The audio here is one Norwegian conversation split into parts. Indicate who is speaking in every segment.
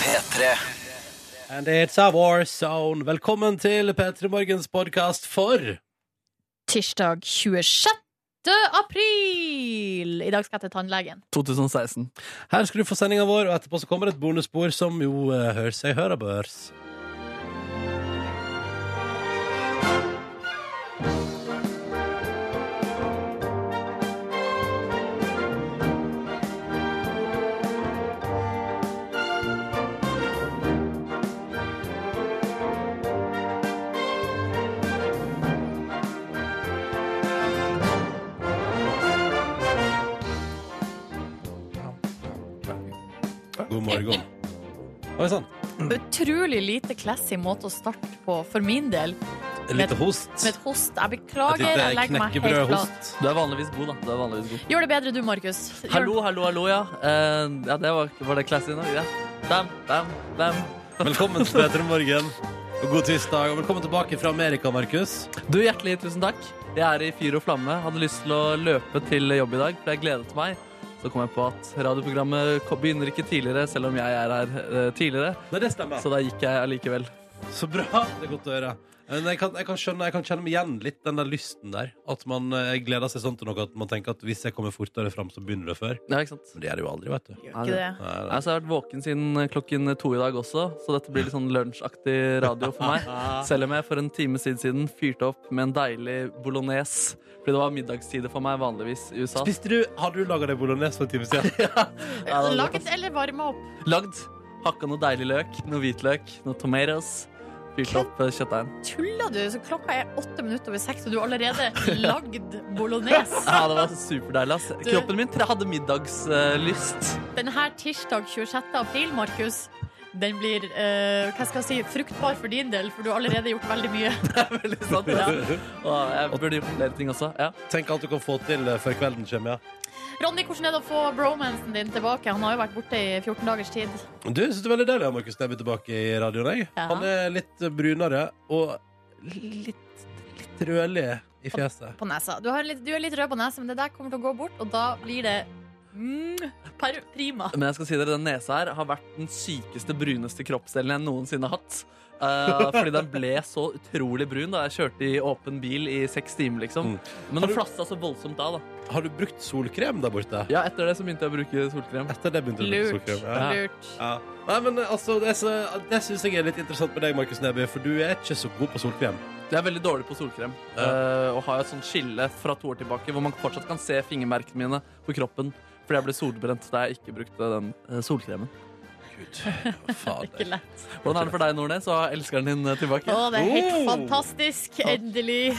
Speaker 1: P3.
Speaker 2: And it's a war zone. Velkommen til P3 Morgens podkast for
Speaker 3: tirsdag 26. april! I dag skal jeg til tannlegen.
Speaker 4: 2016.
Speaker 2: Her skal du få sendinga vår, og etterpå så kommer det et bonusspor som jo eh, hører seg hører børs. God morgen. sånn? Oi sann.
Speaker 3: Utrolig lite classy måte å starte på, for min del.
Speaker 2: En
Speaker 3: Med-
Speaker 2: liten host.
Speaker 3: Med et host. Jeg
Speaker 2: Et
Speaker 3: beklager,
Speaker 2: lite
Speaker 3: jeg legger meg helt flat.
Speaker 2: knekkebrødhost.
Speaker 4: Du er vanligvis god, da. Du er vanligvis god.
Speaker 3: Gjør det bedre du, Markus. Gjør-
Speaker 4: Hallo, hallo, hallo, ja. Eh, ja, det var, var det classy nå? Ja. Bam, bam, bam.
Speaker 2: Velkommen til P3 Morgen. Og god tirsdag, og velkommen tilbake fra Amerika, Markus.
Speaker 4: Du, hjertelig tusen takk. Jeg er i fyr og flamme. Hadde lyst til å løpe til jobb i dag, for jeg gledet meg. Så kom jeg på at radioprogrammet ko- begynner ikke tidligere, selv om jeg er her eh, tidligere.
Speaker 2: Nei, det stemmer.
Speaker 4: Så da gikk jeg allikevel.
Speaker 2: Så bra. Det er godt å høre. Men jeg kan, jeg kan skjønne, jeg kan kjenne meg igjen litt den der lysten der. At man eh, gleder seg sånn til noe at man tenker at hvis jeg kommer fortere fram, så begynner det før.
Speaker 4: Ja, ikke sant?
Speaker 2: Men det gjør det jo aldri, vet du.
Speaker 3: Gjør ikke det.
Speaker 2: Nei, nei.
Speaker 4: Altså, jeg har vært våken siden klokken to i dag også, så dette blir litt sånn lunsjaktig radio for meg. Selv om jeg for en time siden siden fyrte opp med en deilig bolognese. Fordi det var middagstider for meg vanligvis i USA.
Speaker 2: Spiste du Har du laga deg bolognese for en time siden?
Speaker 4: Ja, det var godt,
Speaker 3: Laget eller varma opp.
Speaker 4: ass. Lagd. Hakka noe deilig løk, noe hvitløk, noe tomatoes. Fyrte opp eh, kjøttdeigen.
Speaker 3: Tuller du? Så klokka er åtte minutter over seks, og du har allerede lagd bolognese.
Speaker 4: Ja, det var superdeilig, ass. Kroppen min tre- hadde middagslyst.
Speaker 3: Denne tirsdag 26. april, Markus, den blir eh, hva skal jeg si, fruktbar for din del, for du har allerede gjort veldig mye.
Speaker 4: Det er veldig sant. Ja. Og jeg burde gjort flere ting også. Ja.
Speaker 2: Tenk alt du kan få til eh, før kvelden kommer, ja.
Speaker 3: Ronny, hvordan er det å få bromansen din tilbake? Han har jo vært borte i 14 dagers tid.
Speaker 2: Du, jeg synes det er veldig deilig å ha Markus Neby tilbake i radioen. Jeg.
Speaker 3: Ja.
Speaker 2: Han er litt eh, brunere og litt, litt rødlig i fjeset.
Speaker 3: På nesa. Du, har litt, du er litt rød på nesa, men det der kommer til å gå bort, og da blir det mm, per prima.
Speaker 4: Men jeg skal si dere, den nesa her har vært den sykeste, bruneste kroppsdelen jeg noensinne har hatt. Eh, fordi den ble så utrolig brun da jeg kjørte i åpen bil i seks timer, liksom.
Speaker 2: Mm.
Speaker 4: Men
Speaker 2: Har
Speaker 4: den
Speaker 2: du-
Speaker 4: flassa så voldsomt da, da.
Speaker 2: Har du brukt solkrem der borte?
Speaker 4: Ja, etter det så begynte jeg å bruke solkrem.
Speaker 2: Etter det begynte du å bruke
Speaker 3: Lurt.
Speaker 2: solkrem? Ja.
Speaker 3: Lurt.
Speaker 2: Ja. Nei, men altså, det, er så- det syns jeg er litt interessant med deg, Markus Neby, for du er ikke så god på solkrem.
Speaker 4: Jeg er veldig dårlig på solkrem.
Speaker 2: Ja.
Speaker 4: eh, og har et sånt skille fra to år tilbake hvor man fortsatt kan se fingermerkene mine på kroppen fordi jeg ble solbrent da jeg ikke brukte den eh, solkremen.
Speaker 2: Gud,
Speaker 3: Ikke
Speaker 2: fader.
Speaker 3: lett.
Speaker 4: Hvordan er det for deg, Nordnes, å ha elskeren din eh, tilbake?
Speaker 3: Å, det er helt
Speaker 2: Oh.
Speaker 3: fantastisk. Endelig.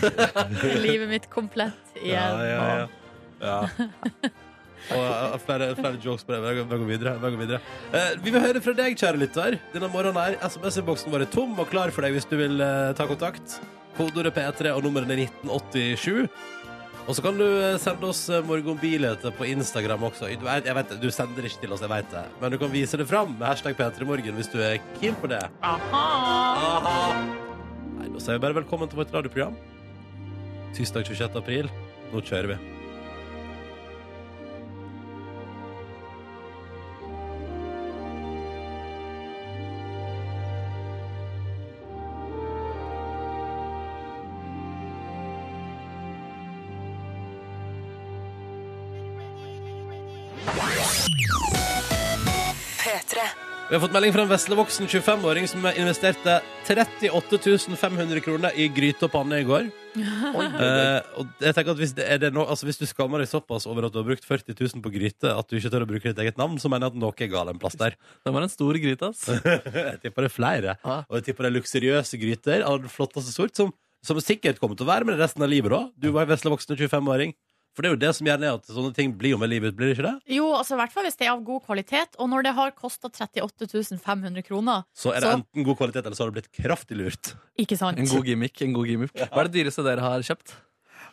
Speaker 3: Livet mitt komplett
Speaker 2: Ja,
Speaker 3: igjen.
Speaker 2: ja, ja. ja. Og eh, flere, flere jokes på det. Vi går- Vi går videre. Vi, går videre. Eh, vi vil høre fra deg, kjære lytter. Denne morgenen her SMS-boksen vår er tom og klar for deg hvis du vil eh, ta kontakt. Kodeordet P3 og nummeret er 1987. Og så kan du eh, sende oss eh, morgenbilete på Instagram også. Du, jeg, jeg vet, det, du sender det ikke til oss, jeg vet det. Men du kan vise det fram med hashtag P3morgen hvis du er keen på det.
Speaker 3: Aha.
Speaker 2: Nei, Da sier vi bare velkommen til vårt radioprogram. Tirsdag 26. april. Nå kjører vi. Vi har fått melding fra en veslevoksen 25-åring som investerte 38 500 kroner i gryte og panne i går. Eh, og jeg tenker at hvis, det er det no, altså hvis du skammer deg såpass over at du har brukt 40 000 på gryte at du ikke tør å bruke ditt eget navn, så mener jeg at noe er galt en plass der.
Speaker 4: Den var en stor gryte, ass.
Speaker 2: Jeg tipper det er flere.
Speaker 4: Ja.
Speaker 2: Og jeg tipper det er luksuriøse gryter av den flotteste sort, som, som sikkert kommer til å være med resten av livet da. Du var en veslevoksen 25-åring. For det er jo det som gjerne er at sånne ting blir jo med livet ut, blir det ikke det?
Speaker 3: Jo, altså i hvert fall hvis det er av god kvalitet. Og når det har kosta 38 500 kroner,
Speaker 2: Så er det
Speaker 3: Så-
Speaker 2: enten god kvalitet, eller så har du blitt kraftig lurt.
Speaker 3: ikke sant?
Speaker 4: En god gimmick. en god gimmick Hva er det dyreste dere har kjøpt?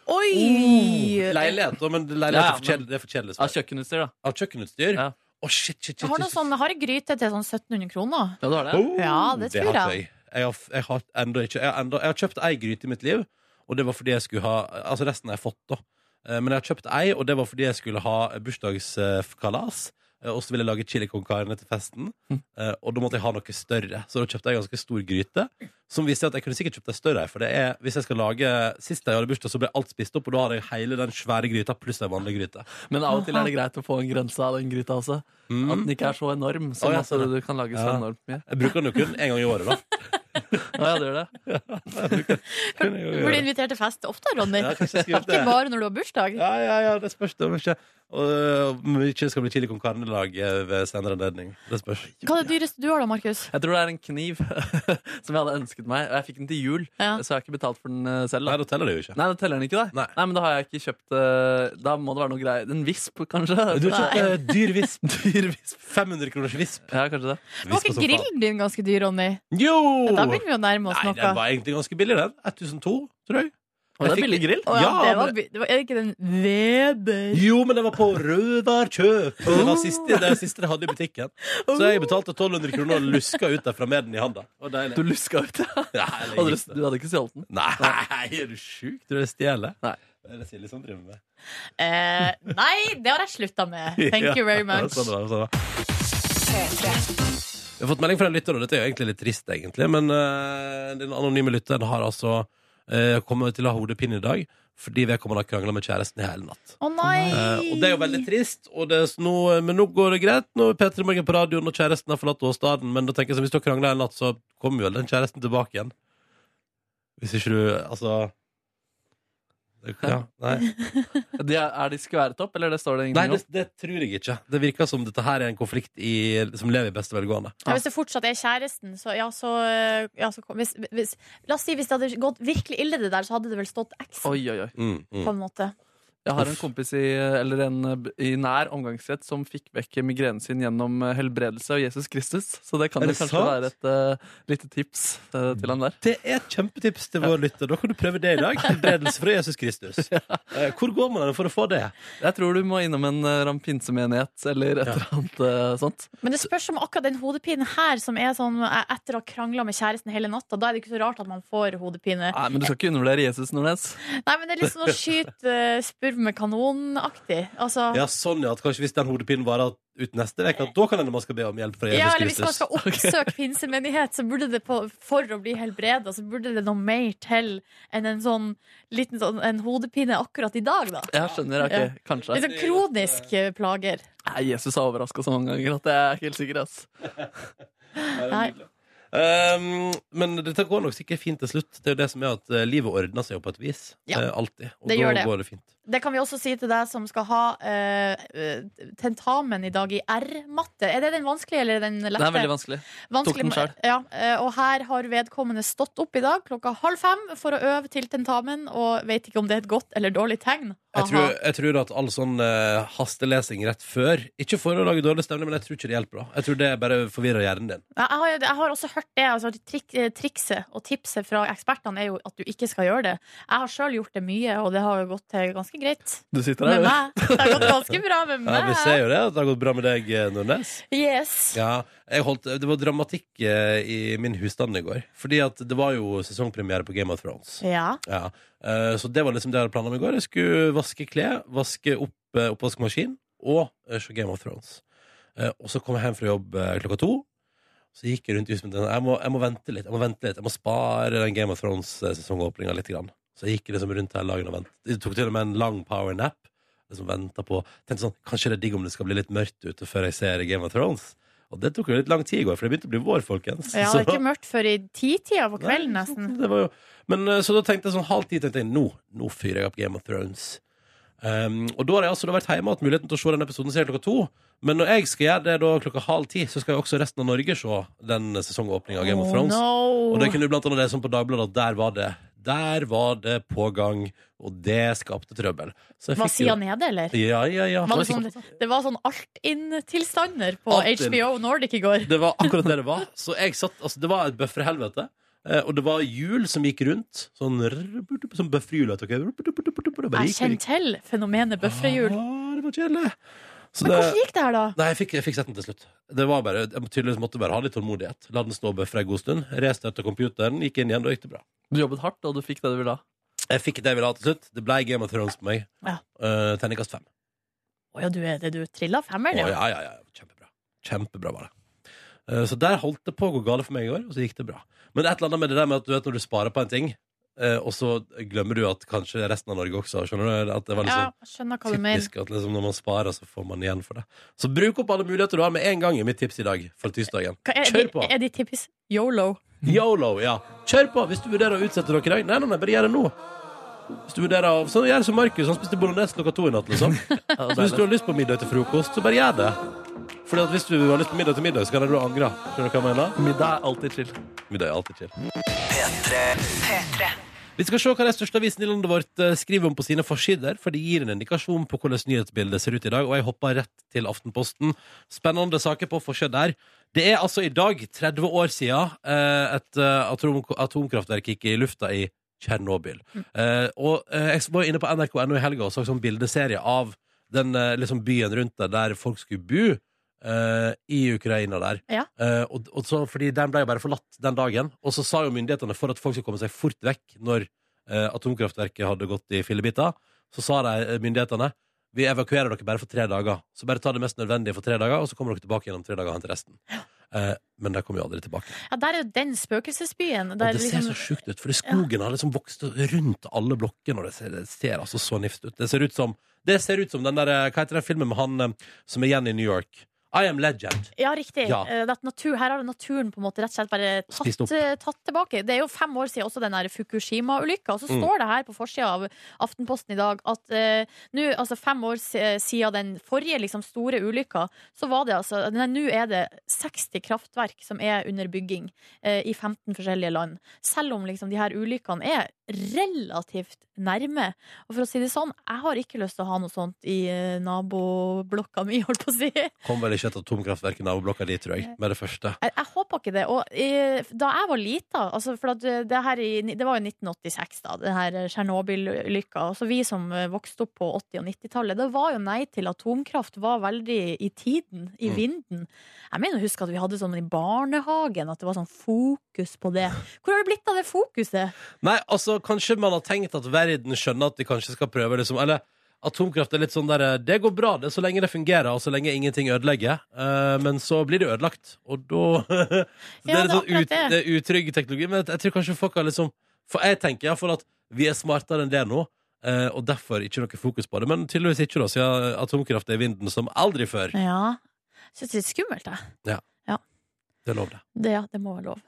Speaker 3: Oi!
Speaker 2: Oh, Leilighet, da, men leilighet
Speaker 4: Ja,
Speaker 2: er for kjedelig- det er for kjedelig.
Speaker 4: Av
Speaker 2: svar.
Speaker 4: kjøkkenutstyr, da.
Speaker 2: Av kjøkkenutstyr? Å,
Speaker 4: Ja.
Speaker 2: shit, shit, shit.
Speaker 3: Jeg har, noe
Speaker 2: shit,
Speaker 3: sånn, jeg har en gryte til sånn 1700 kroner.
Speaker 4: Ja, du har det?
Speaker 2: Oh,
Speaker 3: Ja, det tror
Speaker 2: hater jeg. Jeg har, jeg, har enda ikke, jeg, har enda, jeg har kjøpt ei gryte i mitt liv, og det var fordi jeg skulle ha Altså, resten har jeg fått, da. Eh, Men jeg har kjøpt ei, og det var fordi jeg skulle ha bursdagskalas. eh, Og så ville jeg lage chili con carne til festen. Eh, Og da måtte jeg ha noe større. Så da kjøpte jeg en ganske stor gryte. Som viste at jeg kunne sikkert kjøpt ei større. For det er, hvis jeg skal lage Sist jeg hadde bursdag, så ble alt spist opp, og da hadde jeg hele den svære gryta pluss ei vanlig gryte.
Speaker 4: Men av og til er det greit å få en grense av den gryta også. At den ikke er så
Speaker 2: Mm.
Speaker 4: enorm.
Speaker 2: Å,
Speaker 4: Sånn
Speaker 2: ja,
Speaker 4: at
Speaker 2: sånn,
Speaker 4: du kan lage så
Speaker 2: Ja.
Speaker 4: enormt mye.
Speaker 2: Jeg bruker den jo kun én gang i året, da.
Speaker 4: Å, ja, det gjør det.
Speaker 2: Kun en gang
Speaker 3: Du
Speaker 2: i
Speaker 3: blir
Speaker 2: året.
Speaker 3: invitert til fest ofte, Ronny.
Speaker 2: Ja, kanskje jeg skulle gjort det.
Speaker 3: Ikke bare når du har bursdag.
Speaker 2: Ja, ja, ja, det spørs det om ikke og om ikke det skal bli chili con carne-lag eh, ved senere anledning. Det spørs.
Speaker 3: Hva er det dyreste du har da, Markus?
Speaker 4: Jeg tror det er en kniv som jeg hadde ønsket meg. Og jeg fikk den til jul,
Speaker 3: Ja.
Speaker 4: så jeg har ikke betalt for den eh, selv.
Speaker 2: Nei,
Speaker 4: Da.
Speaker 2: da teller det jo ikke.
Speaker 4: Nei, da teller den ikke, da.
Speaker 2: Nei.
Speaker 4: men da har jeg ikke kjøpt eh, Da må det være noe greier. En visp, kanskje?
Speaker 2: Du har kjøpt eh, dyr visp. Dyr visp. 500 kroners visp.
Speaker 4: Ja, kanskje det.
Speaker 3: Var
Speaker 2: Visp
Speaker 3: ikke
Speaker 2: på sofaen.
Speaker 3: grillen din ganske dyr, Ronny?
Speaker 2: Jo!
Speaker 3: Da begynner vi å nærme oss
Speaker 2: Nei,
Speaker 3: noe.
Speaker 2: den var egentlig ganske billig, den. 1002, tror jeg.
Speaker 4: Og
Speaker 2: Jeg
Speaker 4: det er billig grill.
Speaker 3: Å ja,
Speaker 2: Ja,
Speaker 3: det, var,
Speaker 2: men-
Speaker 3: bi- det var Er det ikke den Weber?
Speaker 2: Jo, men den var på Røverkjøp. Det var siste, det var siste de hadde i butikken. Så jeg betalte 1200 kroner og luska ut derfra med den i handa. Det var
Speaker 4: Du
Speaker 2: deilig.
Speaker 4: luska ut, ja.
Speaker 2: Nei, jeg
Speaker 4: Og Du,
Speaker 2: gikk det.
Speaker 4: du hadde ikke stjålet den.
Speaker 2: Nei, er du sjuk? Tror du jeg stjeler?
Speaker 4: Nei.
Speaker 2: Det er det Silje som driver med.
Speaker 3: Eh, nei, det har jeg slutta med. Thank you very
Speaker 2: Ja,
Speaker 3: much.
Speaker 2: sånn var det, sånn var det. Vi har fått melding fra en lytter, og dette er jo egentlig litt trist, egentlig. Men eh, den anonyme lytteren har altså eh, kommet til å ha hodepine i dag fordi vedkommende har krangla med kjæresten i hele natt.
Speaker 3: Å nei!
Speaker 2: Eh, og det er jo veldig trist, og det er så nå- eh, men nå går det greit. Nå er P3 Morgen på radioen, og kjæresten har forlatt åstedet. Men da tenker jeg sånn, hvis du har krangla en natt, så kommer jo den kjæresten tilbake igjen. Hvis ikke du Altså det, ja, Nei,
Speaker 4: De er, er de skværet opp, eller det står det
Speaker 2: nei
Speaker 4: ingenting
Speaker 2: det, det tror jeg ikke. Det virker som dette her er en konflikt i, som lever i beste velgående.
Speaker 3: Ja, hvis det fortsatt er kjæresten, så ja, så, eh, ja, så kom- hvis, hvis, La oss si hvis det hadde gått virkelig ille, det der, så hadde det vel stått X,
Speaker 4: om? Oi, oi, oi.
Speaker 2: Mm,
Speaker 3: på
Speaker 2: mm.
Speaker 3: en måte.
Speaker 4: Jeg har en
Speaker 2: Uff.
Speaker 4: kompis i, eller en, eh, i nær omgangsrett som fikk vekk migrenen sin gjennom eh, helbredelse av Jesus Kristus. Så det kan
Speaker 2: Er
Speaker 4: jo
Speaker 2: det
Speaker 4: kanskje
Speaker 2: sant?
Speaker 4: være et eh, lite tips eh, til han der.
Speaker 2: Det er et kjempetips til vår lytter. Da kan du prøve det i dag. Helbredelse fra Jesus Kristus. Eh, Hvor går man hen for å få det?
Speaker 4: Jeg tror du må innom en eh, ram- pinsemenighet eller et eller annet eh, sånt.
Speaker 3: Men det spørs om akkurat den hodepinen her, som er sånn eh, etter å ha krangla med kjæresten hele natta, da er det ikke så rart at man får hodepine.
Speaker 4: Nei, men du skal ikke undervurdere Jesus Nordnes.
Speaker 3: Nei, men det er litt sånn å skyte eh, spurv med kanon-aktig. Altså
Speaker 2: Ja, sånn ja, at kanskje hvis den hodepinen varer ut neste uke, at da kan hende man skal be om hjelp fra Jesus
Speaker 3: Ja, eller hvis man
Speaker 2: Kristus.
Speaker 3: skal oppsøke pinsemenighet, så burde det på, for å bli helbreda, så burde det noe mer til enn en sånn liten sånn, en hodepine akkurat i dag, da.
Speaker 4: Jeg skjønner, ok,
Speaker 3: Ja.
Speaker 4: kanskje.
Speaker 3: Litt sånn kronisk eh, plager.
Speaker 4: Nei, Jesus har overraska så mange ganger at jeg er helt sikker. ass.
Speaker 3: Nei.
Speaker 2: Um, men dette går nok sikkert fint til slutt. Det er jo det som er at eh, livet ordner seg jo på et vis.
Speaker 3: Ja.
Speaker 2: Eh, alltid. Og
Speaker 3: Det
Speaker 2: da
Speaker 3: gjør det.
Speaker 2: går det fint.
Speaker 3: Det kan vi også si til deg som skal ha eh, eh, tentamen i dag i R-matte. Er det den vanskelige eller den lette?
Speaker 4: Det er veldig vanskelig.
Speaker 3: Vanskelig-
Speaker 4: Tok den selv.
Speaker 3: Ja, eh, og her har vedkommende stått opp i dag klokka halv fem for å øve til tentamen, og vet ikke om det er et godt eller dårlig tegn.
Speaker 2: Jeg
Speaker 3: Aha.
Speaker 2: tror, jeg tror at all sånn eh, hastelesing rett før Ikke for å lage dårlig stemning, men jeg tror ikke det hjelper. da Jeg tror det bare forvirrer hjernen din.
Speaker 3: Nei, Jeg har, jeg har også hørt det. Altså, trik, eh, trikset og tipset fra ekspertene er jo at du ikke skal gjøre det. Jeg har sjøl gjort det mye, og det har jo gått eh, ganske greit
Speaker 4: Du sitter
Speaker 3: med
Speaker 4: der.
Speaker 3: meg. Det har gått ganske bra med
Speaker 2: Ja, vi ser
Speaker 3: meg.
Speaker 2: jo det, at det har gått bra med deg, eh, Nordnes.
Speaker 3: Yes.
Speaker 2: Ja, jeg holdt, Det var dramatikk eh, i min husstand i går. Fordi at det var jo sesongpremiere på Game of Thrones.
Speaker 3: Ja.
Speaker 2: Ja. eh, så det var liksom det jeg hadde planer om i går. Jeg skulle vaske klær, vaske opp eh, oppvaskmaskin og eh, se Game of Thrones. Eh, og så kom jeg hjem fra jobb eh, klokka to. Så gikk jeg rundt i huset mitt og tenkte, jeg, må- jeg må vente litt. Jeg må vente litt Jeg må spare den Game of Thrones-sesongåpninga litt. Grann. Så jeg gikk liksom rundt hele dagen og ventet. Jeg tok til og med en lang powernap. Liksom ventet på Tenkte sånn, Kanskje det er digg om det skal bli litt mørkt ute før jeg ser Game of Thrones. Og det tok jo litt lang tid i går, for det begynte å bli vår, folkens.
Speaker 3: ja, det
Speaker 2: Så-
Speaker 3: er ikke mørkt før i titida på kvelden,
Speaker 2: Nei,
Speaker 3: nesten.
Speaker 2: sant, Det var jo... Men eh, så da tenkte jeg sånn halv ti tenkte jeg, nå, nå fyrer jeg opp Game of Thrones. Um, og da har jeg altså da vært hjemme og hatt muligheten til å se den episoden siden klokka to. Men når jeg skal gjøre det da klokka halv ti, så skal jo også resten av Norge se den sesongåpninga av Game of Thrones.
Speaker 3: Oh,
Speaker 2: Og
Speaker 3: no.
Speaker 2: det kunne du blant annet lese om på Dagbladet at der var det. Der var det på gang, og det skapte trøbbel. Så jeg
Speaker 3: Var
Speaker 2: fikk jo-
Speaker 3: sida nede, eller?
Speaker 2: Ja, ja, ja.
Speaker 3: Var det,
Speaker 2: Så jeg
Speaker 3: sånn,
Speaker 2: fikk-
Speaker 3: det var sånn alt-in-tilstander på
Speaker 2: Alt in.
Speaker 3: HBO Nordic i går.
Speaker 2: Det var akkurat det det var. Så jeg satt, altså Det var et bøfferhelvete. Eh, og det var hjul som gikk rundt. Sånn sånn bøfferhjul. vet dere. Det bare
Speaker 3: Jeg
Speaker 2: gikk og
Speaker 3: kjenner
Speaker 2: gikk.
Speaker 3: til fenomenet bøfrehjul.
Speaker 2: Ah, det var kjedelig. Så
Speaker 3: Men
Speaker 2: det,
Speaker 3: hvordan gikk det her, da?
Speaker 2: nei, jeg fikk, jeg fikk sett den til slutt. Det var bare, jeg tydeligvis måtte bare ha litt tålmodighet. La den stå og bøffre en god stund. Restarta computeren, gikk inn igjen, da gikk det bra.
Speaker 4: Du jobbet hardt, og du fikk det du ville ha.
Speaker 2: Jeg fikk det jeg ville ha til slutt. Det ble Game of Thrones på meg.
Speaker 3: Ja.
Speaker 2: Eh, Terningkast fem.
Speaker 3: Å ja, du, er det, du trilla femmeren,
Speaker 2: Å,
Speaker 3: ja.
Speaker 2: ja, ja, ja. Kjempebra. Kjempebra var det. Eh, Så der holdt det på å gå galt for meg i går, og så gikk det bra. Men et eller annet med det der med at du vet når du sparer på en ting, eh, og så glemmer du at kanskje resten av Norge også skjønner du? At det var
Speaker 3: ja.
Speaker 2: liksom
Speaker 3: jeg Skjønner hva du mener.
Speaker 2: typisk at liksom når man sparer, så får man igjen for det. Så bruk opp alle muligheter du har med en gang, i mitt tips i dag. For tirsdagen.
Speaker 3: Hva, er,
Speaker 2: Kjør
Speaker 3: Kjør
Speaker 2: på!
Speaker 3: Er de tippis yolo?
Speaker 2: Yolo, ja. Kjør på hvis du vurderer å utsette dere i dag. Nei, nei, nei, bare gjør det nå. Hvis du vurderer å sånn, Gjør det som Markus, han spiste bolognese klokka to i natt, liksom.
Speaker 4: Ja, det
Speaker 2: Så
Speaker 4: er
Speaker 2: hvis du
Speaker 4: deilig.
Speaker 2: har lyst på middag til frokost, så bare gjør det. Fordi at hvis du har lyst på middag til middag, så kan du angre. Skjønner du hva jeg mener?
Speaker 4: Middag er alltid chill.
Speaker 2: Middag er alltid chill. Vi skal se hva den største avisen i landet vårt eh, skriver om på sine forsider, for det gir en indikasjon på hvordan nyhetsbildet ser ut i dag, og jeg hopper rett til Aftenposten. Spennende saker på forsiden der. Det er altså i dag, 30 år siden, eh, et eh, atom atomkraftverk gikk i lufta i Tsjernobyl. Eh, og eh, jeg var inne på nrk.no i helga og så en sånn bildeserie av den eh, liksom byen rundt der, der folk skulle bo. eh, I Ukraina der.
Speaker 3: Ja.
Speaker 2: Eh, og, og så, fordi den ble jo bare forlatt den dagen. Og så sa jo myndighetene for at folk skulle komme seg fort vekk når eh, atomkraftverket hadde gått i fillebiter, så sa de eh, myndighetene vi evakuerer dere bare for tre dager. Så bare ta det mest nødvendige for tre dager, og så kommer dere tilbake igjen om tre dager og henter resten. Eh, men de kom jo aldri tilbake.
Speaker 3: Ja, der er jo den spøkelsesbyen. Der
Speaker 2: og det ser så
Speaker 3: liksom,
Speaker 2: sjukt ut, fordi skogen har liksom vokst rundt alle blokkene, og det ser, det ser altså så nifst ut. Det ser ut som, det ser ut som den der, eh, hva heter den filmen med han eh, som er igjen i New York? I Am Legend.
Speaker 3: ja, riktig.
Speaker 2: Ja.
Speaker 3: Eh, at natur, her har naturen på en måte rett og slett bare
Speaker 2: Spist opp.
Speaker 3: tatt, eh, tatt tilbake. Det er jo fem år siden også den der Fukushima-ulykka. Og så
Speaker 2: Mm.
Speaker 3: står det her på forsida av Aftenposten i dag at eh, nå, altså fem år si- siden den forrige liksom, store ulykka, så var det altså Nei, nå er det 60 kraftverk som er under bygging eh, i 15 forskjellige land. Selv om liksom de her ulykkene er relativt nærme. Og for å si det sånn, jeg har ikke lyst til å ha noe sånt i eh, naboblokka mi, holdt på å si.
Speaker 2: Kom vel ikke et atomkraftverk i naboblokka di, tror jeg, med det første.
Speaker 3: Jeg, jeg håper ikke det. Og eh, da jeg var lita, altså for at eh, det, her i, det var jo 1986, da, det her eh, Tsjernobyl-ulykka. Altså vi som eh, vokste opp på 80- og 90-tallet, det var jo nei til atomkraft var veldig i tiden, i
Speaker 2: Mm.
Speaker 3: vinden. Jeg mener å huske at vi hadde sånn i barnehagen, at det var sånn fokus på det. Hvor har det blitt av det fokuset?
Speaker 2: Nei, altså, kanskje man har tenkt at verden skjønner at de kanskje skal prøve, liksom, eller atomkraft er litt sånn der, eh, det går bra, det så lenge det fungerer, og så lenge ingenting ødelegger, eh, men så blir det ødelagt, og da... Så det
Speaker 3: Ja,
Speaker 2: er litt
Speaker 3: det er
Speaker 2: sånn
Speaker 3: akkurat
Speaker 2: ut,
Speaker 3: det.
Speaker 2: det er utrygg teknologi, men jeg tror kanskje folk har liksom, for jeg tenker i hvert fall at vi er smartere enn det nå, eh, og derfor ikke noe fokus på det, men tydeligvis ikke da, siden atomkraft er i vinden som aldri før.
Speaker 3: Ja, jeg syns det er litt skummelt, jeg.
Speaker 2: Det er lov det.
Speaker 3: Det, ja, det må være lov.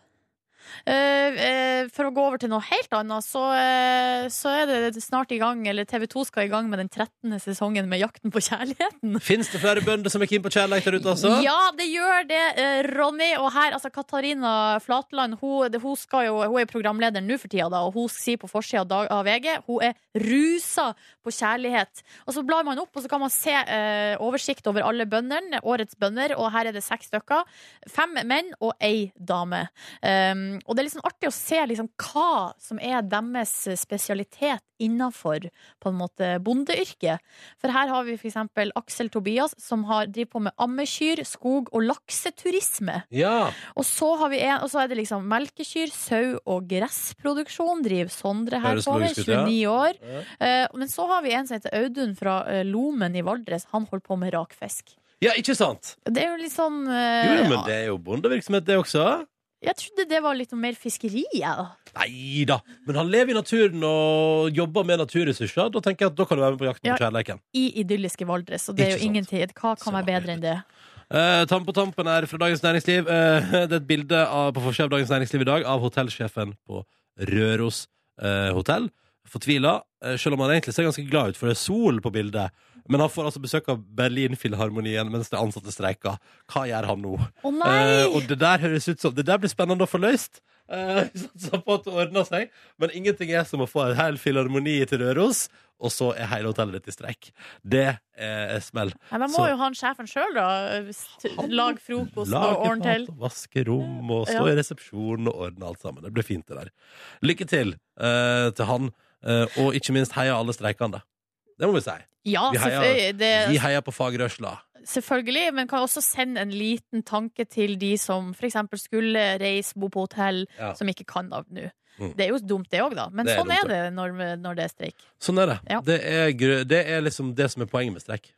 Speaker 3: Eh, eh, for å gå over til noe helt annet, så, eh, så er det snart i gang, eller TV 2 skal i gang med den 13. sesongen med Jakten på kjærligheten.
Speaker 2: Finnes det flere bønder som er keen på kjærlighet der ute, altså?
Speaker 3: Ja, det gjør det, eh, Ronny. Og her, altså Katarina Flatland, hun, det, hun, skal jo, hun er programleder nå for tida, da, og hun sier på forsida av Dag- av VG hun er rusa på kjærlighet. Og så blar man opp, og så kan man se eh, oversikt over alle bøndene, årets bønder, og her er det seks stykker. Fem menn og ei dame. Um, og det er litt sånn artig å se liksom, hva som er deres spesialitet innafor på en måte bondeyrket. For her har vi f.eks. Aksel Tobias, som har driver på med ammekyr, skog og lakseturisme.
Speaker 2: Ja.
Speaker 3: Og så, har vi en, og så er det liksom melkekyr, sau og gressproduksjon. Driver Sondre her
Speaker 2: Høres
Speaker 3: på med,
Speaker 2: logisk ut, ja.
Speaker 3: 29 år.
Speaker 2: Ja.
Speaker 3: Eh, men så har vi en som heter Audun fra eh, Lomen i Valdres. Han holder på med rakfisk.
Speaker 2: Ja, ikke sant?
Speaker 3: Det er jo litt sånn
Speaker 2: Jo,
Speaker 3: eh,
Speaker 2: ja, men det er jo bondevirksomhet det også.
Speaker 3: Jeg trodde det var litt mer fiskeri, jeg, da.
Speaker 2: Nei da. Men han lever i naturen og jobber med naturressurser. Da tenker jeg at da kan du være med på jakten
Speaker 3: Ja.
Speaker 2: på kjærleiken.
Speaker 3: i idylliske Valdres, og det er
Speaker 2: Ikke
Speaker 3: jo
Speaker 2: sant.
Speaker 3: ingenting. Hva kan være bedre enn det?
Speaker 2: Eh, tam på tampen her fra Dagens Næringsliv. Eh, det er et bilde av, på forsiden av Dagens Næringsliv i dag av hotellsjefen på Røros eh, hotell. Fortvila, eh, selv om han egentlig ser ganske glad ut, for det er sol på bildet. Men han får altså besøk av Berlinfilharmonien mens de ansatte streiker. Hva gjør han nå?
Speaker 3: Å
Speaker 2: Eh,
Speaker 3: nei!
Speaker 2: og det der høres ut som Det der blir spennende å få løst. Eh, vi satser på at det ordner seg, men ingenting er som å få en hel filharmoni til Røros, og så er hele hotellet ditt i streik. Det er smell.
Speaker 3: Nei, da må
Speaker 2: så-
Speaker 3: jo han sjefen sjøl, da. st- Lage frokost og
Speaker 2: Lage
Speaker 3: ordne til.
Speaker 2: mat og vaske rom og stå
Speaker 3: Ja.
Speaker 2: i resepsjonen og ordne alt sammen. Det blir fint, det der. Lykke til eh, til han, eh, og ikke minst heia alle streikende. Det må vi si.
Speaker 3: Ja,
Speaker 2: Vi heier-
Speaker 3: selvfølgelig,
Speaker 2: Vi
Speaker 3: det,
Speaker 2: heier på fagrørsla.
Speaker 3: selvfølgelig. Men kan også sende en liten tanke til de som f.eks. skulle reise, bo på hotell,
Speaker 2: Ja.
Speaker 3: som ikke kan da nå.
Speaker 2: Mm.
Speaker 3: Det er jo dumt, det òg, da. Men
Speaker 2: Det er
Speaker 3: sånn
Speaker 2: dumt,
Speaker 3: er det når, når det er streik.
Speaker 2: Sånn er det.
Speaker 3: Ja.
Speaker 2: Det, er, gr- det er liksom det som er poenget med streik.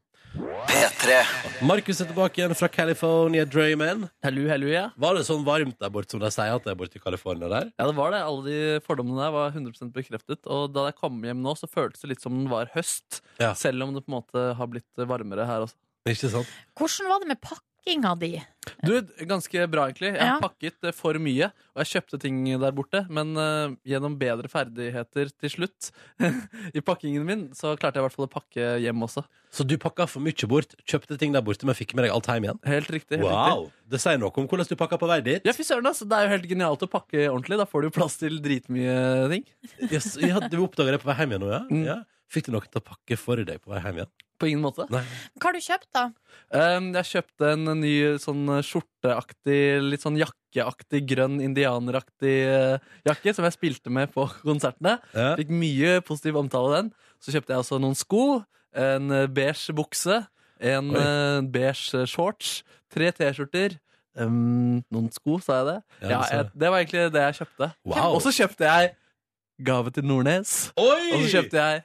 Speaker 2: Markus er tilbake igjen fra California Drayman.
Speaker 4: Hello, hello, ja.
Speaker 2: Var det sånn varmt der borte som de sier at det er borte i California der?
Speaker 4: Ja, det var det. Alle de fordommene der var 100 bekreftet. Og da jeg kom hjem nå, så føltes det litt som det var høst.
Speaker 2: Ja.
Speaker 4: Selv om det på en måte har blitt varmere her også.
Speaker 2: Ikke sant?
Speaker 3: Hvordan var det med pakkinga di?
Speaker 4: Du, ganske bra egentlig. Jeg
Speaker 3: Ja.
Speaker 4: har pakket eh, for mye, og jeg kjøpte ting der borte. Men eh, gjennom bedre ferdigheter til slutt i pakkingen min, så klarte jeg i hvert fall å pakke hjem også.
Speaker 2: Så du pakka for mye bort, kjøpte ting der borte, men fikk med deg alt hjem igjen?
Speaker 4: Helt riktig. helt riktig.
Speaker 2: Wow! Det sier noe om hvordan du pakka på vei dit.
Speaker 4: Ja, fy søren, altså. Det er jo helt genialt å pakke ordentlig. Da får du jo plass til dritmye ting.
Speaker 2: Yes, ja, du oppdaga det på vei hjem igjen nå, ja?
Speaker 4: Mm.
Speaker 2: ja? Fikk du noen til å pakke for deg på vei hjem igjen?
Speaker 4: På ingen måte.
Speaker 2: Nei.
Speaker 3: Hva har du kjøpt, da?
Speaker 4: Um, jeg kjøpte en ny sånn skjorteaktig, litt sånn jakkeaktig, grønn indianeraktig eh, jakke som jeg spilte med på konsertene.
Speaker 2: Ja.
Speaker 4: Fikk mye positiv omtale av den. Så kjøpte jeg også noen sko, en eh, beige bukse, en
Speaker 2: Oi.
Speaker 4: eh, beige shorts, tre T-skjorter. Um, noen sko, sa jeg det?
Speaker 2: Ja,
Speaker 4: Ja,
Speaker 2: du sa
Speaker 4: jeg, det var egentlig det jeg kjøpte.
Speaker 2: Wow.
Speaker 4: Og så kjøpte jeg gave til Nordnes.
Speaker 2: Oi!
Speaker 4: Og så kjøpte jeg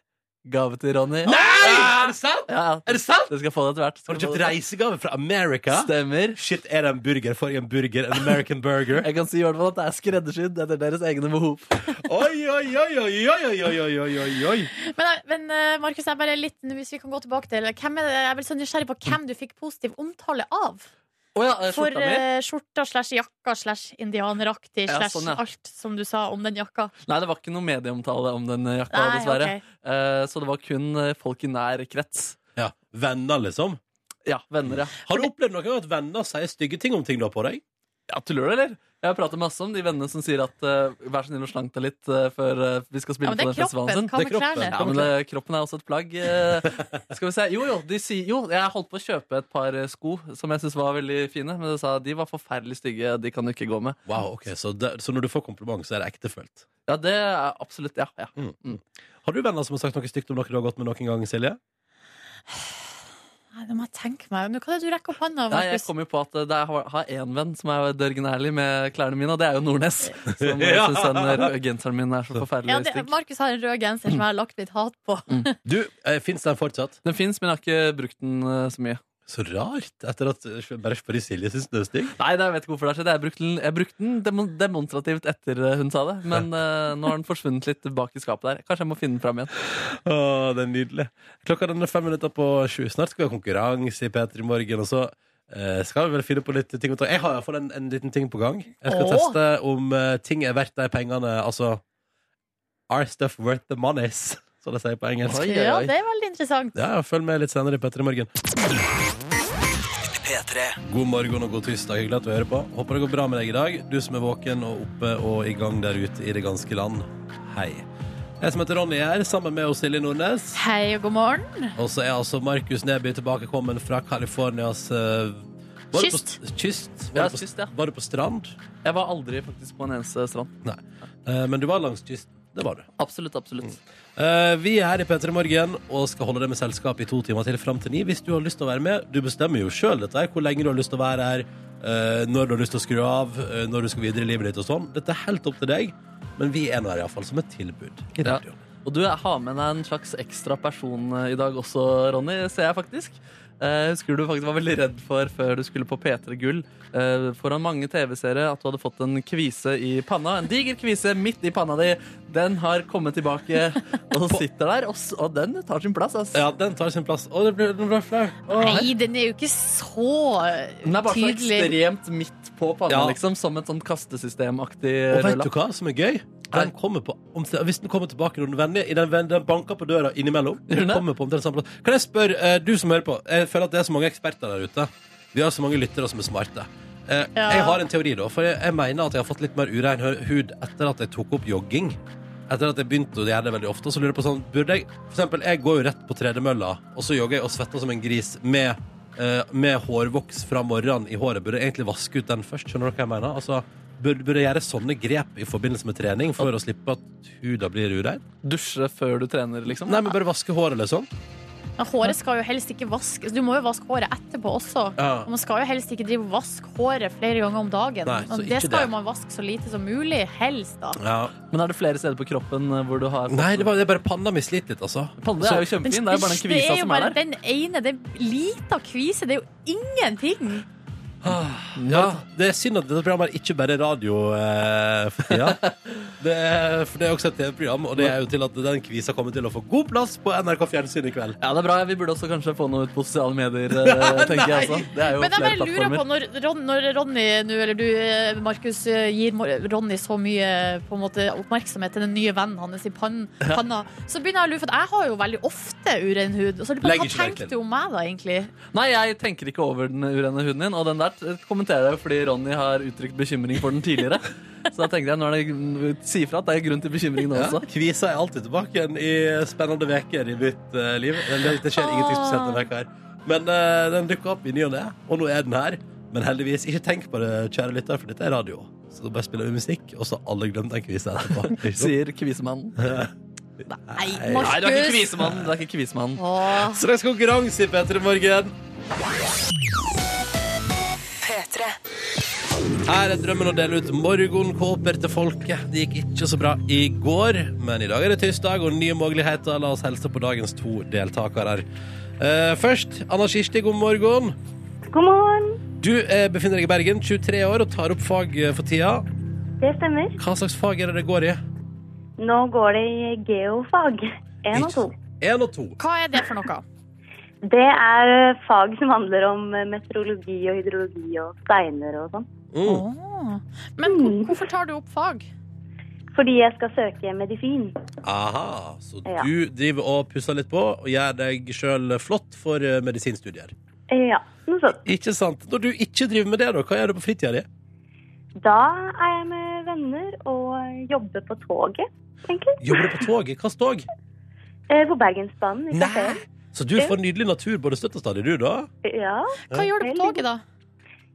Speaker 4: gave til Ronny.
Speaker 2: Nei! Er det sant?
Speaker 4: Ja,
Speaker 2: Er det sant?
Speaker 4: det skal jeg få det etter hvert. Skal
Speaker 2: Har du
Speaker 4: jeg få
Speaker 2: kjøpt
Speaker 4: det etter hvert.
Speaker 2: reisegave fra America?
Speaker 4: Stemmer.
Speaker 2: Shit, er det en burger? Får jeg en burger? En American burger?
Speaker 4: Jeg kan si i hvert fall at det er skreddersydd etter deres egne behov.
Speaker 2: Oi, oi, oi, oi, oi, oi, oi, oi, oi, oi, oi.
Speaker 3: Men, men eh, Markus, jeg er bare litt Hvis vi kan gå tilbake til hvem er det, Jeg er vel så nysgjerrig på hvem du fikk positiv omtale av.
Speaker 4: Oh, ja, eh,
Speaker 3: For
Speaker 4: skjorta mi?
Speaker 3: eh, skjorta slash jakka slash indianeraktig
Speaker 4: Ja,
Speaker 3: slash
Speaker 4: sånn, ja.
Speaker 3: alt som du sa om den jakka.
Speaker 4: Nei, det var ikke noe medieomtale om den eh, jakka,
Speaker 3: Nei,
Speaker 4: dessverre.
Speaker 3: ok.
Speaker 4: Eh, så det var kun eh, folk i nær krets.
Speaker 2: Ja, venner liksom
Speaker 4: Ja, venner, ja.
Speaker 2: Har du opplevd noe av at venner sier stygge ting om ting du har på deg?
Speaker 4: Ja, Tuller du, eller? Jeg har pratet masse om de vennene som sier at eh, vær så snill og slank deg litt eh, før eh, vi skal
Speaker 3: Ja,
Speaker 4: spille
Speaker 3: men det
Speaker 4: på
Speaker 3: er
Speaker 4: den festivalen
Speaker 3: kroppen.
Speaker 4: sin.
Speaker 3: Hva
Speaker 2: Det er
Speaker 3: med
Speaker 2: kroppen.
Speaker 3: klærne?
Speaker 4: Ja, men eh, kroppen er også et plagg. eh, skal vi se. Jo, jo, de sier, jo, jeg holdt på å kjøpe et par eh, sko som jeg syntes var veldig fine, men de sa de var forferdelig stygge, de kan du ikke gå med.
Speaker 2: Wow, ok, så, det, så når du får kompliment så er det ektefølt
Speaker 4: Ja, det er absolutt Ja. ja.
Speaker 2: Har du venner som har sagt noe stygt om noe du har gått med noen gang, Silje?
Speaker 3: Nei, nå må jeg tenke meg Nå kan du rekke opp hånda,
Speaker 4: Nei, jeg
Speaker 3: Markus.
Speaker 4: kom jo på at eh, det er- jeg har én venn som er dørgen ærlig med klærne mine, og det er jo Nordnes. Som
Speaker 2: Ja.
Speaker 4: ja. syns den eh, røde genseren min er så
Speaker 3: Ja,
Speaker 4: forferdelig
Speaker 3: det,
Speaker 4: stygg.
Speaker 3: Markus har en rød genser som jeg har lagt litt hat på.
Speaker 4: Mm.
Speaker 2: Du, eh, finnes den fortsatt?
Speaker 4: Den fins, men jeg har ikke brukt den eh, så mye.
Speaker 2: Så rart, etter at eh, bare fordi Silje synes det er stygg
Speaker 4: Nei, det jeg vet ikke hvorfor det har skjedd. Jeg brukte den, jeg brukte den demo demonstrativt etter eh, hun sa det, men eh, nå har den forsvunnet litt bak i skapet der. Kanskje jeg må finne den fram igjen.
Speaker 2: Åh, det er nydelig Klokka den er fem minutter på sju Snart skal vi ha konkurranse i P3 Morgen Og så eh, skal vi vel finne på litt ting å ta Jeg har i hvert fall en, en liten ting på gang Jeg skal
Speaker 3: Åh.
Speaker 2: teste om eh, ting er verdt de pengene Altså Are stuff worth the monies Som de sier på engelsk
Speaker 4: Oi, oi,
Speaker 3: Ja,
Speaker 4: oi.
Speaker 3: det er veldig interessant.
Speaker 2: Ja, følg med litt senere i Petter i morgen. God morgen og god tirsdag. Hyggelig at du hører på. Håper det går bra med deg i dag, du som er våken og oppe og i gang der ute i det ganske land. Hei. Jeg som heter Ronny er her, sammen med oss Silje Nordnes.
Speaker 3: Hei og god morgen.
Speaker 2: Og så er altså Markus Neby tilbakekommen fra Californias eh, var du på-
Speaker 3: Kyst.
Speaker 2: Kyst. Var,
Speaker 4: Ja,
Speaker 2: du på,
Speaker 4: kyst, ja.
Speaker 2: var du på strand?
Speaker 4: Jeg var aldri faktisk på en eneste strand.
Speaker 2: Nei. Eh, men du var langs kysten. Det var du.
Speaker 4: Absolutt, absolutt.
Speaker 2: Eh, vi er her i P3 Morgen og skal holde deg med selskap i to timer til fram til ni. Hvis du har lyst til å være med, du bestemmer jo sjøl dette her, hvor lenge du har lyst til å være her, eh, når du har lyst til å skru av, eh, når du skal videre i livet ditt og sånn. Dette er helt opp til deg, men vi er nå her iallfall som et tilbud i
Speaker 4: Ja.
Speaker 2: radioen.
Speaker 4: Og du jeg har med deg en slags ekstra person eh, i dag også, Ronny, ser jeg faktisk. Eh, husker du faktisk var veldig redd for før du skulle på P3 Gull eh, foran mange TV-seere at du hadde fått en kvise i panna. En diger kvise midt i panna di. Den har kommet tilbake og sitter der, og, s- og den tar sin plass. ass.
Speaker 2: Ja, den tar sin plass. Å, det ble, den ble flau. Å, hei.
Speaker 3: Nei, den er jo ikke så
Speaker 4: Den er bare så
Speaker 3: tydelig.
Speaker 4: ekstremt midt på panna,
Speaker 2: Ja.
Speaker 4: liksom, som et sånt kastesystemaktig
Speaker 2: Og vet du
Speaker 4: rødlapp.
Speaker 2: hva som er gøy? Den
Speaker 4: Nei.
Speaker 2: kommer på, om, hvis den kommer tilbake når den vender, i den, ven- den banker på døra innimellom. Den
Speaker 4: den det?
Speaker 2: kommer på omtrent samme plass. Kan jeg spørre, eh, du som hører på, jeg føler at det er så mange eksperter der ute. Vi har så mange lyttere som er smarte. Eh,
Speaker 3: Ja.
Speaker 2: Jeg har en teori, da. For jeg, jeg mener at jeg har fått litt mer urein hø- hud etter at jeg tok opp jogging. Etter at jeg begynte å gjøre det veldig ofte, så lurer jeg på sånn Burde jeg For eksempel, jeg går jo rett på tredemølla, og så jogger jeg og svetter som en gris med, eh, med hårvoks fra morgenen i håret. Burde jeg egentlig vaske ut den først? Skjønner du hva jeg mener? Altså, burde, burde jeg gjøre sånne grep i forbindelse med trening for å slippe at huda blir urein?
Speaker 4: Dusje før du trener, liksom.
Speaker 2: Nei, men bare vaske håret, liksom.
Speaker 3: Men håret skal jo helst ikke vaskes. Du må jo vaske håret etterpå også.
Speaker 2: Ja.
Speaker 3: Og man skal jo helst ikke drive og vaske håret flere ganger om dagen.
Speaker 2: Nei, så
Speaker 3: og
Speaker 2: ikke
Speaker 3: det skal
Speaker 2: det.
Speaker 3: jo man vaske så lite som mulig. Helst, da.
Speaker 2: Ja.
Speaker 4: Men er det flere steder på kroppen eh, hvor du har
Speaker 2: Nei, det, var, det er bare panna mi sliter litt, altså.
Speaker 4: Panne er jo kjempefin. Det er jo bare
Speaker 3: Det
Speaker 4: den kvisa
Speaker 3: jo
Speaker 4: som er
Speaker 3: bare
Speaker 4: der.
Speaker 3: Den ene, det er lita kvise. Det er jo ingenting.
Speaker 2: Ja, det er synd at dette programmet er ikke bare radio eh, for tida. Det er, for det er også et TV-program, og det er jo til at den kvisa kommer til å få god plass på NRK Fjernsyn i kveld.
Speaker 4: Ja, det er bra. Vi burde også kanskje få noe ut på sosiale medier, eh, tenker jeg også. Det er jo
Speaker 3: Men jeg
Speaker 4: flere
Speaker 3: bare lurer på,
Speaker 4: plattformer.
Speaker 3: når, Ron, når Ronny nå, eller du, eh, Markus, eh, gir Mor- Ronny så mye på en måte, oppmerksomhet til den nye vennen hans i pan, panna, så begynner jeg å lure, for at jeg har jo veldig ofte uren hud. Så jeg lurer på,
Speaker 2: Legger
Speaker 3: hva
Speaker 2: ikke merke
Speaker 3: tenkte
Speaker 2: til.
Speaker 3: du om meg da, egentlig?
Speaker 4: Nei, jeg tenker ikke over den urene huden din, og den der eh, kommenterer jeg jo fordi Ronny har uttrykt bekymring for den tidligere. Så da tenker jeg, nå er det si fra at det er grunn til bekymring nå
Speaker 2: Ja,
Speaker 4: også.
Speaker 2: kvisa er alltid tilbake igjen i spennende uker i mitt eh, liv. Det, det skjer ingenting spesielt denne veka her. Men eh, den dukker opp i ny og ne, og nå er den her. Men heldigvis, ikke tenk på det, kjære lytter, for dette er radio. Så da bare spiller vi musikk, og så har alle glemt den kvisa etterpå. Ikke sant?
Speaker 4: Sier kvisemannen.
Speaker 3: Nei,
Speaker 4: Nei, du er ikke
Speaker 3: Markus!
Speaker 4: kvisemannen. Du er ikke kvisemannen.
Speaker 3: Åh,
Speaker 2: Så det er konkurranse i P3 Morgen. Her er drømmen å dele ut morgenkåper til folket. Det gikk ikke så bra i går, men i dag er det tirsdag og nye muligheter. La oss hilse på dagens to deltakere. Eh, først, Anna Kirsti, god morgen.
Speaker 1: God morgen.
Speaker 2: Du eh, befinner deg i Bergen, 23 år, og tar opp fag eh, for tida.
Speaker 1: Det stemmer.
Speaker 2: Hva slags fag er det det går i?
Speaker 1: Nå går det i geofag. Én og to.
Speaker 2: Én og to.
Speaker 3: hva er det for noe?
Speaker 1: Det er eh, fag som handler om eh, meteorologi og hydrologi og steiner og sånn.
Speaker 2: Mm.
Speaker 3: Åh. Men hvor,
Speaker 1: Mm.
Speaker 3: hvorfor tar du opp fag?
Speaker 1: Fordi jeg skal søke medisin.
Speaker 2: Aha, så
Speaker 1: Ja.
Speaker 2: du driver og pusser litt på og gjør deg sjøl flott for eh, medisinstudier.
Speaker 1: Eh, Ja, noe sånt.
Speaker 2: Ikke sant. Når du ikke driver med det, da, hva gjør du på fritida di?
Speaker 1: Da er jeg med venner og jobber på toget, egentlig.
Speaker 2: Jobber du på toget? Hvilket tog?
Speaker 1: Eh, På Bergensbanen i kafeen.
Speaker 2: Så du får nydelig natur både støtt og stadig, du, da?
Speaker 1: Ja.
Speaker 3: Hva gjør du på toget, da?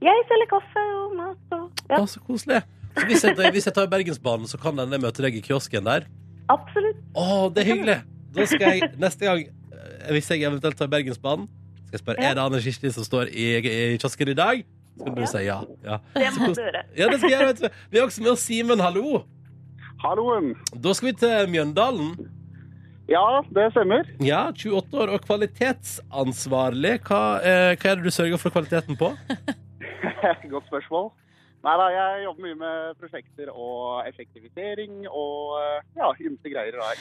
Speaker 1: Jeg selger kaffe og mat og Ja,
Speaker 2: Å, så koselig. Så hvis jeg, hvis jeg tar Bergensbanen, så kan jeg møte deg i kiosken der.
Speaker 1: absolutt.
Speaker 2: Å, det er hyggelig! Da skal jeg neste gang, eh, hvis jeg eventuelt tar Bergensbanen, skal jeg spørre
Speaker 1: Ja.
Speaker 2: er det Anne Kirsti som står i, i kiosken i dag. Så kan du
Speaker 1: Ja.
Speaker 2: si ja. ja.
Speaker 1: Det
Speaker 2: Så
Speaker 1: må
Speaker 2: kos-
Speaker 1: du gjøre.
Speaker 2: Ja, det skal jeg, vet du. Vi har også med oss Simen, hallo.
Speaker 5: Halloen.
Speaker 2: Da skal vi til Mjøndalen.
Speaker 5: Ja, det stemmer.
Speaker 2: Ja, 28 år og kvalitetsansvarlig. Hva, eh, hva er det du sørger for kvaliteten på?
Speaker 5: Godt spørsmål. Nei da, jeg jobber mye med prosjekter og effektivisering og eh, ja, ymse greier da i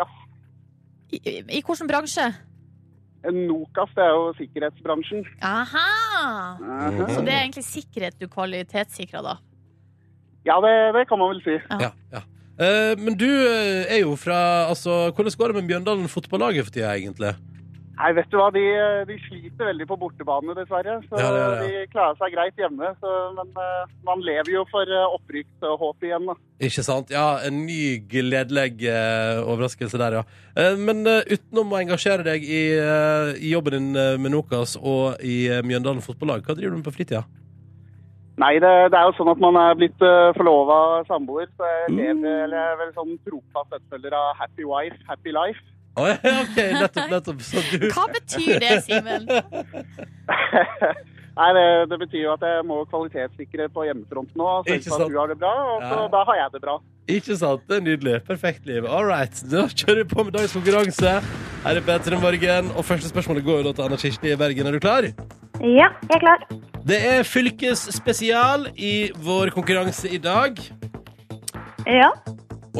Speaker 5: ja.
Speaker 3: I, i, i hvilken bransje?
Speaker 5: NOKAS, det er jo sikkerhetsbransjen.
Speaker 3: Aha!
Speaker 2: Mhm.
Speaker 5: Eh,
Speaker 3: Så det er egentlig sikkerhet du kvalitetssikrer, da?
Speaker 5: Ja, det, det kan man vel si.
Speaker 2: Ja, ja. Eh, men du eh, er jo fra altså, Hvordan går det med Mjøndalen fotballaget for tida, egentlig?
Speaker 5: Nei, vet du hva, de, de sliter veldig på bortebane, dessverre. Så
Speaker 2: Ja, det gjør det,
Speaker 5: de klarer seg greit hjemme. Så, men eh, man lever jo for eh, opprykkshåp igjen, da.
Speaker 2: Ikke sant? Ja, en ny gledelig eh, overraskelse der, ja. Eh, men eh, utenom å engasjere deg i, eh, i jobben din eh, med Nokas og i eh, Mjøndalen fotballag, hva driver du med på fritida?
Speaker 5: Nei, det, det er jo sånn at man er blitt uh, forlova samboer, så jeg lever
Speaker 2: Mm.
Speaker 5: eller jeg er vel sånn trofast etterfølger av happy wife, happy life.
Speaker 2: Å, ja, OK, nettopp, nettopp. Så du
Speaker 3: Hva betyr det, Simen?
Speaker 5: Nei, det, det betyr jo at jeg må kvalitetssikre på hjemmefront nå.
Speaker 2: Ikke
Speaker 5: Sørge for
Speaker 2: sant.
Speaker 5: at du har det bra, og så
Speaker 2: Ja.
Speaker 5: da har jeg det bra.
Speaker 2: Ikke sant? Det er nydelig. Perfekt liv. All right. Da kjører vi på med dagens konkurranse. Her er Petter i morgen, og første spørsmålet går jo da til Anna Kirsti i Bergen. Er du klar?
Speaker 1: Ja, jeg er klar.
Speaker 2: Det er fylkesspesial i vår konkurranse i dag.
Speaker 1: Ja.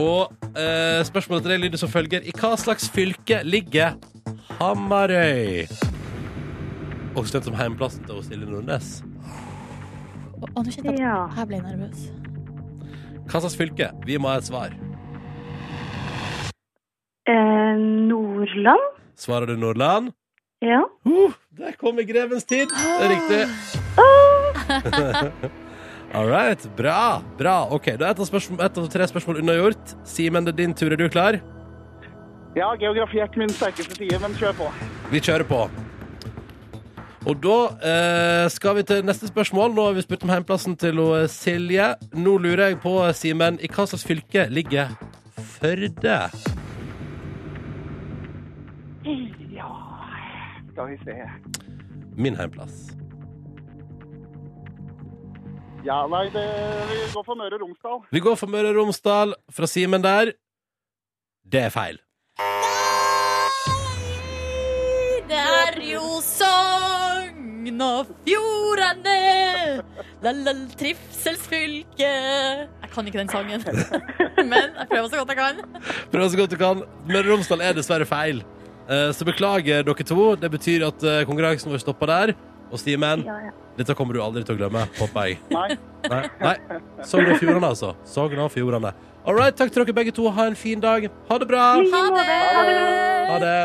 Speaker 2: Og eh, spørsmålet til deg lyder som følger. I hva slags fylke ligger Hamarøy? Også kjent som heimplassen til Silje Nordnes.
Speaker 3: Å, nå kjente jeg
Speaker 1: Ja.
Speaker 3: at jeg ble nervøs.
Speaker 2: Hva slags fylke? Vi må ha et svar.
Speaker 1: Eh, Nordland.
Speaker 2: Svarer du Nordland?
Speaker 1: Ja.
Speaker 2: Uh, der kommer grevens tid. Det er riktig. All right. Bra. bra. Ok, Da er ett av, spørsmål- ett av tre spørsmål unnagjort. Simen, det er din tur. Er du klar?
Speaker 5: Ja, geografi er ikke min sterkeste side, men kjør på.
Speaker 2: Vi kjører på. Og da eh, skal vi til neste spørsmål. Nå har vi spurt om heimplassen til hun, Silje. Nå lurer jeg på, eh, Simen, i hva slags fylke ligger Førde?
Speaker 1: Ja
Speaker 5: Skal vi se.
Speaker 2: Min heimplass.
Speaker 5: Ja, nei, det, vi går for Møre og Romsdal.
Speaker 2: Vi går for Møre og Romsdal fra Simen der. Det er feil.
Speaker 3: Det er jo Sogn og Fjordane, la-la-la, trivselsfylke Jeg kan ikke den sangen, men jeg prøver så godt jeg kan.
Speaker 2: Prøv så godt du kan. Møre og Romsdal er dessverre feil. Eh, Så beklager dere to. Det betyr at eh, konkurransen vår stopper der. Og Simen,
Speaker 1: Ja, ja.
Speaker 2: dette kommer du aldri til å glemme, håper jeg.
Speaker 5: Nei.
Speaker 2: Nei. Nei. Sogn og Fjordane, altså. Sogn og Fjordane. All right, takk til dere begge to. Ha en fin dag. Ha det bra.
Speaker 3: Ha det!
Speaker 2: Ha det.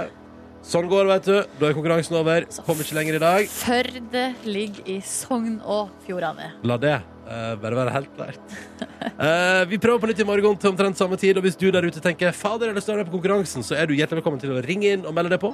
Speaker 2: Sånn går det, vet du. Da er konkurransen over. Kom ikke lenger i dag.
Speaker 3: Førde ligger i Sogn og Fjordane.
Speaker 2: La det eh, bare være helt klart. Eh, vi prøver på nytt i morgen til omtrent samme tid, og hvis du der ute tenker fader eller større på konkurransen, så er du hjertelig velkommen til å ringe inn og melde deg på.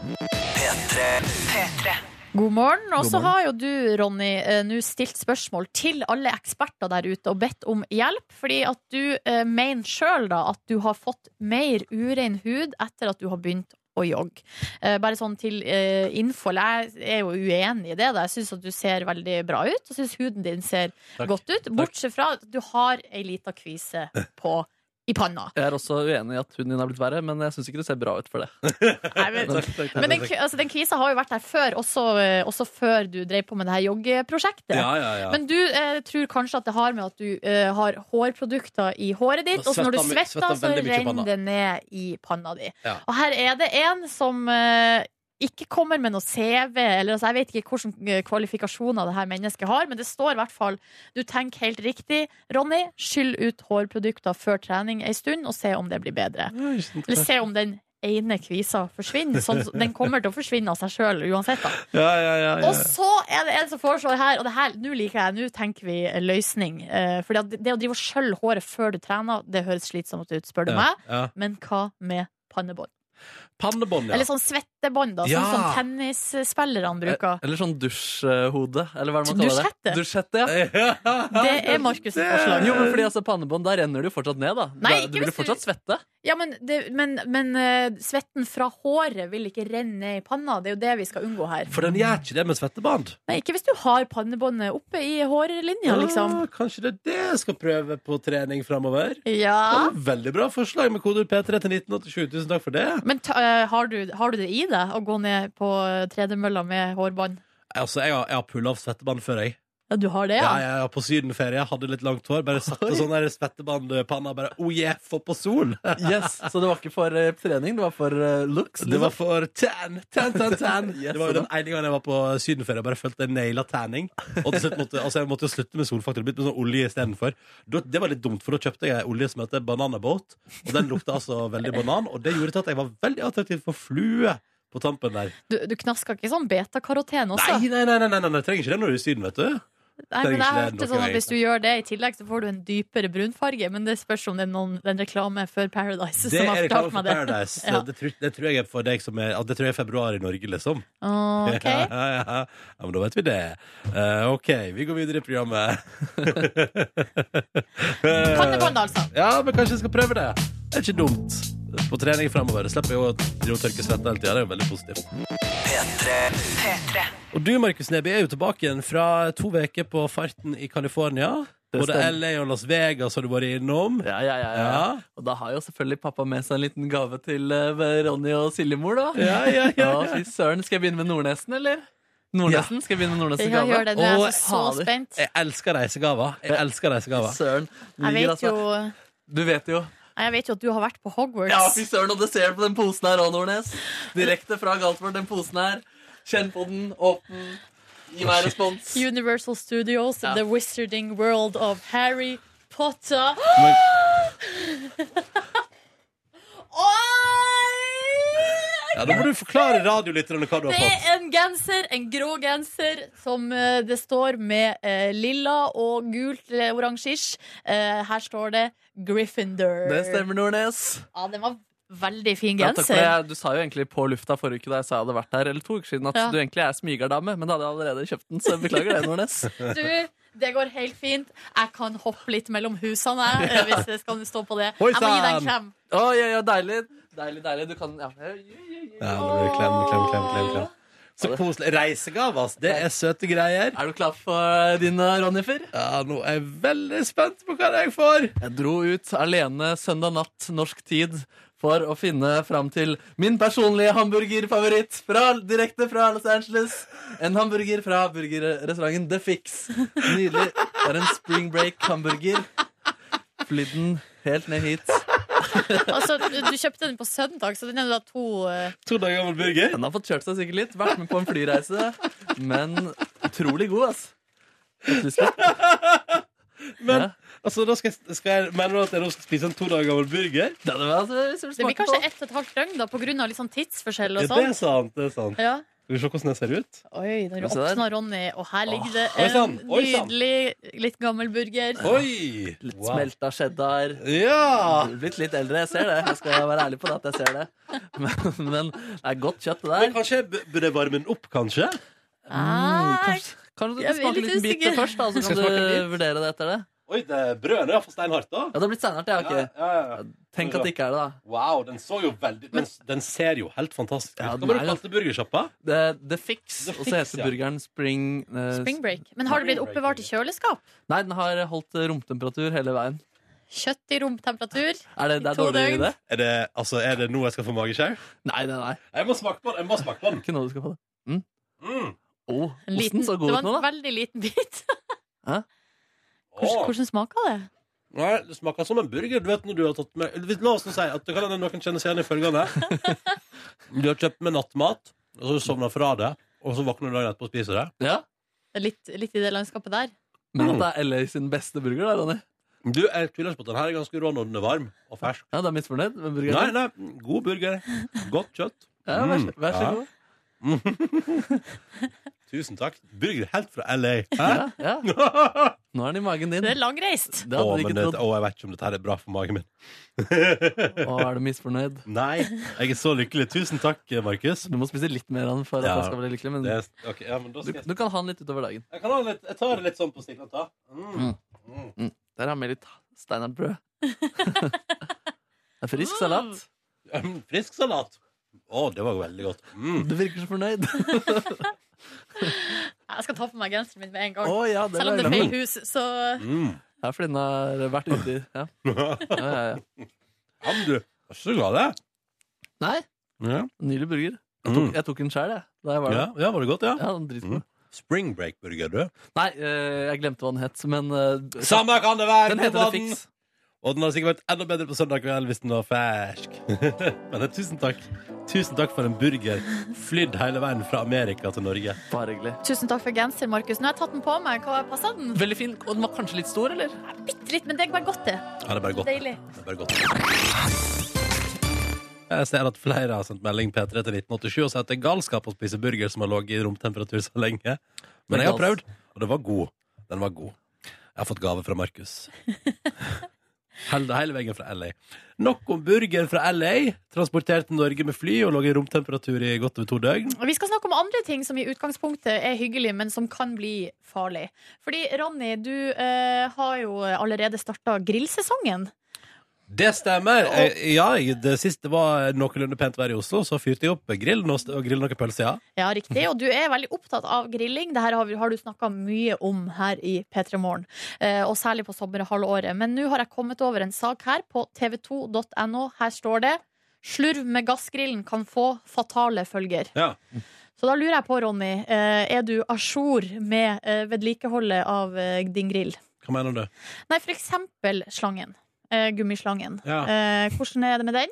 Speaker 3: God morgen. Og så
Speaker 2: morgen.
Speaker 3: har jo du, Ronny, eh, nå stilt spørsmål til alle eksperter der ute og bedt om hjelp, fordi at du eh, mener sjøl da at du har fått mer urein hud etter at du har begynt å jogge. Eh, bare sånn til eh, info. eller Jeg er jo uenig i det. Da. Jeg syns at du ser veldig bra ut, og syns huden din ser
Speaker 2: Takk.
Speaker 3: godt ut. Bortsett fra at du har ei lita kvise på i panna.
Speaker 4: Jeg er også uenig i at huden din har blitt verre, men jeg syns ikke det ser bra ut for det.
Speaker 3: Nei, men, men den, altså, den kvisa har jo vært der før, også, eh, også før du drev på med det her joggeprosjektet.
Speaker 2: Ja, ja, ja.
Speaker 3: Men du eh, tror kanskje at det har med at du eh, har hårprodukter i håret ditt,
Speaker 2: Da
Speaker 3: og så når du
Speaker 2: svetter my-
Speaker 3: svetter,
Speaker 2: svetter
Speaker 3: så
Speaker 2: veldig mye i panna.
Speaker 3: renner det ned i panna di.
Speaker 2: Ja.
Speaker 3: Og her er det en som eh, ikke kommer med noe CV, eller altså, jeg vet ikke hvilke kvalifikasjoner det her mennesket har, men det står i hvert fall Du tenker helt riktig, Ronny. Skyll ut hårprodukter før trening ei stund, og se om det blir bedre. Eller se om den ene kvisa forsvinner. Sånn, den kommer til å forsvinne av seg sjøl uansett. da
Speaker 2: Ja, ja, ja, ja.
Speaker 3: og så er det en som foreslår her, og det her, nå liker jeg, nå tenker vi løsning. Eh, fordi at det å drive og skjølle håret før du trener, det høres slitsomt ut, spør du
Speaker 2: Ja,
Speaker 3: meg.
Speaker 2: ja.
Speaker 3: Men hva med pannebånd?
Speaker 2: Pannebånd, ja.
Speaker 3: Eller sånn svettebånd, da,
Speaker 2: Ja. Eh.
Speaker 3: sånn som tennisspillerne bruker.
Speaker 4: Eller sånn dusjhode, eller hva er det man kaller
Speaker 3: Dusjhette?
Speaker 4: det? Dusjhette, ja.
Speaker 3: Det er Markus' forslag.
Speaker 4: Jo, men fordi altså Pannebånd, der renner det jo fortsatt ned, da.
Speaker 3: Nei,
Speaker 4: Da-
Speaker 3: ikke
Speaker 4: du vil jo
Speaker 3: hvis du-
Speaker 4: fortsatt svette.
Speaker 3: Ja, men, det, men, men eh, svetten fra håret vil ikke renne ned i panna. Det er jo det vi skal unngå her.
Speaker 2: For den gjør ikke det med svettebånd.
Speaker 3: Nei, ikke hvis du har pannebåndet oppe i hårlinja, liksom.
Speaker 2: Ah, kanskje det er det jeg skal prøve på trening framover.
Speaker 3: Ja.
Speaker 2: Veldig bra forslag med kodeord P3 til 1987. Tusen takk for det.
Speaker 3: Men ta, eh, har, du, har du det i deg å gå ned på eh, tredemølla med hårbånd?
Speaker 2: Altså, Jeg har, jeg har pulla av svettebånd før, jeg.
Speaker 3: Ja, du har det,
Speaker 2: Ja,
Speaker 3: ja?
Speaker 2: ja, ja, på sydenferie. Hadde litt langt hår. Bare satte sånn der svettebandpanna. Bare oh yeah, få på sol!
Speaker 4: Yes, Så det var ikke for eh, trening, det var for eh, looks.
Speaker 2: Det var for tan, tan, tan, tan.
Speaker 4: Yes,
Speaker 2: Det var jo den ene gangen jeg var på sydenferie og bare følte jeg naila tanning. Og til slutt måtte altså jeg måtte jo slutte med solfaktor. Begynte med sånn olje istedenfor. Da- Det var litt dumt, for da kjøpte jeg olje som heter Bananabåt. Og den lukta altså veldig banan, og det gjorde til at jeg var veldig attraktiv for flue på tampen der.
Speaker 3: Du, du knaska ikke sånn betakaroten også?
Speaker 2: Nei, nei, nei, nei, nei, nei, nei. trenger ikke det når du er i Syden, vet du.
Speaker 3: Nei,
Speaker 2: trenger
Speaker 3: men jeg
Speaker 2: ikke det
Speaker 3: hørte
Speaker 2: noe
Speaker 3: sånn at Hvis du gjør det i tillegg, så får du en dypere brunfarge. Men det spørs om det er noen, den reklame før Paradise
Speaker 2: Det
Speaker 3: som
Speaker 2: er
Speaker 3: har
Speaker 2: reklame
Speaker 3: fortalt
Speaker 2: for
Speaker 3: meg det.
Speaker 2: Paradise.
Speaker 3: Ja.
Speaker 2: Det, tror, det tror jeg er for deg som er at Det tror jeg er februar i Norge, liksom.
Speaker 3: Å, ok.
Speaker 2: Ja, ja, ja. ja, men da vet vi det. Eh, OK, vi går videre i programmet.
Speaker 3: Pannebånd, altså.
Speaker 2: Ja, men kanskje jeg skal prøve det. Det er ikke dumt. På trening fremover slipper jeg jo å drive og tørke svette hele tida. Det er jo veldig positivt. Og du, Markus Neby, er jo tilbake igjen fra to uker på farten i California.
Speaker 4: Det
Speaker 2: Både
Speaker 4: stemmer.
Speaker 2: LA og Las Vegas har du vært innom.
Speaker 4: Ja, ja, ja, ja.
Speaker 2: Ja.
Speaker 4: Og da har jo selvfølgelig pappa med seg en liten gave til eh, Ronny og Siljemor, da.
Speaker 2: Ja, ja, ja, ja.
Speaker 4: fy søren. Skal jeg begynne med Nordnesen, eller? Nordnesen? Skal jeg begynne med Nordnesen
Speaker 3: Jeg gjør det nå. Jeg er så
Speaker 4: Å, fader.
Speaker 3: spent.
Speaker 2: Jeg elsker reisegaver. Jeg elsker reisegaver.
Speaker 4: Søren.
Speaker 3: Jeg vet
Speaker 4: Ligger, altså.
Speaker 3: jo,
Speaker 4: Du vet jo.
Speaker 3: jeg vet jo at du har vært på
Speaker 4: Ja, fy
Speaker 3: Hogwarts.
Speaker 4: søren, og det ser du på den posen her òg, Nordnes. Direkte fra Galtvort, den posen her. Kjenn på den, åpne den. Gi meg respons.
Speaker 3: Universal Studios,
Speaker 4: Ja.
Speaker 3: The Wizarding World of Harry Potter.
Speaker 2: Men-
Speaker 3: Oi!
Speaker 2: Ja, da må du forklare radiolytterne hva du har
Speaker 3: Det
Speaker 2: fått.
Speaker 3: er en genser, en grå genser, som eh, det står med eh, lilla og gult eller oransje-ish. Eh, her står det Gryffindor.
Speaker 4: Det stemmer, Nordnes.
Speaker 3: Ja, den var veldig fin
Speaker 4: Ja, takk for
Speaker 3: genser.
Speaker 4: det. du sa jo egentlig på lufta forrige uke da jeg sa jeg hadde vært her, eller to uker siden, at
Speaker 3: Ja.
Speaker 4: du egentlig er smygardame, men da hadde jeg allerede kjøpt den, så jeg beklager det, Nordnes.
Speaker 3: Du, det går helt fint. Jeg kan hoppe litt mellom husene, jeg, eh, hvis det skal stå på det.
Speaker 2: Oi,
Speaker 3: Jeg må gi deg
Speaker 2: sann!
Speaker 3: en klem.
Speaker 4: Å, ja, ja, deilig. Deilig, deilig. Du kan ja. ja, ja, ja, ja.
Speaker 2: Ja, nå blir det klem, klem, klem, klem, klem. Så koselig. Reisegaver, ass. Det er søte greier.
Speaker 4: Er du klar for din eh, Ronnifer?
Speaker 2: Ja, nå er jeg veldig spent på hva jeg får.
Speaker 4: Jeg dro ut alene søndag natt norsk tid for å finne fram til min personlige hamburgerfavoritt fra, direkte fra Los Angeles. En hamburger fra burgerrestauranten The Fix. Nydelig. Det er en spring break-hamburger. Flydd den helt ned hit.
Speaker 3: Altså, du du kjøpte den på søndag, så den er da to eh,
Speaker 2: To dager gammel burger.
Speaker 4: Den har fått kjørt seg sikkert litt, vært med på en flyreise, men utrolig god, ass. Et lyst til.
Speaker 2: Men
Speaker 4: Ja.
Speaker 2: altså, da skal jeg, skal jeg mener du at jeg nå skal spise en to dager gammel burger?
Speaker 4: Det hadde vært altså,
Speaker 3: Det blir kanskje ett og et halvt døgn da, på grunn av litt sånn tidsforskjell
Speaker 2: Ja, det
Speaker 3: og sånn.
Speaker 2: er sant. det er sant
Speaker 3: Ja.
Speaker 2: Skal vi se hvordan jeg ser ut?
Speaker 3: Oi, der
Speaker 4: Se der.
Speaker 3: åpna Ronny, og her ligger det
Speaker 2: Oi,
Speaker 3: en
Speaker 2: sann. Oi, sann.
Speaker 3: nydelig, litt gammel burger.
Speaker 2: Oi!
Speaker 4: Litt
Speaker 2: Wow.
Speaker 4: smelta cheddar.
Speaker 2: Ja!
Speaker 4: Jeg er Blitt litt eldre, jeg ser det. Jeg skal være ærlig på det at jeg ser det. Men, men det er godt kjøtt, det
Speaker 2: Men
Speaker 4: der.
Speaker 2: kanskje jeg b- burde jeg varme den opp, kanskje?
Speaker 4: Mm,
Speaker 3: Ah,
Speaker 4: kanskje, kanskje du
Speaker 3: Jeg
Speaker 4: kan
Speaker 3: blir
Speaker 4: smake en
Speaker 3: litt
Speaker 4: liten bit
Speaker 3: usikker.
Speaker 4: først, da, så
Speaker 2: Skal
Speaker 4: kan
Speaker 2: jeg smake en
Speaker 4: du vurdere det etter det.
Speaker 2: Oi, det brødet er iallfall steinhardt, da.
Speaker 4: Ja, det har blitt seinere, ja. ok.
Speaker 2: Ja, ja, ja.
Speaker 4: Tenk at det ikke er det, da.
Speaker 2: Wow, den så jo veldig Den, den ser jo helt fantastisk ut.
Speaker 4: Ja,
Speaker 2: Hva
Speaker 4: den
Speaker 2: var
Speaker 4: er
Speaker 2: det
Speaker 4: jo-
Speaker 2: kalte burgersjappa?
Speaker 4: The, the Fix,
Speaker 2: The
Speaker 4: og
Speaker 2: Fix,
Speaker 4: så heter
Speaker 2: ja.
Speaker 4: burgeren Spring eh,
Speaker 3: Spring break. Men har det blitt
Speaker 2: Spring break,
Speaker 3: oppbevart i kjøleskap?
Speaker 4: Nei, den har holdt eh, romtemperatur hele veien.
Speaker 3: Kjøtt i romtemperatur?
Speaker 4: Er det, det
Speaker 3: I
Speaker 4: er
Speaker 3: to
Speaker 4: dårlig
Speaker 3: døgn.
Speaker 4: idé?
Speaker 2: Er det, altså, er det nå jeg skal få mageskjær?
Speaker 4: Nei, nei, nei.
Speaker 2: Jeg må smake på den! jeg må smake på den
Speaker 4: Ikke nå du skal få det.
Speaker 2: mm.
Speaker 4: Å,
Speaker 3: En
Speaker 4: osten
Speaker 3: liten,
Speaker 4: så
Speaker 3: det
Speaker 4: god ut
Speaker 3: var
Speaker 4: nå,
Speaker 3: en
Speaker 4: da.
Speaker 3: veldig liten bit. Hvordan,
Speaker 2: Åh.
Speaker 3: hvordan smaka det?
Speaker 2: Nei, Det smaker som en burger. Du vet når du har tatt med Hvis- La oss nå si at det kan hende noen kjenner seg igjen i følgende. Du har kjøpt med nattmat, og så har du sovna fra det, og så våkner du dagen etterpå og spiser det.
Speaker 4: Ja.
Speaker 3: Litt, litt i det landskapet der.
Speaker 2: Mm.
Speaker 4: Men at det er LA sin beste burger, da, Ronny.
Speaker 2: Du, jeg tviler ikke på at den her er ganske rå når den er varm og fersk.
Speaker 4: Ja, Du er misfornøyd med burgeren?
Speaker 2: Nei, nei, god burger. Godt kjøtt.
Speaker 4: Ja, vær,
Speaker 2: Mm.
Speaker 4: så- vær så
Speaker 2: Ja.
Speaker 4: god.
Speaker 2: Tusen takk. Burger helt fra LA.
Speaker 4: Ja,
Speaker 2: Hæ?
Speaker 4: ja. Nå er den i magen din.
Speaker 3: Det er langreist.
Speaker 4: Det hadde
Speaker 2: Å,
Speaker 4: du
Speaker 2: men
Speaker 4: ikke
Speaker 2: det,
Speaker 4: trodd.
Speaker 2: å, jeg vet ikke om dette her er bra for magen min.
Speaker 4: Å, er du misfornøyd?
Speaker 2: Nei, jeg er så lykkelig. Tusen takk, Markus.
Speaker 4: Du må spise litt mer av den for at
Speaker 2: Ja.
Speaker 4: han skal bli lykkelig. Men
Speaker 2: Det, er- ok, ja, men da
Speaker 4: du,
Speaker 2: skal jeg,
Speaker 4: du kan ha den litt utover dagen.
Speaker 2: jeg, kan ha litt, jeg tar det litt sånn på stillhet, da. Mm. Mm.
Speaker 4: Der har vi litt steinartbrød. Det er frisk salat.
Speaker 2: Mm, Frisk salat. Å, det var veldig godt. Mm.
Speaker 4: Du virker så fornøyd.
Speaker 3: Jeg skal ta på meg genseren min med en
Speaker 4: Å
Speaker 3: gang.
Speaker 4: ja, det
Speaker 3: Selv om
Speaker 4: var
Speaker 3: det er
Speaker 4: glad.
Speaker 3: feil hus, så
Speaker 2: Mm.
Speaker 4: Ja, fordi den har vært ute i ja.
Speaker 2: ja,
Speaker 4: Ja, ja, ja.
Speaker 2: men du, var ikke så glad i det?
Speaker 4: Nei,
Speaker 2: Ja.
Speaker 4: nylig burger.
Speaker 2: Mm.
Speaker 4: Jeg tok den sjøl, jeg. Da jeg var
Speaker 2: Ja,
Speaker 4: der.
Speaker 2: ja, var det godt, ja?
Speaker 4: Ja, den er dritgod.
Speaker 2: Mm. Spring break-burger, du.
Speaker 4: Nei, eh, jeg glemte hva den het, men eh,
Speaker 2: Samme kan det være!
Speaker 4: den
Speaker 2: god
Speaker 4: heter
Speaker 2: var
Speaker 4: The
Speaker 2: den.
Speaker 4: Fix.
Speaker 2: Og den hadde sikkert vært enda bedre på søndag kveld hvis den var fersk. men eh, tusen takk. Tusen takk for en burger flydd hele veien fra Amerika til Norge.
Speaker 4: Bare hyggelig.
Speaker 3: Tusen takk for genser, Markus. Nå har jeg tatt den på meg. Hva passa den?
Speaker 4: Veldig fin. Og den var kanskje litt stor, eller?
Speaker 3: Bitte litt, men det er bare godt, det.
Speaker 2: Ja, det er bare godt.
Speaker 3: Deilig.
Speaker 2: Det er bare godt. Jeg ser at flere har sendt melding P3 til 1987 og sier at det er galskap å spise burger som har ligget i romtemperatur så lenge. Men jeg har prøvd, og det var god. Den var god. Jeg har fått gave fra Markus. Hele, hele veien fra LA. Nok om burger fra LA. Transportert til Norge med fly og ligget i romtemperatur i godt over to døgn.
Speaker 3: Og Vi skal snakke om andre ting som i utgangspunktet er hyggelig, men som kan bli farlig. Fordi, Ronny, du eh, har jo allerede starta grillsesongen.
Speaker 2: Det stemmer. Jeg, ja, jeg, det siste var noenlunde pent vær i Oslo, så fyrte jeg opp grillen og, og grillen noen pølser, ja.
Speaker 3: Ja, riktig. Og du er veldig opptatt av grilling. Det her har, vi- har du snakka mye om her i P3 Morgen, eh, og særlig på sommerhalvåret. Men nå har jeg kommet over en sak her på tv2.no. Her står det 'Slurv med gassgrillen kan få fatale følger'.
Speaker 2: Ja.
Speaker 3: Så da lurer jeg på, Ronny, eh, er du à jour med eh, vedlikeholdet av eh, din grill?
Speaker 2: Hva mener du?
Speaker 3: Nei, for eksempel slangen. Eh, Gummislangen.
Speaker 2: Ja.
Speaker 3: Eh, Hvordan er det med den?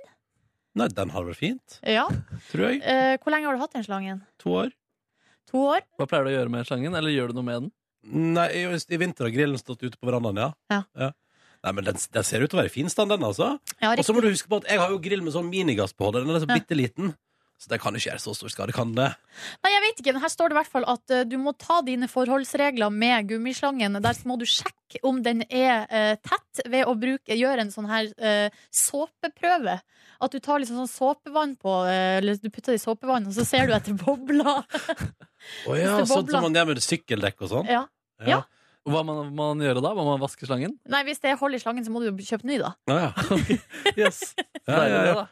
Speaker 2: Nei, den har det vel fint,
Speaker 3: Ja.
Speaker 2: tror jeg.
Speaker 3: Eh, Hvor lenge har du hatt den slangen?
Speaker 2: To år.
Speaker 3: To år?
Speaker 4: Hva pleier du å gjøre med slangen? Eller gjør du noe med den?
Speaker 2: Nei, i, i vinter har grillen stått ute på verandaen, ja.
Speaker 3: Ja.
Speaker 2: Nei, men den, den ser ut til å være i fin stand, den, altså.
Speaker 3: Ja,
Speaker 2: Og så
Speaker 3: riktig.
Speaker 2: må du huske på at jeg har jo grill med sånn minigass på hodet. Den er så
Speaker 3: Ja.
Speaker 2: bitte liten. Så det kan ikke gjøre så stor skade, kan det?
Speaker 3: Nei, jeg vet ikke, men her står det i hvert fall at eh, du må ta dine forholdsregler med gummislangen. Der må du sjekke om den er eh, tett ved å bruke, gjøre en sånn her eh, såpeprøve. At du tar liksom sånn såpevann på, eh, eller du putter det i såpevann, og så ser du etter bobler.
Speaker 2: Å ja,
Speaker 3: Hvis det
Speaker 2: sånn
Speaker 3: bobler.
Speaker 2: som man gjør med sykkeldekk og sånn.
Speaker 3: Ja. Ja.
Speaker 4: Hva man, må man gjøre da? Må man vaske slangen?
Speaker 3: Nei, hvis det er hull i slangen, så må du jo kjøpe ny, da.
Speaker 2: Ja, ja.
Speaker 4: Yes.
Speaker 2: Ja, ja, ja.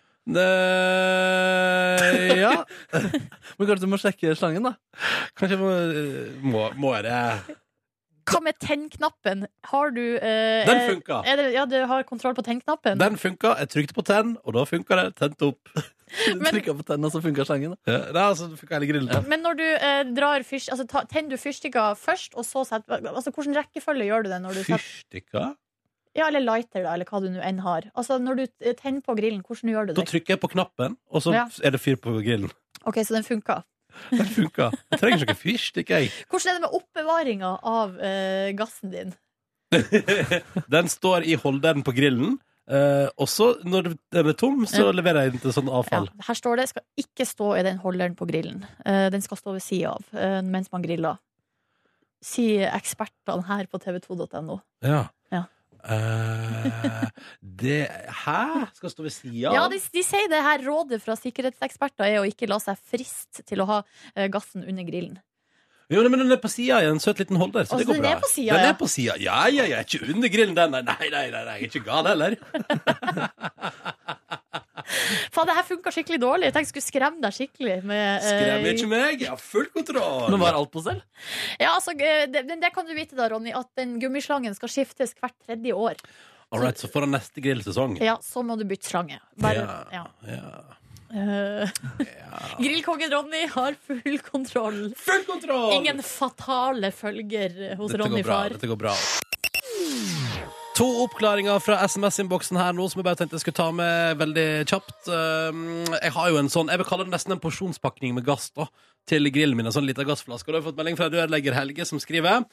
Speaker 2: Nei, ja.
Speaker 4: Men kanskje du må sjekke slangen, da?
Speaker 2: Kanskje jeg må, må, må jeg det?
Speaker 3: Hva med tennknappen? Har du eh,
Speaker 2: Den
Speaker 3: er-
Speaker 2: funka.
Speaker 3: Er det, ja, du har kontroll på tennknappen?
Speaker 2: Den funka. Jeg trykte på tenn, og da funka det. Tente opp.
Speaker 4: Du
Speaker 3: Men-
Speaker 4: trykket på tennene, og så funka slangen. da.
Speaker 2: Ja, Nei, altså, det funka hele grillen.
Speaker 3: Men når du eh, drar fyrs, altså, ta, tenner du fyrstikker først, og så setter altså, Hvilken rekkefølge gjør du det? når du setter,
Speaker 2: Fyrstikker?
Speaker 3: Ja, Eller lighter, da, eller hva du nå enn har. Altså, Når du eh, tenner på grillen, hvordan gjør du
Speaker 2: Da
Speaker 3: det?
Speaker 2: trykker jeg på knappen, og så
Speaker 3: Ja.
Speaker 2: er det fyr på grillen.
Speaker 3: Ok, Så den funka.
Speaker 2: Den funka. Jeg trenger ikke noe fyrstikk, jeg.
Speaker 3: Hvordan er det med oppbevaringa av eh, gassen din?
Speaker 2: Den står i holderen på grillen. eh, og så, når den er tom, så
Speaker 3: Ja.
Speaker 2: leverer jeg den til sånn
Speaker 3: Ja,
Speaker 2: avfall.
Speaker 3: her står det skal ikke stå i den holderen på grillen. Eh, den skal stå ved sida av eh, mens man griller. Sier ekspertene her på tv2.no.
Speaker 2: Ja.
Speaker 3: Ja.
Speaker 2: Eh, det Hæ? Skal stå ved sida?
Speaker 3: Ja, de, de sier det her rådet fra sikkerhetseksperter er å ikke la seg friste til å ha eh, gassen under grillen.
Speaker 2: Jo, nei, men den er på sida i en søt liten holder, så
Speaker 3: Altså,
Speaker 2: det går
Speaker 3: den
Speaker 2: bra.
Speaker 3: er på siden,
Speaker 2: Den
Speaker 3: ja.
Speaker 2: er på siden. Ja, ja, ja. Ikke under grillen, den. Nei, nei, nei, nei, nei. jeg er ikke gal heller.
Speaker 3: Faen, det her funka skikkelig dårlig. Jeg tenkte jeg skulle skremme deg skikkelig med eh,
Speaker 2: Skremmer ikke meg. Jeg har full kontroll.
Speaker 4: Men var alt på stell?
Speaker 3: Ja, altså, eh, det, men det kan du vite, da, Ronny, at den gummislangen skal skiftes hvert tredje år.
Speaker 2: All right, så foran neste grillsesong.
Speaker 3: Ja, så må du bytte slange. Bare, ja.
Speaker 2: ja.
Speaker 3: Eh, Grillkongen Ronny har full kontroll.
Speaker 2: Full kontroll!
Speaker 3: Ingen fatale følger hos
Speaker 2: Dette
Speaker 3: Ronny
Speaker 2: går bra,
Speaker 3: far.
Speaker 2: Dette går bra. To oppklaringer fra SMS-innboksen her nå som jeg bare tenkte jeg skulle ta med veldig kjapt. Um, Jeg har jo en sånn, jeg vil kalle det nesten en porsjonspakning med gass da, til grillen min. En sånn liten gassflaske. Og da har jeg fått melding fra rørlegger Helge som skriver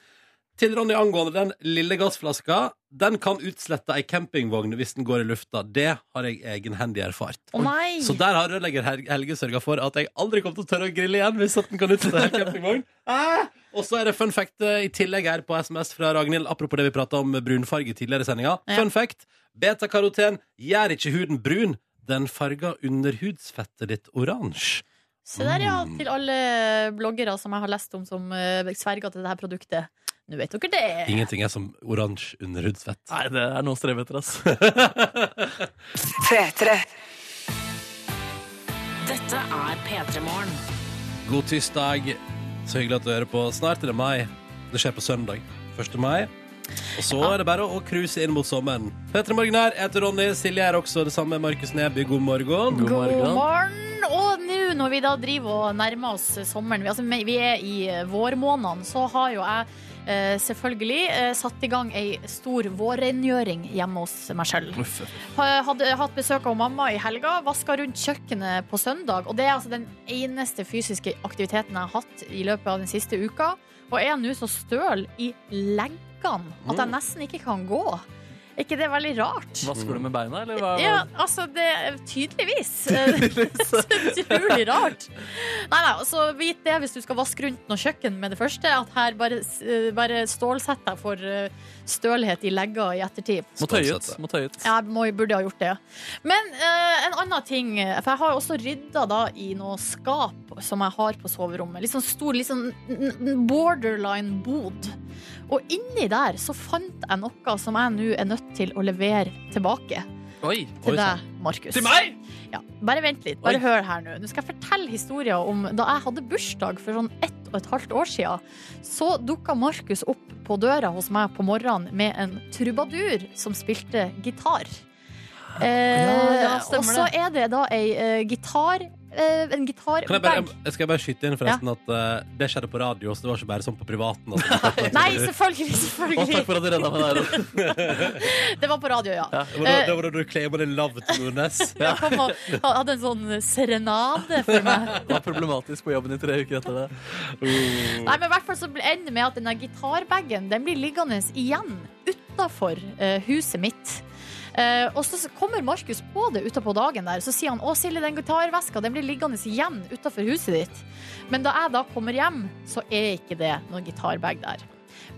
Speaker 2: til Ronny angående den lille gassflaska. Den kan utslette ei campingvogn hvis den går i lufta. Det har jeg egenhendig erfart.
Speaker 3: Å nei!
Speaker 2: Så der har rørlegger Hel- Helge sørga for at jeg aldri kommer til å tørre å grille igjen. hvis at den kan utsette hele campingvogn. Ah! Og så er det fun fact eh, i tillegg her på SMS fra Ragnhild. Apropos det vi prata om brunfarge tidligere i sendinga.
Speaker 3: Ja.
Speaker 2: Fun fact. Betakaroten gjør ikke huden brun. Den farger underhudsfettet ditt oransje.
Speaker 3: Se der, ja.
Speaker 2: Mm.
Speaker 3: Til alle bloggere som jeg har lest om som eh, sverger til dette produktet. Nå vet dere det.
Speaker 2: Ingenting er som oransje underhudsfett.
Speaker 4: Nei, det er noe å streve etter, ass.
Speaker 6: P3.
Speaker 7: Dette er P3 Morgen.
Speaker 2: God tirsdag. Så hyggelig at du hører på. Snart er det mai. Det skjer på søndag. 1. mai. Og så er det bare å cruise inn mot sommeren. Petter Morgen her. Jeg heter Ronny. Silje er også det samme. Markus Neby, god morgen.
Speaker 4: God morgen.
Speaker 3: morgen! Og nå når vi da driver og nærmer oss sommeren, vi, altså, vi er i eh, vårmånedene, så har jo jeg eh, selvfølgelig eh, satt i gang ei stor vårrengjøring hjemme hos meg sjøl. Hadde hatt besøk av mamma i helga, vaska rundt kjøkkenet på søndag. Og det er altså den eneste fysiske aktiviteten jeg har hatt i løpet av den siste uka. Og jeg er nå så støl i leggene at
Speaker 4: Mm.
Speaker 3: jeg nesten ikke kan gå. Er ikke det veldig rart?
Speaker 4: Vasker du med beina, eller hva?
Speaker 3: Ja, altså, det er tydeligvis. så utrolig rart. Nei, nei, altså, vit det hvis du skal vaske rundt noe kjøkken med det første, at her bare, eh, bare stålsett deg for eh, stølhet i legger i ettertid.
Speaker 4: Må tøye ut. Må tøye ut.
Speaker 3: Ja, Jeg må, burde ha gjort det. ja. Men eh, en annen ting eh, For jeg har jo også rydda da, i noe skap som jeg har på soverommet. Litt sånn stor litt sånn n- n- borderline bod. Og inni der så fant jeg noe som jeg nå er nødt til å levere tilbake
Speaker 4: Oi!
Speaker 2: Oi,
Speaker 3: til
Speaker 2: sant.
Speaker 3: deg, Markus.
Speaker 4: Til meg?!
Speaker 3: Ja, bare vent litt.
Speaker 4: Oi.
Speaker 3: Bare hør her nå. Nå skal jeg fortelle historien om da jeg hadde bursdag for sånn ett og et halvt år siden. Så dukka Markus opp på døra hos meg på morgenen med en trubadur som spilte gitar. Eh,
Speaker 4: Ja, ja, stemmer
Speaker 3: og så er det da ei eh, gitar... Eh, en
Speaker 2: Kan jeg,
Speaker 3: gitarbag.
Speaker 2: bare, jeg skal bare skyte inn forresten at eh, det skjedde på radio, så det var ikke bare sånn på privaten. at-
Speaker 3: Nei, selvfølgelig,
Speaker 4: Å, takk
Speaker 3: selvfølgelig.
Speaker 4: for at du redda meg der.
Speaker 3: Det var på radio, ja.
Speaker 2: Det var da,
Speaker 4: Eh.
Speaker 2: det var da du claima det love til Nordnes.
Speaker 3: Jeg kom og hadde en sånn serenade for meg.
Speaker 4: Det var problematisk på jobben i tre uker etter det. Uh.
Speaker 3: Nei, men i hvert fall så ender det med at denne gitarbagen Den blir liggende igjen Utenfor eh, huset mitt Eh, Og så kommer Markus på det Utenpå dagen der, så sier han Å Silje, den gitarveska, den blir liggende igjen Utenfor huset ditt Men da jeg da kommer hjem, så er ikke det Noen gitarbag der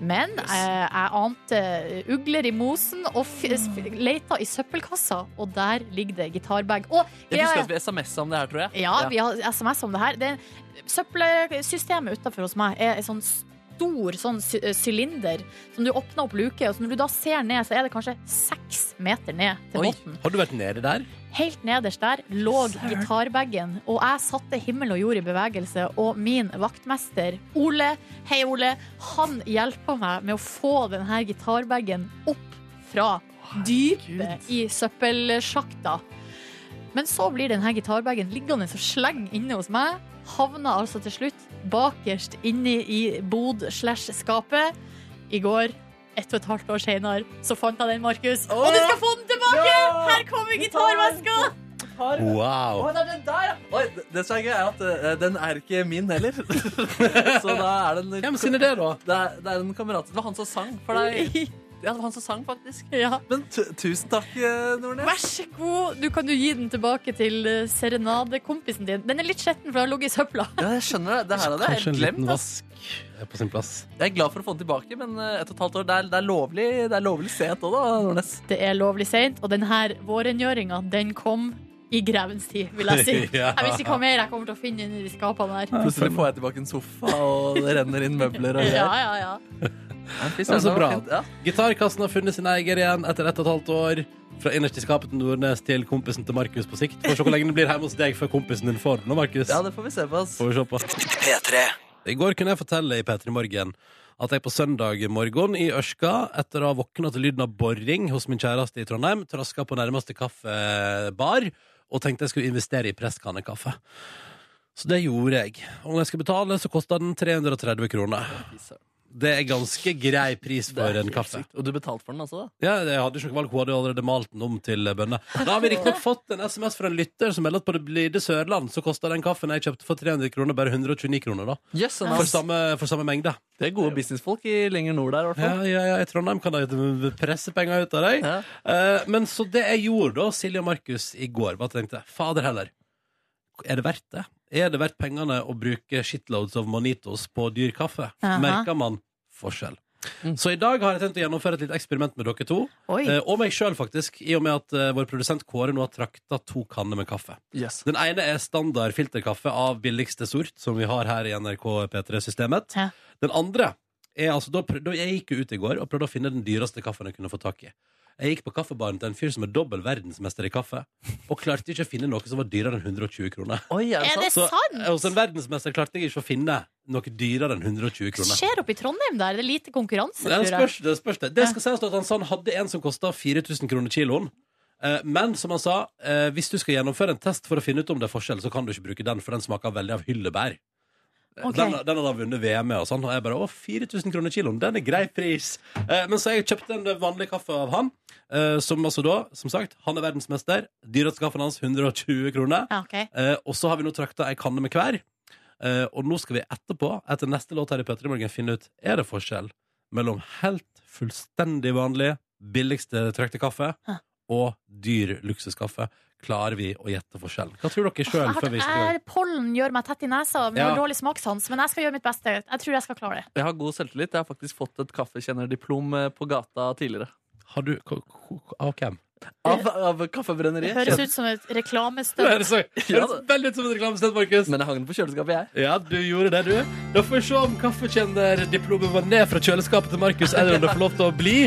Speaker 3: men eh, jeg ante eh, ugler i mosen Og f- f- leita i søppelkassa Og der ligger det gitarbag Og
Speaker 4: Jeg husker at vi SMS-a om det her, tror jeg.
Speaker 3: ja, vi har SMS om det her. Det, søppelsystemet utenfor hos meg er en sånn stor sånn sy- eh, sylinder som du åpner opp luke, og så når du da ser ned, så er det kanskje seks meter ned til
Speaker 4: Oi.
Speaker 3: botten.
Speaker 2: Har du vært nede der?
Speaker 3: Helt nederst der lå gitarbagen, og jeg satte himmel og jord i bevegelse. Og min vaktmester, Ole, hei Ole, han hjelpa meg med å få denne gitarbagen opp fra dypet i søppelsjakta. Men så blir denne gitarbagen liggende og slenge inne hos meg. Havna altså til slutt bakerst inne i bod slash skapet. I går, ett og et halvt år senere, så fant jeg den, Markus. Og du skal få den tilbake! Her kommer gitarveska!
Speaker 2: Wow.
Speaker 4: det er den der, Oi, det- det som er gøy, er at eh, den er ikke min heller. Så da er den
Speaker 2: Hvem sin er det, da?
Speaker 4: Det er, det er en kamerat. Det var han som sang for deg. Ja, det var han som sang, faktisk.
Speaker 3: Ja.
Speaker 4: Men tu- tusen takk, eh, Nordnes.
Speaker 3: Vær så god. Du kan jo gi den tilbake til eh, serenadekompisen din. Den er litt skjetten, for den har ligget i søpla.
Speaker 4: Ja, jeg skjønner det. Det her hadde jeg
Speaker 2: Kanskje en
Speaker 4: helt
Speaker 2: liten
Speaker 4: glemt. Ass.
Speaker 2: vask er på sin plass.
Speaker 4: Jeg er glad for å få den tilbake, men eh, et og et halvt år, det er, det er lovlig Det er lovlig sent òg, da, Nordnes.
Speaker 3: Det er lovlig seint, og denne vårrengjøringa, den kom i grevens tid, vil jeg si.
Speaker 2: Ja.
Speaker 3: Jeg vet ikke hva mer jeg kommer til å finne inni de skapene her.
Speaker 4: Plutselig får jeg tilbake en sofa, og det renner inn møbler og
Speaker 3: Ja,
Speaker 4: greier.
Speaker 3: ja, ja.
Speaker 4: Ja, fy
Speaker 2: Det var
Speaker 4: søren,
Speaker 2: så
Speaker 4: det
Speaker 2: bra.
Speaker 4: var fint. Ja.
Speaker 2: Gitarkassen har funnet sin eier igjen etter ett og et halvt år. Fra innerst i skapet til Nordnes til kompisen til Markus på sikt. Får se hvor lenge den blir hjemme hos deg før kompisen din får den. nå, Markus.
Speaker 4: ja, det får vi se på. Ass.
Speaker 2: Får vi se på. I går kunne jeg fortelle i P3 Morgen at jeg på søndag morgen i Ørska, etter å ha våkna til lyden av boring hos min kjæreste i Trondheim, traska på nærmeste kaffebar og tenkte jeg skulle investere i presskannekaffe. Så det gjorde jeg. Og når jeg skulle betale, så kosta den 330 kroner. Det er ganske grei pris
Speaker 4: Det
Speaker 2: for
Speaker 4: er
Speaker 2: en
Speaker 4: helt
Speaker 2: kaffe.
Speaker 4: sykt. Og du betalte for den også, da?
Speaker 2: Ja, jeg hadde ikke noe valg, hun hadde jo allerede malt den om til bønner. Da har vi riktignok fått en SMS fra en lytter som melder at på det blide Sørland så kosta den kaffen jeg kjøpte for 300 kroner, bare 129 kroner, da.
Speaker 4: Yes,
Speaker 2: For samme, for samme mengde.
Speaker 4: Det er gode businessfolk i lenger nord der, i hvert fall.
Speaker 2: Ja, ja, ja, i Trondheim kan de presse penger ut av deg.
Speaker 4: Ja.
Speaker 2: Eh, men så det jeg gjorde da, Silje og Markus, i går, var at jeg tenkte Fader heller, er det verdt det? Er det verdt pengene å bruke shitloads of monitos på dyr kaffe?
Speaker 3: Aha.
Speaker 2: Merker man forskjell?
Speaker 4: Mm.
Speaker 2: Så i dag har jeg tenkt å gjennomføre et lite eksperiment med dere to.
Speaker 3: Oi.
Speaker 2: eh, Og meg sjøl, faktisk. I og med at eh, vår produsent Kåre nå har trakta to kanner med kaffe.
Speaker 4: Yes.
Speaker 2: Den ene er standard filterkaffe av billigste sort, som vi har her i NRK P3-systemet.
Speaker 3: Ja.
Speaker 2: Den andre er altså da, prøv- da Jeg gikk jo ut i går og prøvde å finne den dyreste kaffen jeg kunne få tak i. Jeg gikk på kaffebaren til en fyr som er dobbel verdensmester i kaffe, og klarte ikke å finne noe som var dyrere enn 120 kroner.
Speaker 4: Oi, er
Speaker 3: Er det
Speaker 4: det sant?
Speaker 2: Så eh, hos en
Speaker 3: sant?
Speaker 2: verdensmester klarte jeg ikke å finne noe dyrere enn 120
Speaker 3: Hva
Speaker 2: kroner.
Speaker 3: skjer oppe i Trondheim der? Det er lite konkurranse,
Speaker 2: Det
Speaker 3: tror jeg.
Speaker 2: spørs, det spørs det. Det skal sies at han sa han hadde en som kosta 4000 kroner kiloen. Eh, Men som han sa, eh, hvis du skal gjennomføre en test for å finne ut om det er forskjell, så kan du ikke bruke den, for den smaker veldig av hyllebær. Eh,
Speaker 3: Ok.
Speaker 2: Den, den hadde han vunnet VM med, og sånn. Og jeg bare å, 4000 kroner kiloen, den er grei pris. Eh, men så jeg kjøpte en vanlig kaffe av han, eh, som altså da, som sagt, han er verdensmester. Dyreste kaffen hans 120 kroner.
Speaker 3: Ja, ok.
Speaker 2: Eh, og så har vi nå trakta ei kanne med hver. Eh, og nå skal vi etterpå, etter neste låt her i P3 Morgen, finne ut er det forskjell mellom helt fullstendig vanlig, billigste trakte kaffe
Speaker 3: Hæ.
Speaker 2: og dyr luksuskaffe. Klarer vi å gjette forskjellen? Hva tror dere sjøl?
Speaker 3: Jeg har, jeg, pollen gjør meg tett i nesa, men jeg har
Speaker 2: Ja.
Speaker 3: dårlig smakssans. Men jeg skal gjøre mitt beste. Jeg tror jeg skal klare det.
Speaker 4: Jeg har god selvtillit. Jeg har faktisk fått et kaffekjennerdiplom eh, på gata tidligere.
Speaker 2: Har du k- k- Av hvem?
Speaker 4: Av, av
Speaker 3: Det
Speaker 4: kaffebrenneriet.
Speaker 3: høres ut som et
Speaker 2: Det
Speaker 3: reklamestunt.
Speaker 2: høres så- det
Speaker 4: Ja,
Speaker 2: høres veldig ut som et reklamested, Markus.
Speaker 4: Men jeg hang den på kjøleskapet, jeg.
Speaker 2: Ja, du gjorde det, du. Da får vi se om kaffekjennerdiplomet var ned fra kjøleskapet til Markus, eller om det får lov til å bli.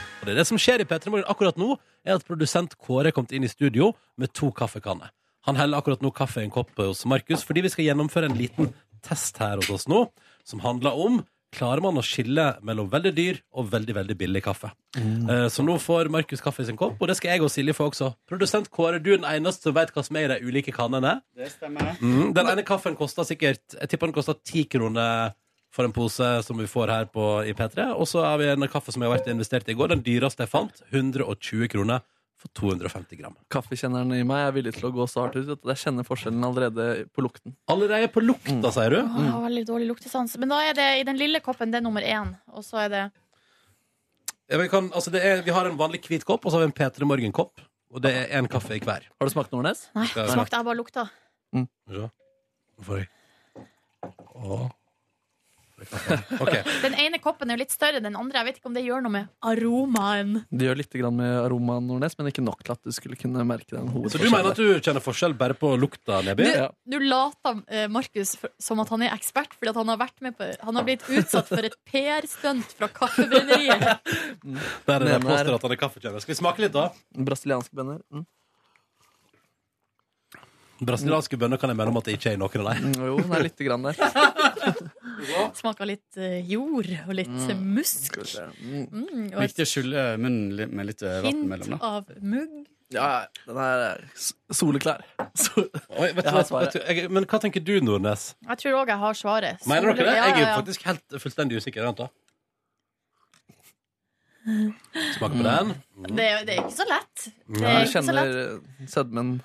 Speaker 2: Og Det er det som skjer i P3 Morgen akkurat nå, er at produsent Kåre er kommet inn i studio med to kaffekanner. Han heller akkurat nå kaffe i en kopp hos Markus, fordi vi skal gjennomføre en liten test her hos oss nå, som handler om Klarer man å skille mellom veldig dyr og veldig veldig billig kaffe? Eh, Så nå får Markus kaffe i sin kopp, og det skal jeg og Silje få også. Produsent Kåre, du er den eneste som vet hva som er i de ulike kannene.
Speaker 5: Det stemmer.
Speaker 2: Mm, den ene kaffen kosta sikkert Jeg tipper den kosta ti kroner for en pose som vi får her på, i P3. Og så har vi en kaffe som jeg har vært investert i i går. Den dyreste jeg fant. 120 kroner for 250 gram.
Speaker 4: Kaffekjenneren i meg er villig til å gå så hardt ut at jeg kjenner forskjellen allerede på lukten.
Speaker 2: Allerede på lukta, sier du?
Speaker 3: Å, jeg har veldig dårlig luktesans. Men da er det i den lille koppen, det er nummer én. Og så er det
Speaker 2: Ja, Vi, kan, altså det er, vi har en vanlig hvit kopp, og så har vi en P3 Morgen-kopp. Og det er én kaffe i hver.
Speaker 4: Har du smakt Nordnes?
Speaker 3: Nei,
Speaker 2: Ja.
Speaker 3: smakte jeg bare lukta.
Speaker 2: Skal vi se. Nå får jeg Å. Ok.
Speaker 3: Den ene koppen er jo litt større enn den andre. Jeg vet ikke om det gjør noe med aromaen.
Speaker 4: Det gjør litt grann med aromaen, Nordnes, men ikke nok til at du skulle kunne merke den
Speaker 2: Så du mener at du kjenner forskjell bare på lukta, Neby?
Speaker 4: Ja.
Speaker 3: Nå later eh, Markus for- som at han er ekspert, fordi at han har, vært med på, han har blitt utsatt for et PR-stunt fra Kaffebrenneriet.
Speaker 2: Der er det
Speaker 4: Mener-
Speaker 2: påstår at han er kaffekjører. Skal vi smake litt, da?
Speaker 4: Brasilianske bønner. Mm.
Speaker 2: Brasilianske bønner kan jeg mene om at det ikke er i noen av dem.
Speaker 4: Mm, Jo, den er litt grann der.
Speaker 3: Smaker litt eh, jord og litt eh, musk.
Speaker 4: Skal vi se. Mm.
Speaker 3: Mm, og et
Speaker 6: Viktig å skylle munnen li- med litt eh, vann
Speaker 3: hint
Speaker 6: mellom. da.
Speaker 3: av mugg.
Speaker 4: Ja, den her er Eh, s- soleklar. Sol
Speaker 2: Oi, vet du,
Speaker 4: Jeg
Speaker 2: hva-
Speaker 4: har
Speaker 2: vet
Speaker 4: svaret.
Speaker 2: du, jeg, men hva tenker du, Nordnes?
Speaker 3: Jeg tror òg jeg har svaret.
Speaker 2: Mener dere det?
Speaker 3: Ja,
Speaker 2: Jeg er
Speaker 3: ja,
Speaker 2: jo
Speaker 3: ja.
Speaker 2: faktisk helt fullstendig usikker. Vent, da. Smaker på den.
Speaker 3: Det, er- det er ikke så lett.
Speaker 2: Nei.
Speaker 3: Det er
Speaker 4: jeg
Speaker 3: ikke så lett.
Speaker 4: kjenner sødmen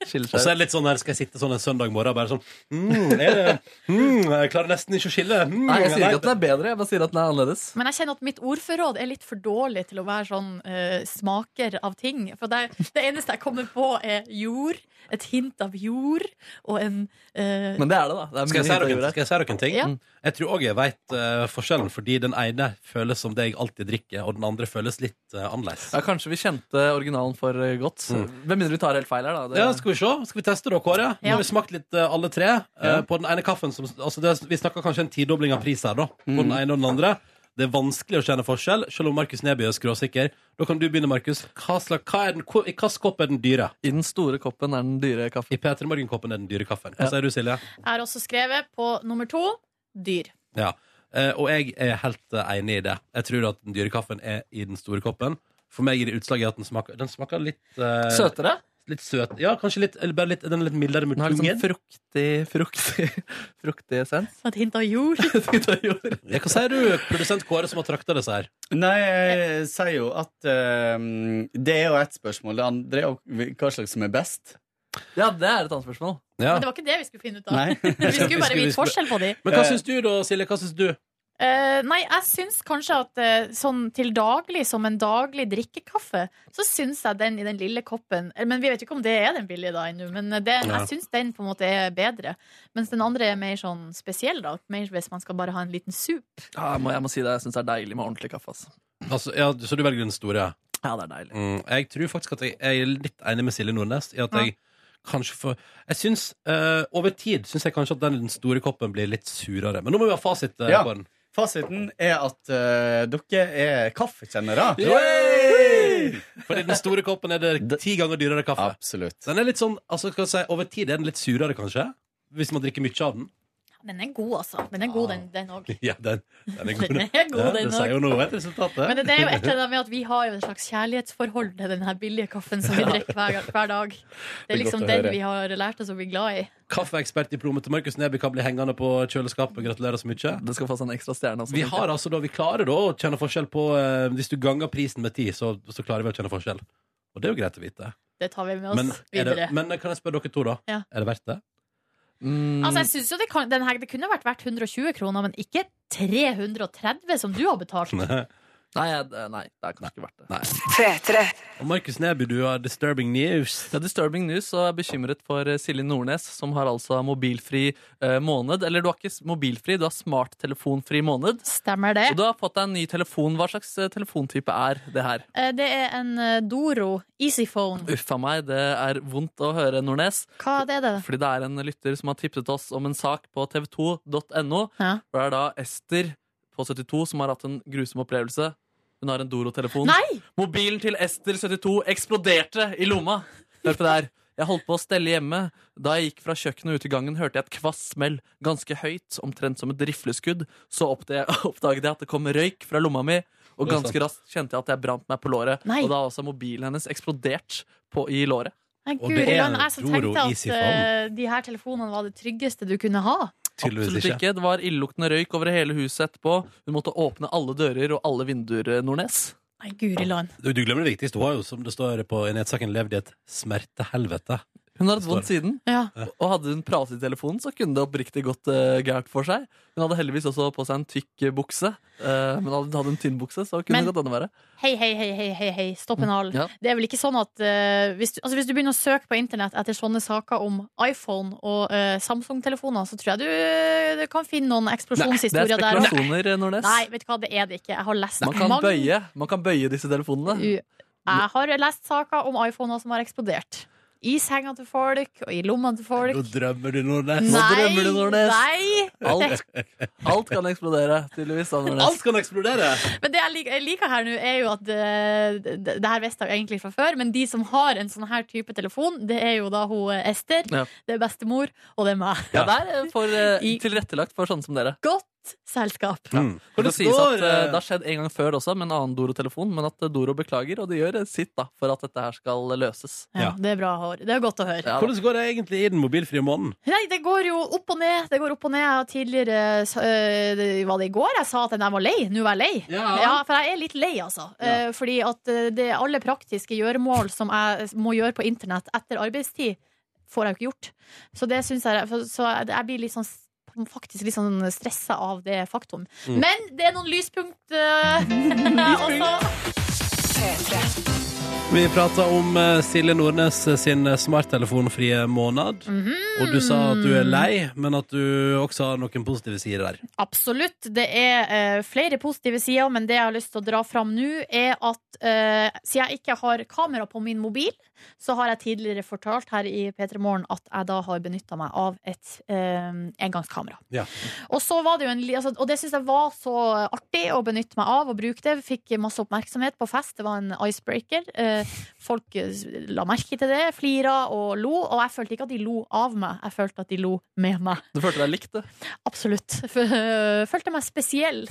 Speaker 4: skiller
Speaker 2: Og så
Speaker 4: seg
Speaker 2: er det litt sånn her, skal jeg sitte sånn en søndag morgen og bare sånn mm, er det, mm, Jeg klarer nesten ikke å skille. Mm,
Speaker 4: Nei, jeg sier
Speaker 2: nei,
Speaker 4: ikke at den er bedre, jeg bare sier at den er annerledes.
Speaker 3: Men jeg kjenner at mitt ordforråd er litt for dårlig til å være sånn eh, smaker av ting. For det, det eneste jeg kommer på, er jord. Et hint av jord og en eh,
Speaker 4: Men det er det, da. Det er
Speaker 2: Skal jeg, si
Speaker 4: mye intervjuer
Speaker 2: dere,
Speaker 4: her.
Speaker 2: skal jeg si dere en ting?
Speaker 3: Ja.
Speaker 2: Jeg tror òg jeg veit forskjellen, fordi den ene føles som det jeg alltid drikker, og den andre føles litt eh, annerledes.
Speaker 4: Ja, kanskje vi kjente originalen for eh, godt. Hvem mindre vi tar helt feil her, da. Det,
Speaker 2: Mm. Ja, skal vi se. Skal vi teste da, Kåre? Nå
Speaker 3: Ja.
Speaker 2: har vi smakt litt eh, alle tre. eh,
Speaker 4: Ja.
Speaker 2: På den ene kaffen som, altså det, er- Vi snakker kanskje en tidobling av pris her, da. På den
Speaker 4: Mm.
Speaker 2: ene og den andre. Det er vanskelig å kjenne forskjell, selv om Markus Neby er skråsikker. Da kan du begynne, Markus. Hva slags, hva er den, hvor- I hvilken kopp er den dyre?
Speaker 4: I den store koppen er den dyre
Speaker 2: I
Speaker 4: kaffen.
Speaker 2: P3 Morgen-koppen er den dyre kaffen. Hva
Speaker 4: Ja.
Speaker 2: sier du, Silje?
Speaker 3: Jeg har også skrevet på nummer to dyr.
Speaker 2: Ja. Eh, og jeg er helt eh, enig i det. Jeg tror at den dyre kaffen er i den store koppen. For meg gir det utslag i at den smaker, den smaker litt eh,
Speaker 4: Søtere?
Speaker 2: Litt søt. Ja, kanskje litt, eller bare litt, den er litt mildere mot
Speaker 4: Den har litt
Speaker 2: tungen.
Speaker 4: sånn fruktig, fruktig, fruktig essens.
Speaker 3: Et hint av jord.
Speaker 2: Ja, Hva sier du, produsent Kåre, som har trakta disse her?
Speaker 6: Nei, jeg sier jo at eh, Det er jo ett spørsmål. Det andre er jo hva slags som er best.
Speaker 4: Ja, det er et annet spørsmål.
Speaker 2: Ja.
Speaker 3: Men det var ikke det vi skulle finne ut av.
Speaker 6: Nei.
Speaker 3: Vi skulle bare
Speaker 2: Vi
Speaker 3: vite
Speaker 2: skulle-
Speaker 3: forskjell på de.
Speaker 2: Men hva
Speaker 6: Eh.
Speaker 2: syns du da, Silje? Hva syns du?
Speaker 3: Eh, nei, jeg syns kanskje at eh, sånn til daglig, som en daglig drikkekaffe, så syns jeg den i den lille koppen eh, Men vi vet jo ikke om det er den billige da ennå, men eh, det,
Speaker 2: Ja.
Speaker 3: jeg syns den på en måte er bedre. Mens den andre er mer sånn spesiell, da. Mer hvis man skal bare ha en liten sup.
Speaker 4: Ja, jeg, må, jeg må si det, jeg syns det er deilig med ordentlig kaffe. Altså.
Speaker 2: Altså, ja, så du velger den store?
Speaker 4: Ja, det er deilig.
Speaker 2: Mm, jeg tror faktisk at jeg, jeg er litt enig med Silje Nordnes i at
Speaker 3: Ja.
Speaker 2: jeg kanskje får Jeg syns eh, over tid syns jeg kanskje at den, den store koppen blir litt surere. Men nå må vi ha fasit eh,
Speaker 6: Ja.
Speaker 2: på den.
Speaker 6: Fasiten er at eh, dere er kaffekjennere.
Speaker 2: Fordi den store koppen er det ti ganger dyrere kaffe.
Speaker 6: Absolutt.
Speaker 2: Den er litt sånn, altså skal jeg si, Over tid er den litt surere, kanskje? Hvis man drikker mye av den.
Speaker 3: Den er god, altså. Den er god, den- den òg.
Speaker 2: Ja, den, den er god.
Speaker 3: Den er god,
Speaker 2: Ja, det
Speaker 3: den
Speaker 2: sier
Speaker 3: òg.
Speaker 2: jo noe, resultatet.
Speaker 3: Men det, det er jo et eller annet med at vi har jo et slags kjærlighetsforhold til den her billige kaffen som vi drikker hver, hver dag. Det
Speaker 6: Det
Speaker 3: er
Speaker 6: er
Speaker 3: liksom
Speaker 6: godt å
Speaker 3: den
Speaker 6: høre.
Speaker 3: vi har lært oss å bli glad i.
Speaker 2: Kaffeekspertdiplomet til Markus Neby kan bli hengende på kjøleskapet. Gratulerer så mye.
Speaker 4: Det skal få seg en ekstra stjerne. Også,
Speaker 2: Vi
Speaker 4: tenker jeg.
Speaker 2: har altså da, vi klarer da å kjenne forskjell på eh, Hvis du ganger prisen med ti, så, så klarer vi å kjenne forskjell. Og det er jo greit å vite.
Speaker 3: Det tar vi med oss
Speaker 2: Men, er det,
Speaker 3: videre.
Speaker 2: men eh, kan jeg spørre dere to, da?
Speaker 3: Ja.
Speaker 2: Er det verdt det?
Speaker 4: Mm,
Speaker 3: Altså, jeg synes jo det, kan, den her, det kunne vært verdt 120 kroner, men ikke 330 som du har betalt.
Speaker 4: nei, jeg, nei, det er kanskje ikke verdt det.
Speaker 2: Og Markus Neby, du har disturbing news.
Speaker 4: Ja, Disturbing News og er bekymret for eh, Silje Nordnes, som har altså mobilfri eh, måned. Eller du har ikke s- mobilfri, du har smarttelefonfri måned.
Speaker 3: Stemmer det?
Speaker 4: Og du har fått deg en ny telefon. Hva slags eh, telefontype er det her?
Speaker 3: Eh, Det er en eh, Doro Easyphone.
Speaker 4: Uff a meg, det er vondt å høre, Nordnes.
Speaker 3: Hva er det? det?
Speaker 4: Fordi det er en lytter som har tipset oss om en sak på tv2.no.
Speaker 3: Ja.
Speaker 4: Hvor det er da Ester på 72 som har hatt en grusom opplevelse. Hun har en Doro-telefon.
Speaker 3: Nei!
Speaker 4: Mobilen til Ester 72 eksploderte i lomma. Hør på det her. Jeg holdt på å stelle hjemme. Da jeg gikk fra kjøkkenet og ut i gangen, hørte jeg et kvass smell, ganske høyt, omtrent som et rifleskudd. Så oppd- oppdaget jeg at det kom røyk fra lomma mi, og
Speaker 2: Det er sant.
Speaker 4: ganske raskt kjente jeg at jeg brant meg på låret.
Speaker 3: Nei.
Speaker 4: Og da har også mobilen hennes eksplodert på, i låret.
Speaker 3: Nei,
Speaker 2: Og
Speaker 3: guri
Speaker 2: det er
Speaker 3: land, jeg som
Speaker 2: Doro
Speaker 3: tenkte at
Speaker 2: Easyphone.
Speaker 3: eh, de her telefonene var det tryggeste du kunne ha.
Speaker 2: Tydeligvis
Speaker 4: Absolutt ikke. Det var illeluktende røyk over hele huset etterpå. Hun måtte åpne alle dører og alle vinduer, eh, Nordnes.
Speaker 3: Nei, guri land.
Speaker 2: Du, du glemmer det viktigste. Hun har jo, som det står på i nettsaken, levd i et smertehelvete.
Speaker 4: Hun har hatt vondt siden.
Speaker 3: Ja.
Speaker 4: Og hadde hun pratet i telefonen, så kunne det oppriktig gått eh, gærent for seg. Hun hadde heldigvis også på seg en tykk eh, bukse, eh, men hadde hadde hun tynn bukse, så kunne
Speaker 3: Men-
Speaker 4: det gått enda verre.
Speaker 3: Hei, hei, hei, hei, hei, hei. stopp en hal.
Speaker 4: Ja.
Speaker 3: Det er vel ikke sånn at eh, hvis, du, altså hvis du begynner å søke på internett etter sånne saker om iPhone og eh, Samsung-telefoner, så tror jeg du, du kan finne noen
Speaker 4: Det er
Speaker 3: eksplosjonshistorier der. også.
Speaker 4: spekulasjoner, eh, Nordnes.
Speaker 3: Nei, vet du hva, det er det ikke. Jeg har lest
Speaker 4: Man kan,
Speaker 3: mange-
Speaker 4: bøye, man kan bøye disse telefonene.
Speaker 3: U- Jeg har lest saker om iPhoner som har eksplodert. I senga til folk og i lomma til folk.
Speaker 2: Nå drømmer du, Nordnes.
Speaker 3: Nei,
Speaker 4: drømmer du, Nordnes.
Speaker 3: nei.
Speaker 4: Alt, alt kan eksplodere, tydeligvis. da, Nordnes.
Speaker 2: Alt kan eksplodere!
Speaker 3: Men det jeg liker, jeg liker her nå, er jo at eh, det, det her visste jeg jo egentlig fra før, men de som har en sånn her type telefon, det er jo da hun eh, Ester,
Speaker 4: Ja.
Speaker 3: det er bestemor, og det er meg.
Speaker 4: Ja, det er eh, for, eh,
Speaker 3: I-
Speaker 4: tilrettelagt for sånne som dere.
Speaker 3: Godt selskap.
Speaker 2: Mm.
Speaker 4: Det,
Speaker 2: Det
Speaker 4: det, sies at,
Speaker 2: står,
Speaker 4: eh,
Speaker 2: eh,
Speaker 4: det har skjedd en gang før også, med en annen Doro-telefon, men at eh, Doro beklager, og de gjør eh, sitt da, for at dette her skal løses.
Speaker 2: Ja.
Speaker 3: Ja, det er bra å høre. Det er godt å høre.
Speaker 4: Ja, da.
Speaker 2: Hvordan går det egentlig i den mobilfrie måneden?
Speaker 3: Nei, det går jo opp og ned. Det går opp og ned. Jeg har tidligere sa- øh, det- Var det i går jeg sa at jeg var lei? Nå var jeg lei.
Speaker 2: Ja.
Speaker 3: for jeg er litt lei, altså. Eh, Fordi at eh, det alle praktiske gjøremål som jeg må gjøre på internett etter arbeidstid, får jeg jo ikke gjort. Så det syns jeg for- Så jeg blir litt sånn s- Faktisk litt sånn stressa av det faktum.
Speaker 2: Mm.
Speaker 3: Men det er noen lyspunkt eh, også.
Speaker 2: Vi prata om eh, Silje Nordnes eh, sin eh, smarttelefonfrie måned. Og du sa at du er lei, men at du også har noen positive sider der.
Speaker 3: Absolutt. Det er eh, flere positive sider, men det jeg har lyst til å dra fram nå, er at eh, siden jeg ikke har kamera på min mobil, så har jeg tidligere fortalt her i P3 Morgen at jeg da har benytta meg av et eh, engangskamera.
Speaker 2: Ja.
Speaker 3: Og, så var det jo en, li- altså, og det syns jeg var så artig å benytte meg av og bruke det. Fikk masse oppmerksomhet på fest. Det var en icebreaker. Eh, folk eh, la merke til det, flira og lo, og jeg følte ikke at de lo av meg, jeg følte at de lo med meg.
Speaker 4: Du følte deg likt, du.
Speaker 3: Absolutt. F- øh, Følte meg spesiell.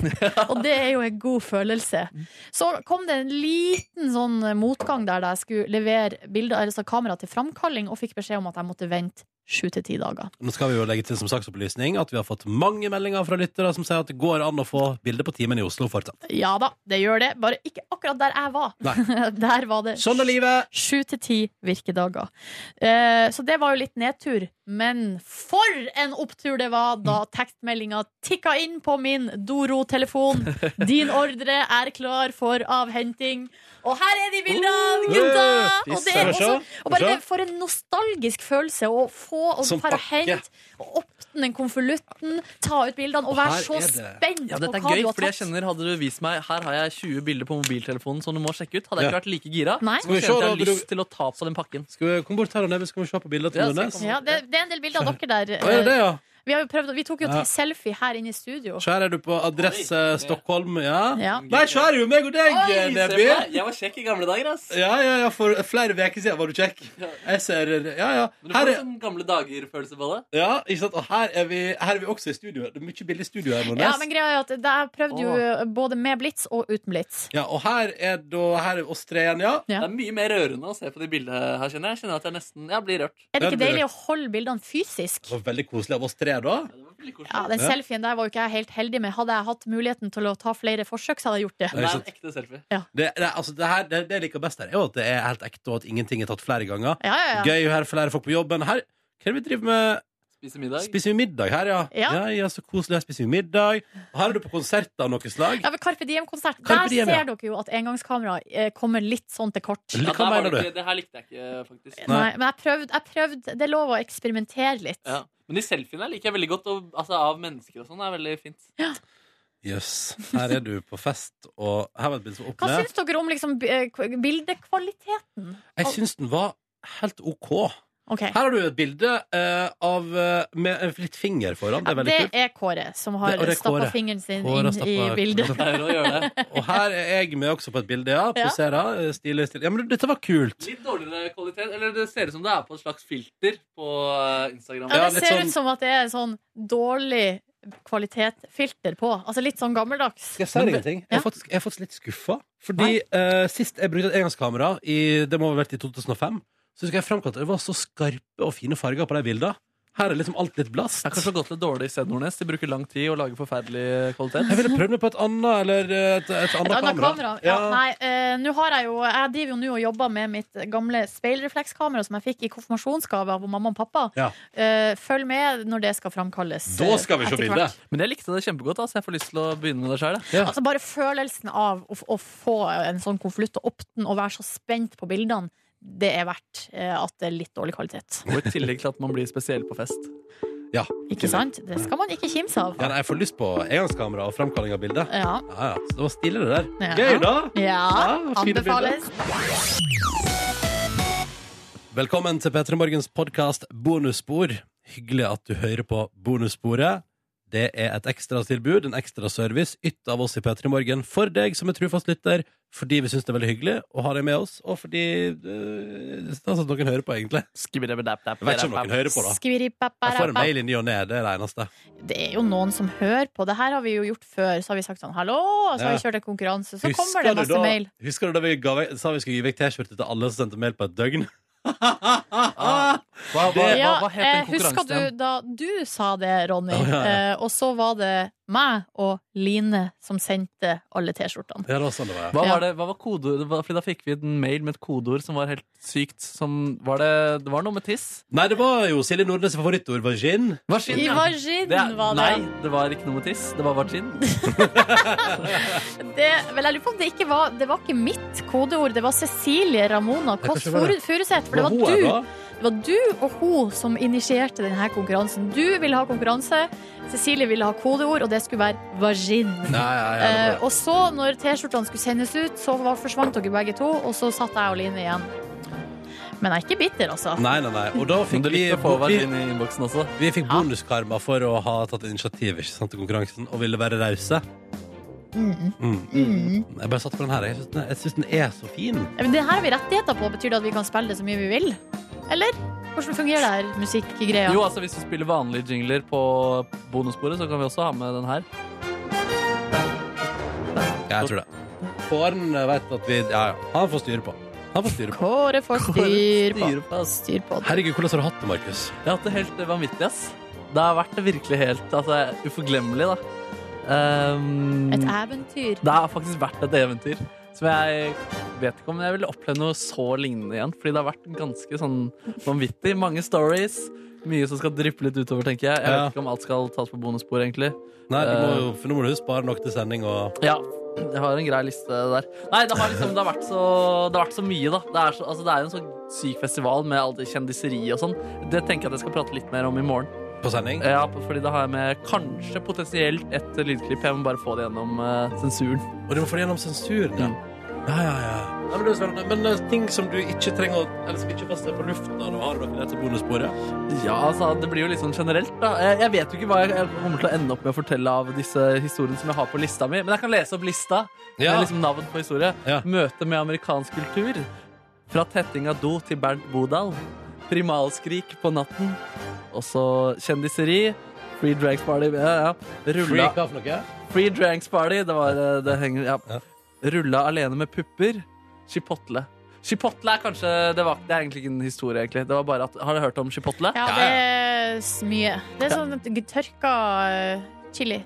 Speaker 3: Og det er jo en god følelse. Så kom det en liten sånn motgang der da jeg skulle levere bilder, altså kamera til framkalling, og fikk beskjed om at jeg måtte vente sju til ti dager.
Speaker 2: Nå skal vi jo legge til som saksopplysning at vi har fått mange meldinger fra lyttere som sier at det går an å få bilde på timen i Oslo fortsatt.
Speaker 3: Ja da, det gjør det. Bare ikke akkurat der jeg var. Der var det
Speaker 2: Sånn er livet!
Speaker 3: sju til ti virkedager. Eh, Så det var jo litt nedtur. Men for en opptur det var da tekstmeldinga tikka inn på min Doro-telefon. Din ordre er klar for avhenting. Og her er de bildene, gutta!
Speaker 2: Oh, eh, Fy
Speaker 3: Og, det er
Speaker 2: søren.
Speaker 3: også, og bare
Speaker 2: Skal vi se?
Speaker 3: det- for en nostalgisk følelse å få å
Speaker 2: Som
Speaker 3: bare
Speaker 2: pakke.
Speaker 3: hente og åpne den konvolutten, ta ut bildene og være
Speaker 2: Her
Speaker 3: så
Speaker 2: er det.
Speaker 3: spent
Speaker 4: Ja,
Speaker 3: på
Speaker 4: dette er
Speaker 3: hva
Speaker 4: gøy,
Speaker 3: du har
Speaker 4: fordi jeg
Speaker 3: tatt.
Speaker 4: kjenner Hadde du vist meg Her har jeg 20 bilder på mobiltelefonen som du må sjekke ut, hadde jeg
Speaker 2: Ja.
Speaker 4: ikke vært like gira.
Speaker 3: Nei.
Speaker 2: Skal vi
Speaker 4: Så
Speaker 2: se,
Speaker 4: kjente
Speaker 2: da,
Speaker 4: jeg
Speaker 2: vil
Speaker 4: lyst til å ta på den pakken.
Speaker 2: Skal vi komme bort her og ned, skal vi se på bildet til
Speaker 4: Ja, skal
Speaker 2: Nordnes? Å,
Speaker 4: jeg komme.
Speaker 3: Ja, det, det er en del bilder av dere der.
Speaker 2: er det det, ja?
Speaker 3: Vi, har jo prøvd, vi tok jo
Speaker 2: Ja.
Speaker 3: selfie her inne i studio.
Speaker 2: Så her er du på adresse Stockholm, ja?
Speaker 3: Ja.
Speaker 2: Nei, så her er jo meg og deg, eh, Neby!
Speaker 4: Jeg var kjekk i gamle dager, ass.
Speaker 2: Ja, ja, ja, for flere uker siden var du kjekk. Jeg ser Ja, ja.
Speaker 4: Men du
Speaker 2: Her
Speaker 4: får
Speaker 2: er,
Speaker 4: en sånn gamle dager-følelse på det.
Speaker 2: ja, ikke sant? Og her er, vi, her er vi også i studio. Det er mye billig studio her,
Speaker 3: Ja, men
Speaker 2: Nordnes.
Speaker 3: greia er at der prøvde jo eh, både med blits og uten blits.
Speaker 2: Ja, og her er da her er oss tre igjen, ja.
Speaker 3: Ja.
Speaker 4: Det er mye mer rørende å se på de bildene her, kjenner jeg. Jeg Kjenner at jeg nesten Jeg blir rørt.
Speaker 3: Er det ikke
Speaker 2: Ja, det-
Speaker 3: deilig å holde bildene fysisk?
Speaker 2: Det var veldig koselig av oss tre, da.
Speaker 4: Det var veldig koselig.
Speaker 3: Ja, Den
Speaker 2: Ja.
Speaker 3: selfien der var jo ikke jeg helt heldig med. Hadde jeg hatt muligheten til å ta flere forsøk, så hadde jeg gjort det.
Speaker 4: Det
Speaker 2: ikke
Speaker 4: er
Speaker 2: sant.
Speaker 4: en ekte selfie.
Speaker 2: Det, det, altså, det, her, det, det jeg liker best her, er jo at det er helt ekte, og at ingenting er tatt flere ganger.
Speaker 3: Ja, ja, ja.
Speaker 2: Gøy her, flere folk på jobben. Her, hva er det vi driver med?
Speaker 4: Spise middag.
Speaker 2: Spiser vi middag her, ja?
Speaker 3: Ja.
Speaker 2: ja, så koselig. Her spiser vi middag. Og her er du på konsert av noe slag.
Speaker 3: Ja, ved Carpe Diem-konsert.
Speaker 2: Carpe
Speaker 3: Der
Speaker 2: Diem, ja.
Speaker 3: ser dere jo at engangskamera eh, kommer litt sånn til kort.
Speaker 2: Hva
Speaker 4: Ja, der var
Speaker 2: mener
Speaker 4: det
Speaker 2: du?
Speaker 4: ikke- Det her likte jeg ikke, faktisk.
Speaker 2: Nei.
Speaker 3: Nei, men jeg prøvde, jeg prøvde. Det er lov å eksperimentere litt.
Speaker 4: Ja. Men de selfiene liker jeg veldig godt. Og, altså, av mennesker og sånn er veldig fint.
Speaker 2: Jøss. Her er du på fest, og her var et bilde som
Speaker 3: Hva
Speaker 2: åpner.
Speaker 3: syns dere om liksom, b- eh, k- bildekvaliteten?
Speaker 2: Jeg syns den var helt OK.
Speaker 3: Ok,
Speaker 2: Her har du et bilde eh, av, eh, med en litt finger foran. Det
Speaker 3: ja,
Speaker 2: er veldig
Speaker 3: Det
Speaker 2: kult.
Speaker 3: er Kåre som
Speaker 2: Det-
Speaker 3: har
Speaker 2: og det er
Speaker 3: stappa
Speaker 2: Kåre.
Speaker 3: fingeren sin
Speaker 2: Kåre
Speaker 3: inn i
Speaker 2: stapper-
Speaker 3: bildet.
Speaker 4: Pleier å gjøre det.
Speaker 2: Og her er jeg med også på et bilde, ja.
Speaker 3: Ja.
Speaker 2: Poserer. eh, Stilig, stilig. Ja, men dette var kult.
Speaker 4: Litt dårligere kvalitet. Eller det ser ut som det er på et slags filter på eh, Instagram.
Speaker 3: Ja,
Speaker 2: Ja,
Speaker 3: det
Speaker 2: litt
Speaker 3: ser
Speaker 2: sånn-
Speaker 3: ut som at det er sånn dårlig kvalitetfilter på. Altså litt sånn gammeldags.
Speaker 2: Skal jeg si deg en ting? Jeg er
Speaker 3: Ja.
Speaker 2: faktisk, jeg er faktisk litt skuffa. Fordi eh, sist jeg brukte et engangskamera, i, det må ha vært i 2005, så husker jeg framkalt det var så skarpe og fine farger på de bildene. Her er liksom alt litt blast.
Speaker 4: Det er kanskje gått litt dårlig i Sted Nordnes. De bruker lang tid og lager forferdelig kvalitet.
Speaker 2: Jeg ville prøvd meg på et annet eller eh, et, et annet
Speaker 3: Et annet
Speaker 2: kamera.
Speaker 3: kamera. Ja, nei, eh, nå har jeg jo Jeg driver jo nå og jobber med mitt gamle speilreflekskamera som jeg fikk i konfirmasjonsgave av mamma og pappa.
Speaker 2: Ja.
Speaker 3: Eh, følg med når det skal framkalles.
Speaker 2: Da skal vi
Speaker 3: eh,
Speaker 2: se
Speaker 3: etter
Speaker 2: bildet.
Speaker 3: hvert.
Speaker 4: Men jeg likte det kjempegodt, da, så jeg får lyst til å begynne med det sjøl.
Speaker 2: Ja.
Speaker 3: Altså Bare følelsen av å, f- å få en sånn konvolutt og opp den og være så spent på bildene, det er verdt eh, at det er litt dårlig kvalitet.
Speaker 4: Og i tillegg til at man blir spesiell på fest.
Speaker 3: Ikke sant? Det skal man ikke kimse av.
Speaker 2: Ja, nei, jeg får lyst på engangskamera og framkalling av bildet.
Speaker 3: Ja.
Speaker 2: Ja, ja. Så det var stille, det der.
Speaker 3: Ja.
Speaker 2: Gøy, da!
Speaker 3: ja.
Speaker 2: Ja, fine bilder.
Speaker 3: Anbefales.
Speaker 2: Velkommen til P3 Morgens podkast Bonusspor. Hyggelig at du hører på Bonussporet. Det er et ekstratilbud, en ekstra service, ytt av oss i P3 Morgen for deg som er trufast lytter, fordi vi syns det er veldig hyggelig å ha deg med oss, og fordi øh, Det er sånn at noen hører på, egentlig. Jeg vet ikke om noen hører på, da. Jeg får en
Speaker 3: Skviripapparapa.
Speaker 2: mail i ny og ne, det er det eneste.
Speaker 3: Det er jo noen som hører på. Det her har vi jo gjort før. Så har vi sagt sånn hallo, og så har vi kjørt en konkurranse. Så kommer det
Speaker 2: du
Speaker 3: masse
Speaker 2: da,
Speaker 3: mail.
Speaker 2: husker du da vi ga vekk, sa vi skulle gi vekk T-skjorte til alle som sendte mail på et døgn?
Speaker 4: Ah, Hva, hva, hva, hva het
Speaker 3: eh,
Speaker 4: den
Speaker 3: husker
Speaker 4: konkurransen?
Speaker 3: du
Speaker 4: igjen?
Speaker 3: da du sa det, Ronny?
Speaker 2: Å, ja, ja.
Speaker 3: Eh, og så var det meg og Line som sendte alle T-skjortene.
Speaker 2: Ja, det var sånn det var. ja.
Speaker 4: Hva
Speaker 3: Ja.
Speaker 4: var, det, hva var kodeordet? Hva- Fordi da fikk vi en mail med et kodeord som var helt sykt. Som, var det, det var noe med tiss.
Speaker 2: Nei, det var jo Silje Nordnes' favorittord var gin.
Speaker 3: I vaginen var det.
Speaker 4: Nei, det var ikke noe med tiss. Det var vagin.
Speaker 3: det vel, jeg lurer på om det ikke var Det var ikke mitt kodeord. Det var Cecilie Ramona Kåss
Speaker 2: kanskje det var det.
Speaker 3: Furuseth. For det var
Speaker 2: hun her,
Speaker 3: du.
Speaker 2: da?
Speaker 3: Det var du og hun som initierte denne konkurransen. Du ville ha konkurranse, Cecilie ville ha kodeord, og det skulle være vagin.
Speaker 2: Nei, ja, ja, det var
Speaker 3: Eh, og så, når T-skjortene skulle sendes ut, så var, forsvant dere begge to, og så satt jeg og Line igjen. Men jeg er ikke bitter, altså.
Speaker 2: Nei, nei, nei. Og da
Speaker 4: Men
Speaker 2: fikk
Speaker 4: du
Speaker 2: vi,
Speaker 4: likte å få
Speaker 2: vi,
Speaker 4: vagin i innboksen også.
Speaker 2: vi fikk bonuskarma for å ha tatt initiativ ikke sant, til konkurransen og ville være rause.
Speaker 3: Mm.
Speaker 2: Mm.
Speaker 3: Mm.
Speaker 2: Jeg bare satt på den her. Jeg syns den, jeg synes den er så fin.
Speaker 3: Men Det her har vi rettigheter på. Betyr det at vi kan spille det så mye vi vil? Eller? Hvordan fungerer det her musikkgreia?
Speaker 4: Jo, altså Hvis du spiller vanlige jingler på bonussporet, så kan vi også ha med den her.
Speaker 2: Ja, jeg tror det. Kåren eh, vet at vi Ja, ja. Han får styre på. Han får styre på.
Speaker 3: Kåre får styr på. Styr på det.
Speaker 2: Herregud, hvordan har du hatt det, Markus?
Speaker 4: Jeg har hatt det helt vanvittig, ass. Det har vært det virkelig helt altså, uforglemmelig, da. Ehm,
Speaker 3: Et eventyr.
Speaker 4: det har faktisk vært et eventyr som jeg vet ikke om jeg vil oppleve noe så lignende igjen. Fordi det har vært ganske sånn vanvittig. Mange stories. Mye som skal dryppe litt utover, tenker jeg. Jeg
Speaker 2: Ja.
Speaker 4: vet ikke om alt skal tas på bonusspor, egentlig.
Speaker 2: Nei, du må jo, for Nå må du spare nok til sending og
Speaker 4: Ja, jeg har en grei liste der. Nei, det har liksom det har vært så, det har vært så mye, da. Det er, så, altså, det er jo en sånn syk festival med all det kjendiseriet og sånn. Det tenker jeg at jeg skal prate litt mer om i morgen.
Speaker 2: på sending.
Speaker 4: Ja, fordi da har jeg med kanskje potensielt et lydklipp. Jeg må bare få det gjennom eh, sensuren.
Speaker 2: Og du må få det gjennom sensuren. Ja.
Speaker 4: Mm.
Speaker 2: Ja, ja, ja. Nei, men, det er spennende. men eh, ting som du ikke trenger å Eller som ikke fastsetter på lufta, da har du dere til bonussporet.
Speaker 4: Ja, altså, det blir jo litt sånn generelt, da. Jeg, jeg vet jo ikke hva jeg, jeg kommer til å ende opp med å fortelle av disse historiene som jeg har på lista mi, men jeg kan lese opp lista.
Speaker 2: Ja.
Speaker 4: Med liksom navn på historie.
Speaker 2: Ja.
Speaker 4: Møte med amerikansk kultur. Fra tetting av do til Bernt Bodal. Primalskrik på natten. Også kjendiseri. Free Drags Party. Ja, ja. Rulla
Speaker 2: Freak av noe.
Speaker 4: Free Dranks Party. Det var eh, det henger, ja.
Speaker 2: Ja.
Speaker 4: Rulla alene med pupper. Chipotle. Chipotle er kanskje Det, var, det er egentlig ikke en historie, egentlig. Det var bare at, har du hørt om chipotle?
Speaker 3: Ja, det er s- mye. Det er sånn g- tørka eh, chili.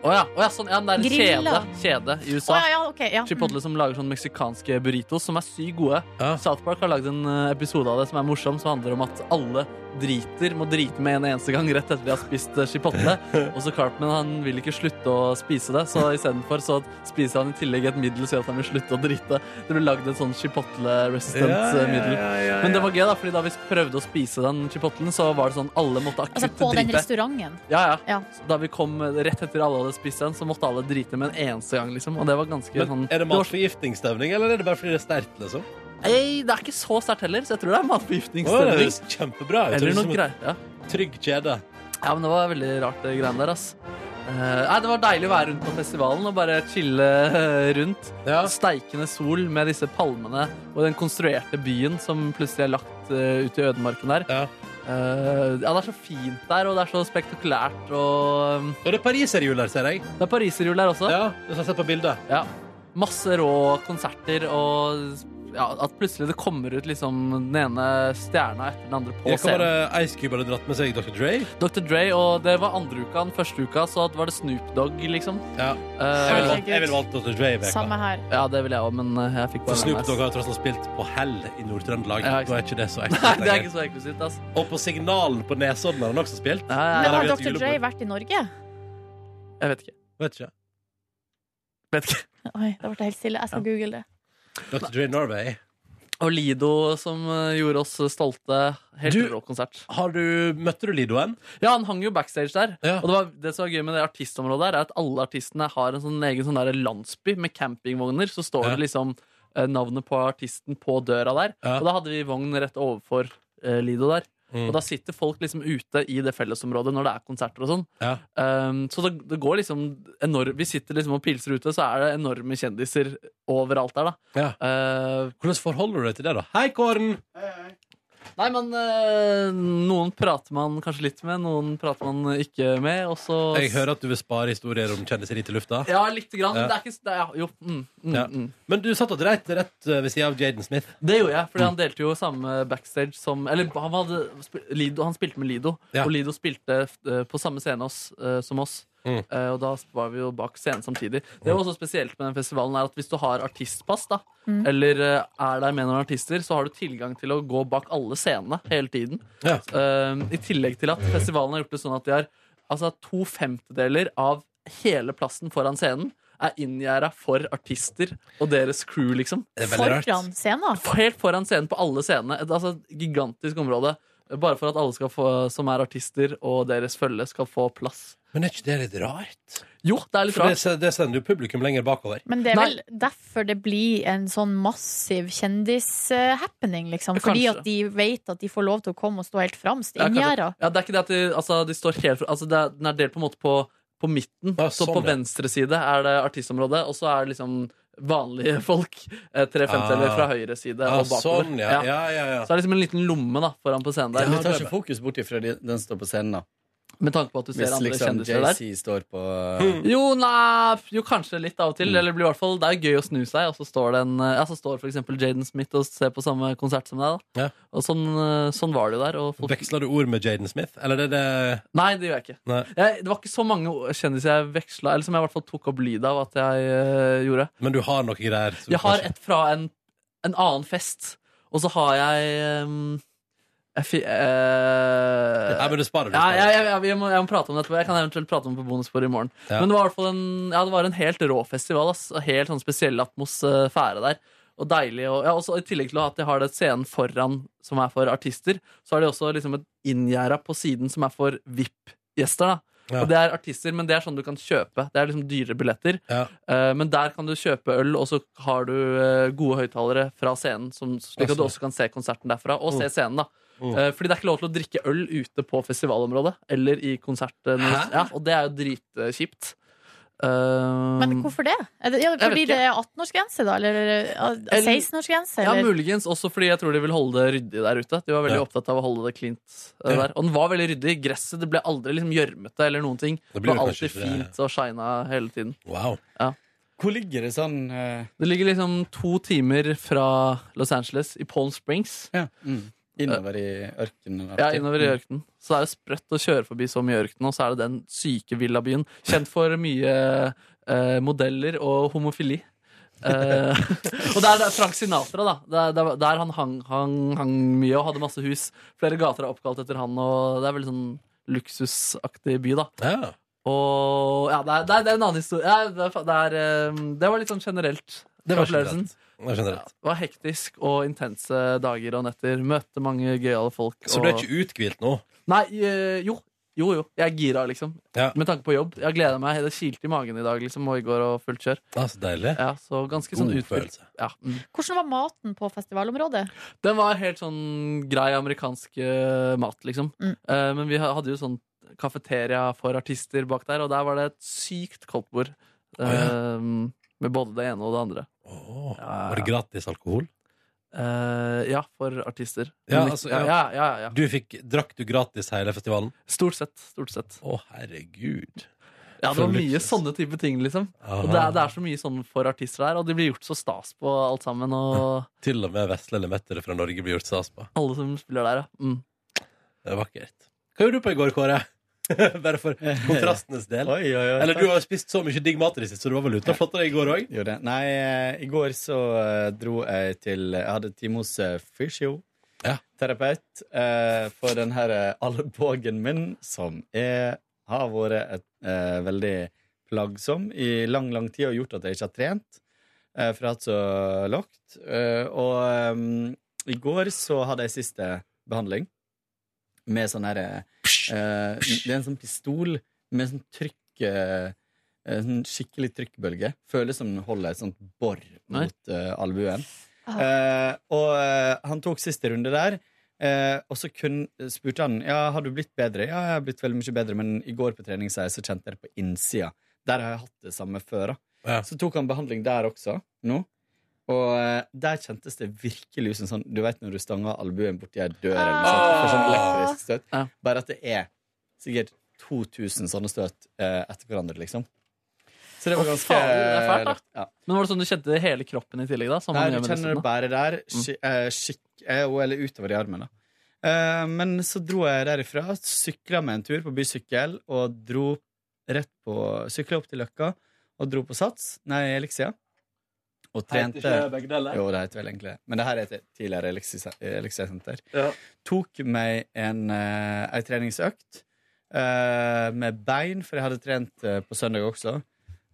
Speaker 4: Å ja, å ja, sånn, ja men det er en kjede,
Speaker 3: Grilla.
Speaker 4: kjede i
Speaker 3: Å
Speaker 4: USA.
Speaker 3: ja, ja, OK. Ja. Mm.
Speaker 4: Chipotle som lager sånne meksikanske burritos som er sykt gode.
Speaker 2: Ja.
Speaker 4: South Park har lagd en eh, episode av det som er morsom, som handler om at alle driter, må drite med en eneste gang rett etter de har spist eh, chipotle. Og så Cartman han vil ikke slutte å spise det, så istedenfor så spiser han i tillegg et middel som gjør at han vil slutte å drite. Det ble lagd et sånn chipotle-resistant eh, middel. Men det var gøy, da, fordi da vi prøvde å spise den chipotlen, så var det sånn alle måtte akutt
Speaker 3: Altså på den
Speaker 4: drite.
Speaker 3: restauranten.
Speaker 4: Ja, ja.
Speaker 3: Ja.
Speaker 4: Så Da vi kom rett etter alle hadde spist den, så måtte alle drite med en eneste gang. liksom Og det var ganske sånn
Speaker 2: Men er det
Speaker 4: var-
Speaker 2: matforgiftningsstemning, eller er det bare fordi det er sterkt? liksom?
Speaker 4: Ei, det er ikke så sterkt heller, så jeg tror det
Speaker 2: Å,
Speaker 4: er
Speaker 2: det liksom
Speaker 4: matforgiftningsstemning.
Speaker 2: høres kjempebra ut.
Speaker 4: Eller
Speaker 2: Høres
Speaker 4: noe
Speaker 2: som
Speaker 4: greier. Ja.
Speaker 2: en Trygg kjede.
Speaker 4: ja, men det var veldig rart, det greiene der, ass. Eh, nei, Det var deilig å være rundt på festivalen og bare chille eh, rundt.
Speaker 2: Ja.
Speaker 4: Steikende sol med disse palmene og den konstruerte byen som plutselig er lagt eh, ut i ødemarken der.
Speaker 2: Ja.
Speaker 4: Eh, ja, Det er så fint der, og det er så spektakulært. Og um,
Speaker 2: Og det er pariserhjul her, ser jeg.
Speaker 4: det er pariserhjul der også.
Speaker 2: Ja, Hvis jeg ser på bildet.
Speaker 4: Ja. Masse rå konserter og ja, at plutselig det kommer ut liksom den ene stjerna etter den andre på
Speaker 2: Jeg kan
Speaker 4: scenen.
Speaker 2: bare Ice Cube hadde dratt med seg Dr. Dre.
Speaker 4: Dr. Dre, og det var andre uka. Den første uka så var det Snoop Dogg, liksom.
Speaker 2: Ja. Jeg ville
Speaker 4: Eh,
Speaker 2: valgt, jeg ville valgt Dr. Dre. Veka.
Speaker 3: Samme her.
Speaker 4: ja, det ville jeg òg, men eh, jeg fikk
Speaker 2: For
Speaker 4: bare
Speaker 2: Snoop
Speaker 4: den
Speaker 2: Dogg
Speaker 4: her.
Speaker 2: har tross alt spilt på hell i Nord-Trøndelag.
Speaker 4: Ja, ikke
Speaker 2: Da er ikke det så
Speaker 4: Nei,
Speaker 2: ekkelt
Speaker 4: det er
Speaker 2: lenger.
Speaker 4: ikke så eksklusivt, ass.
Speaker 2: Og på Signalen på Nesodden har han også spilt.
Speaker 4: Ja, ja,
Speaker 3: Men
Speaker 4: ja,
Speaker 2: har vi
Speaker 3: har
Speaker 2: et
Speaker 3: Dr. Dre
Speaker 2: julebord.
Speaker 3: vært i Norge?
Speaker 4: jeg vet ikke.
Speaker 2: Vet ikke.
Speaker 4: Vet ikke.
Speaker 3: Oi, da ble det helt stille. Jeg skal google det.
Speaker 2: Dr. Dre Norway.
Speaker 4: Og Lido, som eh, gjorde oss stolte. Helt
Speaker 2: Du-
Speaker 4: rå konsert.
Speaker 2: Har du, møtte du Lidoen?
Speaker 4: Ja, han hang jo backstage der.
Speaker 2: Ja.
Speaker 4: Og det, var, det som var gøy med det artistområdet her, er at alle artistene har en sånn egen sånn der landsby med campingvogner. Så står
Speaker 2: Ja.
Speaker 4: det liksom eh, navnet på artisten på døra der.
Speaker 2: Ja.
Speaker 4: Og da hadde vi vogn rett overfor eh, Lido der.
Speaker 2: Mm.
Speaker 4: Og da sitter folk liksom ute i det fellesområdet når det er konserter og sånn.
Speaker 2: Ja.
Speaker 4: Um, så det, det går liksom enorm, Vi sitter liksom og pilser ute, så er det enorme kjendiser overalt der, da.
Speaker 2: Ja.
Speaker 4: Eh,
Speaker 2: Hvordan forholder du deg til det, da? Hei, Kåren!
Speaker 4: Nei, men eh, noen prater man kanskje litt med, noen prater man ikke med, og så
Speaker 2: Jeg hører at du vil spare historier om kjendiser hit i lufta.
Speaker 4: Ja, lite grann.
Speaker 2: Ja.
Speaker 4: Det er ikke, s- det er, jo, mm, mm,
Speaker 2: Ja.
Speaker 4: mm.
Speaker 2: Men du satt og dreit rett eh, ved sida av Jaden Smith.
Speaker 4: Det gjorde jeg,
Speaker 2: Mm.
Speaker 4: fordi han delte jo samme backstage som Eller han, hadde, sp- Lido, han spilte med Lido,
Speaker 2: Ja.
Speaker 4: og Lido spilte eh, på samme scene oss, eh, som oss.
Speaker 2: Mm.
Speaker 4: Eh, og da var vi jo bak scenen samtidig. Det var også spesielt med den festivalen er at hvis du har artistpass, da,
Speaker 2: Mm.
Speaker 4: eller eh, er der med noen artister, så har du tilgang til å gå bak alle scenene hele tiden.
Speaker 2: Ja.
Speaker 4: Eh, I tillegg til at festivalen har gjort det sånn at de har altså, to femtedeler av hele plassen foran scenen er inngjerda for artister og deres crew, liksom.
Speaker 2: Det er veldig rart.
Speaker 3: Foran scenen.
Speaker 4: Helt foran scenen på alle scenene. Et altså, et gigantisk område. Bare for at alle skal få, som er artister og deres følge, skal få plass.
Speaker 2: Men er ikke det litt rart?
Speaker 4: Jo, det er litt
Speaker 2: For det,
Speaker 4: rart.
Speaker 2: det sender jo publikum lenger bakover.
Speaker 3: Men det er vel derfor det blir en sånn massiv kjendishappening, liksom.
Speaker 4: Ja,
Speaker 3: Fordi
Speaker 4: kanskje.
Speaker 3: at de vet at de får lov til å komme og stå helt fremst.
Speaker 4: Ja, kanskje.
Speaker 3: Inngjerda.
Speaker 4: Ja, det er ikke det at de, altså, de står helt altså, det er, Den er delt på en måte på, på midten.
Speaker 2: Ja,
Speaker 4: så
Speaker 2: sånn,
Speaker 4: på
Speaker 2: ja.
Speaker 4: venstre side er det artistområdet, og så er det liksom vanlige folk. Eh, tre femtedeler
Speaker 2: Ah.
Speaker 4: fra høyre side
Speaker 2: Ah,
Speaker 4: og bakover.
Speaker 2: sånn, ja. Ja, ja, ja.
Speaker 4: Så er det liksom en liten lomme da, foran på scenen der.
Speaker 6: Men du tar ikke fokus bort ifra de, den som står på scenen, da.
Speaker 4: Med tanke på at du ser
Speaker 6: Hvis
Speaker 4: andre
Speaker 6: liksom
Speaker 4: kjendiser der.
Speaker 6: JC står på Hmm.
Speaker 4: Jo, nei, jo, kanskje litt av og
Speaker 2: Mm.
Speaker 4: til. Eller det blir i hvert fall, det er gøy å snu seg, og så står, det en, ja, så står for eksempel Jaden Smith og ser på samme konsert som deg. Da.
Speaker 2: Ja.
Speaker 4: Og sånn, eh, sånn var det jo der. Og folk,
Speaker 2: Veksler du ord med Jaden Smith? Eller er det det
Speaker 4: nei, det gjør jeg ikke.
Speaker 2: Nei.
Speaker 4: Jeg, det var ikke så mange kjendiser jeg veksla, eller som jeg i hvert fall tok opp lyd av at jeg eh, gjorde.
Speaker 2: Men du har noe greier? som
Speaker 4: Jeg har
Speaker 2: kanskje-
Speaker 4: et fra en, en annen fest, og så har jeg eh, jeg, fi, eh,
Speaker 2: Nei, men du sparer du
Speaker 4: Ja,
Speaker 2: sparer.
Speaker 4: ja, ja, ja, vi må, jeg må prate om det etterpå. Jeg kan eventuelt prate om det på bonusbordet i morgen.
Speaker 2: Ja.
Speaker 4: Men det var, i hvert fall en, ja, det var en helt rå festival. Ass. Og Helt sånn spesiell atmosfære der. Og deilig. Og, ja, også, I tillegg til at de har det scenen foran som er for artister, så har de også liksom et inngjerda på siden som er for VIP-gjester. da
Speaker 2: Ja.
Speaker 4: Og det er artister, men det er sånn du kan kjøpe. Det er liksom dyre billetter.
Speaker 2: Ja.
Speaker 4: Eh, men der kan du kjøpe øl, og så har du eh, gode høyttalere fra scenen, som, slik at
Speaker 2: Awesome.
Speaker 4: du også kan se konserten derfra, og se scenen, da.
Speaker 2: Mm.
Speaker 4: Eh, fordi det er ikke lov til å drikke øl ute på festivalområdet eller i konserten.
Speaker 2: Hæ?
Speaker 4: Ja, og det er jo dritkjipt. Uh,
Speaker 3: Men hvorfor det? Er det ja,
Speaker 4: vet
Speaker 3: fordi
Speaker 4: ikke.
Speaker 3: det er 18-årsgrense, da? Eller ja,
Speaker 4: Eller-
Speaker 3: 16-årsgrense?
Speaker 4: ja,
Speaker 3: Eller?
Speaker 4: Muligens også fordi jeg tror de vil holde det ryddig der ute. De var veldig
Speaker 2: Ja.
Speaker 4: opptatt av å holde det cleant. eh,
Speaker 2: Ja.
Speaker 4: der. Og den var veldig ryddig. Gresset det ble aldri liksom gjørmete eller noen ting.
Speaker 2: Det
Speaker 4: Det,
Speaker 2: blir
Speaker 4: var
Speaker 2: jo kanskje
Speaker 4: alltid
Speaker 2: ikke det.
Speaker 4: fint og shina hele tiden.
Speaker 2: Wow.
Speaker 6: Hvor ligger det sånn eh,
Speaker 4: Det ligger liksom to timer fra Los Angeles, i Palm Springs.
Speaker 6: ja. mm, Innover i ørkenen? eller?
Speaker 4: Ja, innover i ørkenen. Så det er jo sprøtt å kjøre forbi så mye ørken, og så er det den syke villabyen. Kjent for mye eh, modeller og homofili. Eh, og det er der Frank Sinatra, da. Det er, der- der han hang, hang, hang mye og hadde masse hus. Flere gater er oppkalt etter han, og det er veldig sånn luksusaktig by, da.
Speaker 2: Ja.
Speaker 4: Og ja, det er, det er, det er en annen historie. Ja, det, er, fa- det, er, eh, det var litt sånn generelt.
Speaker 2: Det var
Speaker 4: opplevelsen.
Speaker 2: generelt. Det var
Speaker 4: Ja,
Speaker 2: generelt.
Speaker 4: det var hektisk og intense dager og netter. Møtte mange gøyale folk.
Speaker 2: Så du er
Speaker 4: og-
Speaker 2: ikke uthvilt nå?
Speaker 4: Nei, eh, jo. Jo, jo. Jeg er gira, liksom.
Speaker 2: Ja.
Speaker 4: Med tanke på jobb. Jeg gleder meg. Det kilte i magen i dag liksom, og i går og fullt kjør.
Speaker 2: Ja, så deilig.
Speaker 4: Ja, så ganske sånn
Speaker 2: God
Speaker 4: utfylt.
Speaker 2: følelse.
Speaker 4: Ja. Mm.
Speaker 3: Hvordan var maten på festivalområdet?
Speaker 4: Den var helt sånn grei amerikansk eh, mat, liksom.
Speaker 3: Mm.
Speaker 4: Eh, men vi ha- hadde jo sånn kafeteria for artister bak der, og der var det et sykt koldt bord. eh, Med både det ene og det andre.
Speaker 2: Åh,
Speaker 4: Ja,
Speaker 2: Var det gratis alkohol?
Speaker 4: Eh, ja, for artister.
Speaker 2: Ja,
Speaker 4: Men-
Speaker 2: altså,
Speaker 4: ja,
Speaker 2: ja.
Speaker 4: ja, ja, ja.
Speaker 2: Du fikk, drakk du gratis hele festivalen?
Speaker 4: Stort sett. Stort sett.
Speaker 2: Å, herregud.
Speaker 4: Ja, det var
Speaker 2: For
Speaker 4: mye
Speaker 2: luksus.
Speaker 4: sånne type ting, liksom. Og det er, det er så mye sånn for artister der, og de blir gjort så stas på alt sammen. Og
Speaker 2: Til og med vesle elementer fra Norge blir gjort stas på.
Speaker 4: alle som spiller der, ja. Mm.
Speaker 2: Det er vakkert. Hva gjorde du på i går, Kåre? Bare for kontrastenes del.
Speaker 6: Oi, oi, oi.
Speaker 2: Eller du har jo spist så mye digg mat i det siste, så du var vel ute og flotta deg i går òg?
Speaker 6: Gjorde det. Nei, eh, i går så eh, dro jeg til Jeg hadde time hos eh,
Speaker 2: Ja.
Speaker 6: fysioterapeut, eh, for den her eh, albuen min, som er, har vært et, eh, veldig plagsom i lang, lang tid og gjort at jeg ikke har trent, eh, for jeg har hatt så lavt. Eh, og eh, i går så hadde jeg siste behandling med sånn herre eh, Det er en sånn pistol med sånn trykk eh, en sånn skikkelig trykkbølge. Føles som den holder et sånt bor
Speaker 4: Nei.
Speaker 6: mot eh, albuen. Eh, og eh, han tok siste runde der. eh, og så kun, spurte han Ja, har du blitt bedre. Ja, jeg har blitt veldig mye bedre, men i går på trening sa jeg, så kjente jeg det på innsida. Der har jeg hatt det samme før. Da.
Speaker 2: Ja.
Speaker 6: Så tok han behandling der også, nå. Og eh, der kjentes det virkelig ut som sånn Du vet når du stanger albuen borti ei dør, eller noe sånt, for sånn elektrisk støt.
Speaker 4: Ah. Ja.
Speaker 6: Bare at det er sikkert 2000 sånne støt eh, etter hverandre, liksom. Så det var
Speaker 4: Å,
Speaker 6: ganske
Speaker 4: faen, det er fælt, da.
Speaker 6: Ja.
Speaker 4: Men var det sånn du kjente hele kroppen i tillegg, da? Som
Speaker 6: Nei,
Speaker 4: man gjør
Speaker 6: du
Speaker 4: med
Speaker 6: kjenner det
Speaker 4: resten, da?
Speaker 6: bare der.
Speaker 4: Mm.
Speaker 6: Sk eh, skikk, eh, og- eller utover i armen, da. Eh, men så dro jeg derifra, sykla med en tur på bysykkel, og dro rett på Sykla opp til Løkka, og dro på Sats, nei, Elixia, og trente
Speaker 2: begge deler.
Speaker 6: Jo, det heter vel egentlig det. Men det her heter tidligere Elixia- Elixia Senter.
Speaker 2: Ja.
Speaker 6: Tok meg en, eh, ei treningsøkt eh, med bein, for jeg hadde trent eh, på søndag også.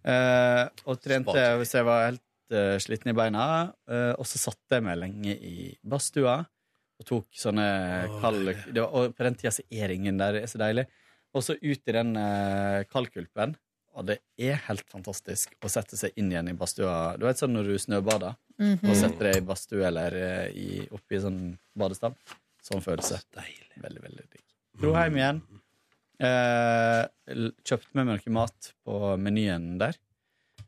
Speaker 6: Eh, og trente
Speaker 2: Spart.
Speaker 6: hvis jeg var helt eh, sliten i beina. eh, og så satte jeg meg lenge i badstua og tok sånne
Speaker 2: Å,
Speaker 6: kald
Speaker 2: deilig.
Speaker 6: det var, Og på den tida så er ringen der det er så deilig. Og så ut i den eh, kaldkulpen. Og det er helt fantastisk å sette seg inn igjen i badstua. Du vet sånn når du snøbader og
Speaker 3: Mhm.
Speaker 6: setter deg i badstue eller eh, i, oppi sånn badestam. Sånn følelse. Veldig, veldig digg. Dro hjem igjen. Eh, l- kjøpte med meg noe mat på menyen der.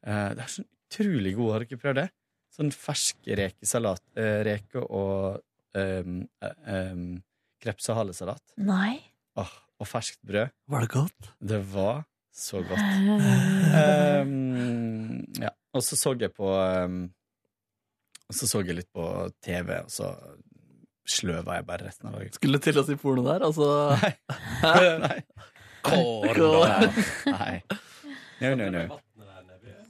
Speaker 6: Eh, det er sånn utrolig god, har dere prøvd det? Sånn fersk rekesalat. Eh, reke og um, um, krepsehalesalat.
Speaker 3: Nei.
Speaker 6: Åh, og ferskt brød.
Speaker 4: Var det godt?
Speaker 6: Det var så godt.
Speaker 3: Eh,
Speaker 6: Ehm, ja. Og så så jeg på ehm, Så så jeg litt på TV, og så sløva jeg bare resten av dagen.
Speaker 4: Skulle til å si porno der, altså.
Speaker 6: Nei.
Speaker 2: Kåre.
Speaker 6: Nei. No, no, no.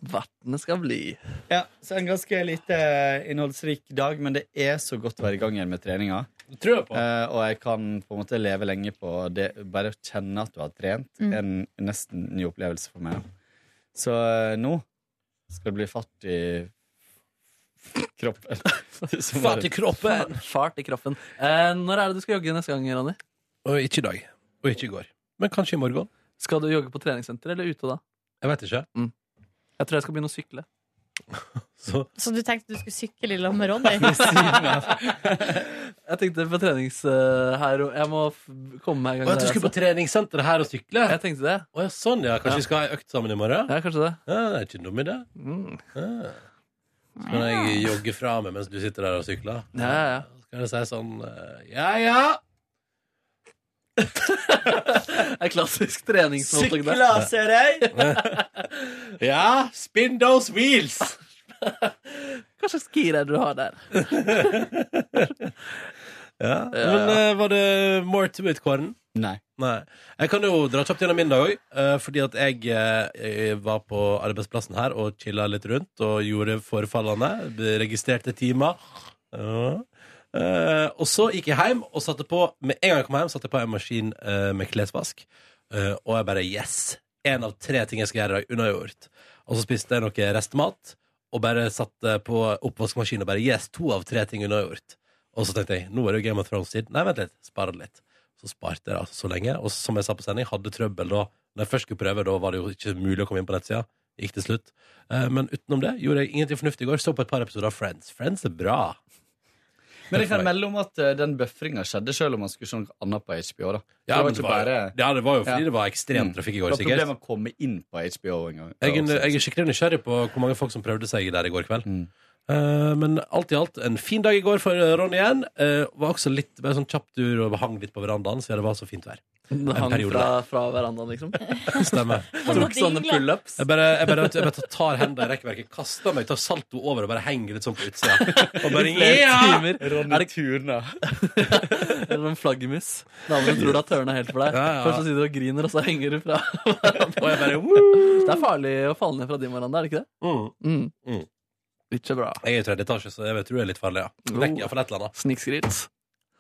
Speaker 4: Vertene skal bli.
Speaker 6: Ja, så en ganske lite eh, innholdsrik dag, men det er så godt å være i gang igjen med treninga.
Speaker 2: Det tror jeg på.
Speaker 6: Eh, og jeg kan på en måte leve lenge på det. Bare å kjenne at du har trent,
Speaker 3: Mm.
Speaker 6: er en nesten ny opplevelse for meg. Så eh, nå skal det bli fart i kroppen. Som
Speaker 2: Fat
Speaker 6: bare-
Speaker 2: i kroppen!
Speaker 4: Fart i kroppen. Eh, når er det du skal jogge neste gang, Ronny?
Speaker 2: Og ikke i dag. Og ikke i går. Men kanskje i morgen.
Speaker 4: Skal du jogge på treningssenter eller ute da?
Speaker 2: Jeg vet ikke.
Speaker 4: Jeg tror jeg skal begynne å sykle.
Speaker 2: Så
Speaker 3: så du tenkte du skulle sykle i lag med Ronny?
Speaker 4: Jeg tenkte på trenings... eh, her, og- jeg må f komme
Speaker 2: Og
Speaker 4: meg i gang.
Speaker 2: jeg
Speaker 4: der,
Speaker 2: skulle på
Speaker 4: altså.
Speaker 2: treningssenter her og sykle.
Speaker 4: jeg tenkte det.
Speaker 2: Å ja, sånn, ja. Kanskje
Speaker 4: Ja.
Speaker 2: vi skal ha ei økt sammen i morgen? Ja.
Speaker 4: Ja, kanskje det.
Speaker 2: det er ikke en dum idé.
Speaker 4: Mm.
Speaker 2: Ja. Så kan jeg jogge fra meg mens du sitter der og sykler.
Speaker 4: Ja, ja, ja.
Speaker 2: Så kan jeg si sånn eh, Ja, ja!
Speaker 4: Det er klassisk treningsmåte. det.
Speaker 6: Sykla, ser jeg!
Speaker 2: Ja, spin those wheels!
Speaker 4: Hva slags gir er det du har der?
Speaker 2: Ja. Men eh, var det more to it, Kåren?
Speaker 6: Nei.
Speaker 2: Nei. Jeg kan jo dra kjapt gjennom min dag òg. Fordi at jeg, eh, jeg var på arbeidsplassen her og chilla litt rundt og gjorde forefallende. Registrerte timer. Ja. Eh, og så gikk jeg hjem og satte på Med en gang jeg kom hjem, satte jeg på en maskin eh, med klesvask. Eh, og jeg bare Yes! Én av tre ting jeg skal gjøre i dag, unnagjort. Og så spiste jeg noe restmat og bare satte på oppvaskmaskinen og bare Yes! To av tre ting unnagjort. Og så tenkte jeg nå er det jo Game of Thrones-tid. Nei, vent litt. Spar det litt. Så sparte jeg det altså så lenge. Og som jeg sa på sending, hadde trøbbel da. Når jeg først skulle prøve, da var det jo ikke mulig å komme inn på nettsida. Gikk til slutt. Eh, Men utenom det gjorde jeg ingenting fornuftig i går. Så på et par episoder av Friends. Friends er bra.
Speaker 6: Men jeg kan melde om at eh, den buffringa skjedde selv om man skulle se noe annet på HBO. da Det var
Speaker 2: men
Speaker 6: ikke bare
Speaker 2: ja, det var jo fordi
Speaker 6: Ja.
Speaker 2: det var ekstrem
Speaker 6: Mm.
Speaker 2: trafikk i
Speaker 6: det
Speaker 2: går,
Speaker 6: var problemet
Speaker 2: sikkert.
Speaker 6: å komme inn på HBO en gang. altså.
Speaker 2: Jeg, er- jeg er skikkelig nysgjerrig på hvor mange folk som prøvde seg der i går kveld.
Speaker 6: Mm.
Speaker 2: Eh, men alt i alt en fin dag i går for eh, Ronny igjen. Eh, var også litt bare sånn kjapp tur og hang litt på verandaen, siden det var så fint vær.
Speaker 4: Det
Speaker 2: En
Speaker 4: hang
Speaker 2: periode
Speaker 4: fra, fra verandaen, liksom.
Speaker 2: Stemmer.
Speaker 4: Tok sånne pullups.
Speaker 2: Jeg bare, jeg bare, jeg bare tar hendene i rekkverket, kaster meg, tar salto over og bare henger litt sånn på utsida. Og bare
Speaker 4: Flere
Speaker 2: ja!
Speaker 4: timer.
Speaker 6: Ronny Turna.
Speaker 4: Eller en flaggermus. Damene tror det har tørna helt for deg.
Speaker 2: Ja, ja.
Speaker 4: Først så sitter du og griner, og så henger du fra.
Speaker 2: Og jeg bare woo!
Speaker 4: Det er farlig å falle ned fra din veranda, er det ikke det?
Speaker 2: Mm.
Speaker 4: Mm.
Speaker 2: Mm.
Speaker 4: Ikke bra.
Speaker 2: Jeg er i tredje etasje, så jeg vet- tror det er litt farlig, ja. Knekk i hvert fall et eller annet.
Speaker 4: Snikskritt.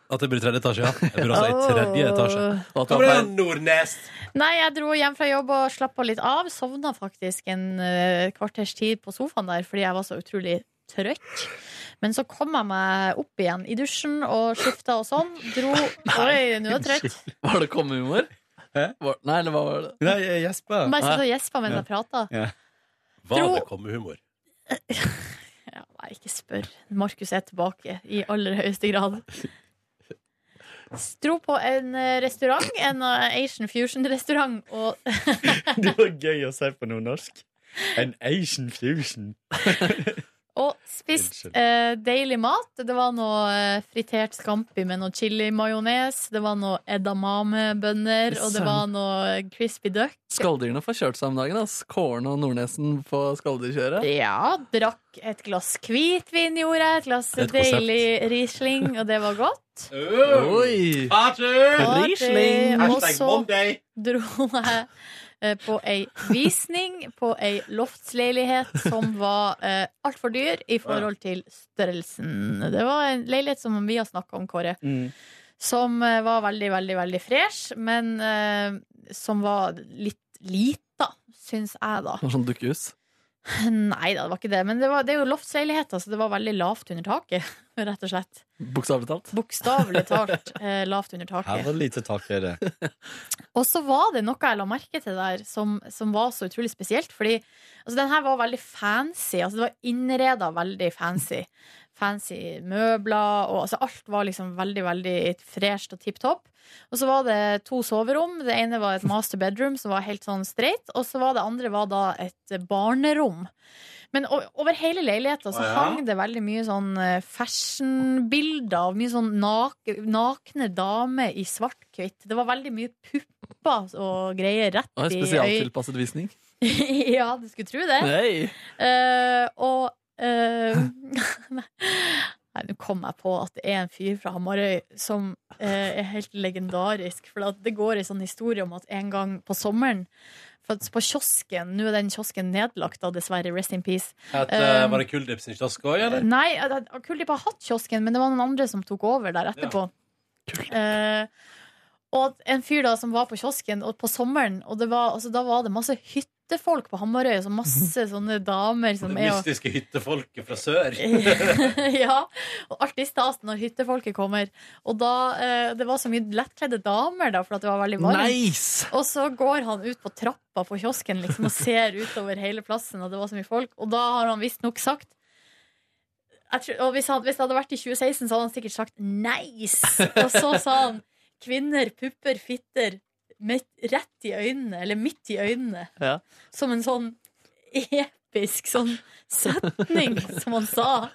Speaker 2: At jeg bor i tredje etasje, ja. Jeg bor altså i tredje etasje.
Speaker 4: Og at du
Speaker 2: Kommer det
Speaker 4: har feil-
Speaker 2: Nordnes?
Speaker 3: Nei, jeg dro hjem fra jobb og slappa litt av. Sovna faktisk en eh, kvarters tid på sofaen der fordi jeg var så utrolig trøtt. Men så kom jeg meg opp igjen i dusjen og skifta og sånn. Dro Oi, nå er jeg trøtt.
Speaker 4: Var det kommehumor?
Speaker 6: Hæ?
Speaker 4: Var- Nei, eller hva var det?
Speaker 6: Nei, Jesper.
Speaker 3: Bare sitte og gjespe mens jeg prata.
Speaker 2: Hva
Speaker 3: Tro-
Speaker 2: det kom med humor?
Speaker 3: Ja, nei, ikke spør. Markus er tilbake i aller høyeste grad. Dro på en eh, restaurant, en eh, Asian fusion-restaurant, og
Speaker 6: Det var gøy å si på nordnorsk. An Asian fusion.
Speaker 3: Og spist
Speaker 6: Unnskyld.
Speaker 3: eh, deilig mat. Det var noe eh, fritert scampi med noe chili-majones. Det var noe edamame-bønner, og det var noe crispy duck.
Speaker 4: Skalldyrene får kjørt seg om dagen. ass. Kåren og Nordnesen på skalldyrbkjøret.
Speaker 3: Ja, drakk et glass hvitvin, gjorde jeg. Et glass
Speaker 2: Et konsept.
Speaker 3: deilig Riesling, og det var godt.
Speaker 6: Øh!
Speaker 4: Oi!
Speaker 3: Og
Speaker 4: Riesling.
Speaker 3: det- Og så dro jeg eh, på ei visning på ei loftsleilighet som var eh, altfor dyr i forhold til størrelsen. Det var en leilighet som vi har snakka om, Kåre.
Speaker 6: Mm.
Speaker 3: Som eh, var veldig, veldig, veldig fresh, men eh, som var litt lita, syns jeg, da.
Speaker 4: Det var Sånn dukkehus.
Speaker 3: Nei da, det var ikke det. Men det, var, det er jo loftsleiligheter, så det var veldig lavt under taket, rett og slett.
Speaker 4: Bokstavelig talt.
Speaker 3: Bokstavelig talt eh, lavt under
Speaker 6: Her
Speaker 3: taket.
Speaker 6: var lite takhøyde.
Speaker 3: Og så var det noe jeg la merke til der som, som var så utrolig spesielt, fordi altså, den her var veldig fancy. Altså, det var innreda veldig fancy. Fancy møbler og altså, Alt var liksom veldig, veldig fresht og tipp topp. Og så var det to soverom. Det ene var et master bedroom som var helt sånn streit. Og så var det andre var da et barnerom. Men o- over hele leiligheta så hang det veldig mye sånn eh, fashion-bilder av mye sånn nak nakne damer i svart-hvitt. Det var veldig mye pupper og greier rett
Speaker 4: Og en
Speaker 3: i øyet.
Speaker 4: spesialtilpasset visning.
Speaker 3: ja, du skulle tro det.
Speaker 4: Nei.
Speaker 3: Eh, og eh, Nei, nå kom jeg på at det er en fyr fra Hamarøy som eh, er helt legendarisk. For at det går en sånn historie om at en gang på sommeren for at På kiosken, nå er den kiosken nedlagt, da, dessverre. Rest in peace.
Speaker 2: Et,
Speaker 3: Eh,
Speaker 2: eh, var det kuldips i kiosk òg, eller?
Speaker 3: Nei, Kuldip har hatt kiosken, men det var noen andre som tok over der etterpå. Eh, og at en fyr da som var på kiosken og på sommeren, og det var, altså, da var det masse hyttefolk på Hamarøy, så masse sånne damer som
Speaker 2: Det
Speaker 3: er Mhm. og
Speaker 2: mystiske hyttefolket fra sør.
Speaker 3: Eh, ja, og alltid stas når hyttefolket kommer. Og da, eh, det var så mye lettkledde damer, da, for at det var veldig varmt.
Speaker 4: Nice!
Speaker 3: Og så går han ut på trappa på kiosken liksom, og ser utover hele plassen, og det var så mye folk. Og da har han visstnok sagt jeg tror, og hvis, han, hvis det hadde vært i 2016, så hadde han sikkert sagt 'nice'. Og så sa han 'kvinner, pupper, fitter'. Med, rett i øynene, eller midt i øynene.
Speaker 4: Ja.
Speaker 3: Som en sånn episk sånn setning som han sa.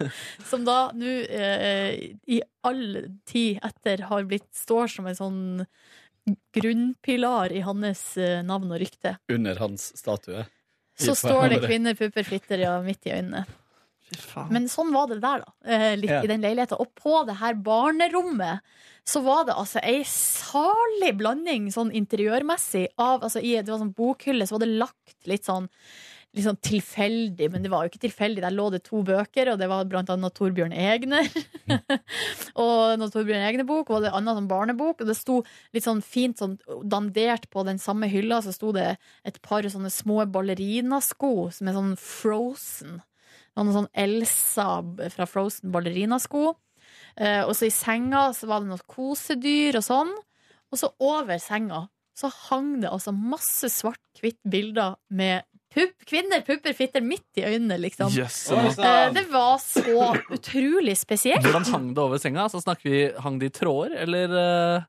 Speaker 3: Som da nå eh, i all tid etter har blitt står som en sånn grunnpilar i hans eh, navn og rykte.
Speaker 6: Under hans statue. I
Speaker 3: Så står det
Speaker 6: Hamarøy.
Speaker 3: 'kvinner, pupper, fitter' ja, midt i øynene.
Speaker 4: Fy faen.
Speaker 3: Men sånn var det der, da. eh, Litt
Speaker 6: Ja.
Speaker 3: i den leiligheta. Og på det her barnerommet så var det altså ei salig blanding sånn interiørmessig av altså, i, Det var sånn bokhylle, så var det lagt litt sånn Litt sånn tilfeldig, men det var jo ikke tilfeldig. Der lå det to bøker, og det var blant annet Torbjørn Egner. og noe Torbjørn Egner-bok, og det annet som barnebok. Og det sto litt sånn fint sånn dandert på den samme hylla, så sto det et par sånne små ballerinasko som er sånn frozen. Noen sånn Elsa fra Frozen ballerinasko. Eh, og så i senga så var det noe kosedyr og sånn. Og så over senga så hang det altså masse svart-hvitt bilder med pupp, kvinner, pupper, fitter midt i øynene, liksom.
Speaker 4: Jøsse
Speaker 2: Oi,
Speaker 4: navn.
Speaker 3: Eh,
Speaker 2: sann.
Speaker 3: det var så utrolig spesielt.
Speaker 4: Hvordan hang det over senga? Så snakker vi, Hang det i tråder, eller eh,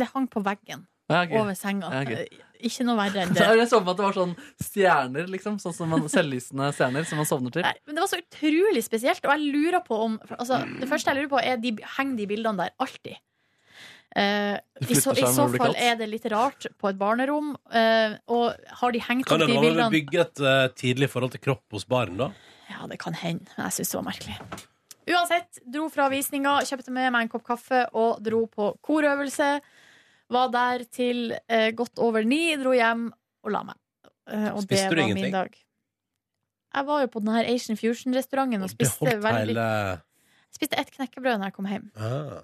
Speaker 3: Det hang på veggen
Speaker 4: ja, ok.
Speaker 3: over senga.
Speaker 4: Ja, ok.
Speaker 3: Eh, Ikke noe verre enn
Speaker 4: Så
Speaker 3: det.
Speaker 4: er det sånn at det var sånn stjerner, liksom. Sånn som man, selvlysende stjerner som man sovner til.
Speaker 3: Nei, men det var så utrolig
Speaker 2: Mm.
Speaker 3: spesielt, og jeg lurer på om for, altså, Det første jeg lurer på, er de, henger de bildene der alltid? Eh,
Speaker 4: Det
Speaker 3: i, så, I
Speaker 4: flytter seg
Speaker 3: så
Speaker 4: når det blir
Speaker 3: fall
Speaker 4: kaldt.
Speaker 3: er det litt rart på et barnerom. eh, og har de hengt
Speaker 2: Kan
Speaker 3: opp
Speaker 2: det
Speaker 3: de
Speaker 2: være med å
Speaker 3: bildene
Speaker 2: bygge et eh, tidlig forhold til kropp hos barn, da?
Speaker 3: Ja, det kan hende. Men jeg syns det var merkelig. Uansett, dro fra visninga, kjøpte med meg en kopp kaffe og dro på korøvelse. Var der til eh, godt over ni, dro hjem og la meg. Eh, og
Speaker 2: Spiste
Speaker 3: det
Speaker 2: du
Speaker 3: var
Speaker 2: ingenting?
Speaker 3: min dag. Jeg var jo på den her Asian Fusion-restauranten og
Speaker 2: Det
Speaker 3: spiste,
Speaker 2: holdt
Speaker 3: veldig,
Speaker 2: hele
Speaker 3: spiste ett knekkebrød når jeg kom hjem.
Speaker 2: ah.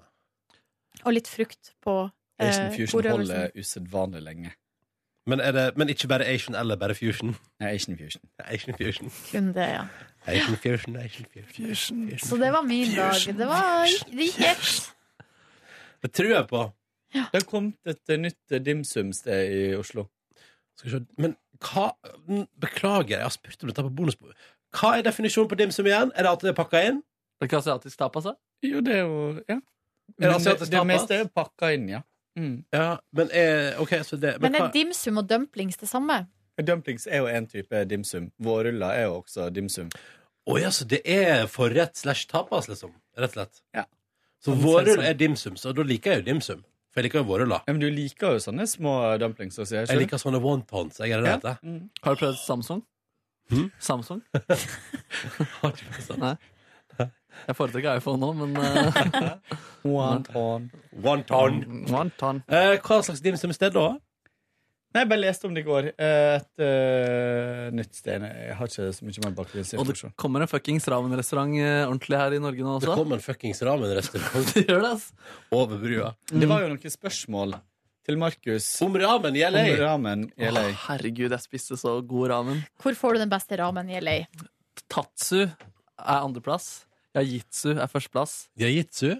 Speaker 3: Og litt frukt på eh,
Speaker 6: Asian Fusion
Speaker 3: korøvelsen.
Speaker 6: holder usedvanlig lenge.
Speaker 2: men, er det, men ikke bare Asian eller bare Fusion?
Speaker 6: Nei, Asian Fusion.
Speaker 2: Asian Fusion.
Speaker 3: Kun det, ja.
Speaker 2: Asian Fusion, Asian Fusion. Fusion.
Speaker 3: Så det var min dag. Det, var, det gikk ett.
Speaker 2: Det tror jeg på.
Speaker 6: Det har kommet et eh, nytt eh, dim sum-sted i Oslo.
Speaker 2: Skal vi se. Men hva mm, Beklager, jeg har spurt om dette på bonusbordet. Hva er definisjonen på dimsum igjen? Er det at det er pakka inn?
Speaker 4: Det er ikke asiatisk altså. tapas, da?
Speaker 6: Jo, det er jo Ja.
Speaker 2: Er Altså, det
Speaker 6: Men det,
Speaker 2: asiatisk
Speaker 6: det
Speaker 2: tapas?
Speaker 6: meste er pakka inn, ja. Mm.
Speaker 2: Ja, men er, ok, så det
Speaker 3: Men
Speaker 2: hva-
Speaker 3: er dimsum og dumplings det samme?
Speaker 6: Dumplings er jo en type dim sum. Vårruller er jo også dim sum.
Speaker 2: Å ja, så det er forrett slash tapas, liksom? Rett og slett.
Speaker 6: Ja.
Speaker 2: Så
Speaker 6: Kan du si
Speaker 2: vårrull
Speaker 6: sånn?
Speaker 2: er dimsum, så da liker jeg jo dimsum. For jeg liker jo vårruller.
Speaker 6: Ja, men du liker jo sånne små dumplings også, gjør
Speaker 2: Jeg
Speaker 6: ikke du?
Speaker 2: liker sånne wontons. Jeg er det
Speaker 6: Ja.
Speaker 2: det heter.
Speaker 6: Mm.
Speaker 4: Har du prøvd Samsung?
Speaker 2: Hm?
Speaker 4: Samsung?
Speaker 2: Har ikke det sånn.
Speaker 4: Nei. Jeg foretrekker iPhone nå, men eh,
Speaker 6: Mm. Wonton.
Speaker 2: Wonton.
Speaker 6: Mm.
Speaker 4: Wonton.
Speaker 2: Eh, hva slags dimsum-sted, da?
Speaker 6: Nei, jeg bare leste om det i går. Eh, Et eh, nytt sted. Nei, Jeg har ikke så mye
Speaker 4: Og
Speaker 6: mer
Speaker 4: det
Speaker 6: bakgrunnsinformasjon.
Speaker 4: kommer en fuckings ramenrestaurant eh, ordentlig her i Norge nå
Speaker 2: Det
Speaker 4: også.
Speaker 2: kom en fuckings ramenrestaurant
Speaker 4: Det gjør det, ass.
Speaker 2: over brua.
Speaker 6: Det var jo noen spørsmål til Markus
Speaker 2: Om ramen
Speaker 6: om
Speaker 2: gjelder jeg.
Speaker 6: ramen i LA.
Speaker 4: Å, herregud, jeg spiste så god ramen.
Speaker 3: Hvor får du den beste ramen i LA?
Speaker 4: Tatsu er andreplass. Yajitsu er førsteplass.
Speaker 2: Jiu-jitsu?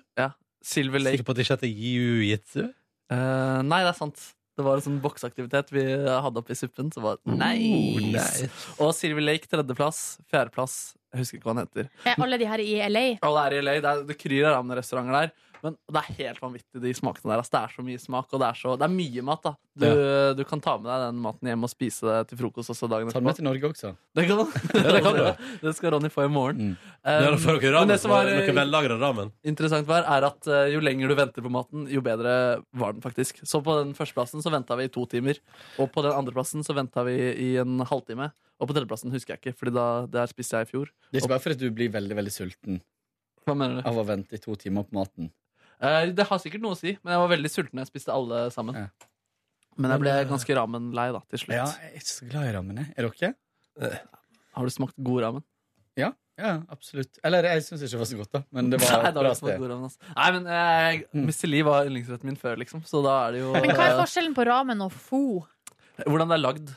Speaker 4: Silver Lake
Speaker 2: Sikker på at det ikke heter jiu-jitsu?
Speaker 4: Eh, Nei, det er sant. Det var en sånn bokseaktivitet vi hadde oppi suppen. Så var nice. Og Silver Lake tredjeplass. Fjerdeplass. Jeg husker ikke hva den heter.
Speaker 3: Er alle de her i LA?
Speaker 4: Alle er i LA. Det, er, det kryr av ramenrestauranter der. Men det er helt vanvittig, de smakene der. ass. Det er så mye smak, og det er, så, det er mye mat. da du, du kan ta med deg den maten hjem og spise det til frokost også dagen
Speaker 6: Ta den med til Norge også.
Speaker 4: Det kan du.
Speaker 2: Ja, det kan du.
Speaker 4: Det skal Ronny få i morgen.
Speaker 6: Mm.
Speaker 4: Eh,
Speaker 2: Ja, da får dere
Speaker 4: men
Speaker 2: ramen.
Speaker 4: det som eh, var,
Speaker 2: Noe vellagra ramen.
Speaker 4: interessant var, er at eh, jo lenger du venter på maten, jo bedre var den faktisk. Så på den førsteplassen så venta vi i to timer, og på den andreplassen så venta vi i en halvtime. Og på tredjeplassen husker jeg ikke, Fordi da, der spiste jeg i fjor.
Speaker 6: Det er ikke bare fordi du blir veldig veldig sulten
Speaker 4: Hva mener du?
Speaker 6: av å vente i to timer på maten.
Speaker 4: Eh, det har sikkert noe å si, men jeg var veldig sulten da jeg spiste alle sammen.
Speaker 6: Ja.
Speaker 4: Men jeg ble
Speaker 2: Men, eh,
Speaker 4: ganske ramenlei da, til slutt.
Speaker 6: Ja, jeg er ikke så glad i ramen, jeg. Er dere?
Speaker 4: Har du smakt god ramen?
Speaker 6: Ja, absolutt. Eller jeg syns ikke det var så godt, da. Men det var
Speaker 4: Nei, da
Speaker 6: et
Speaker 4: har
Speaker 6: bra
Speaker 4: du smakt
Speaker 6: sted.
Speaker 4: god ramen altså. Nei, men eh,
Speaker 6: Mm.
Speaker 4: Mr. Lee var yndlingsretten min før, liksom. Så da er det jo
Speaker 3: Men hva er
Speaker 4: eh,
Speaker 3: forskjellen på ramen og fo?
Speaker 4: Hvordan det er lagd.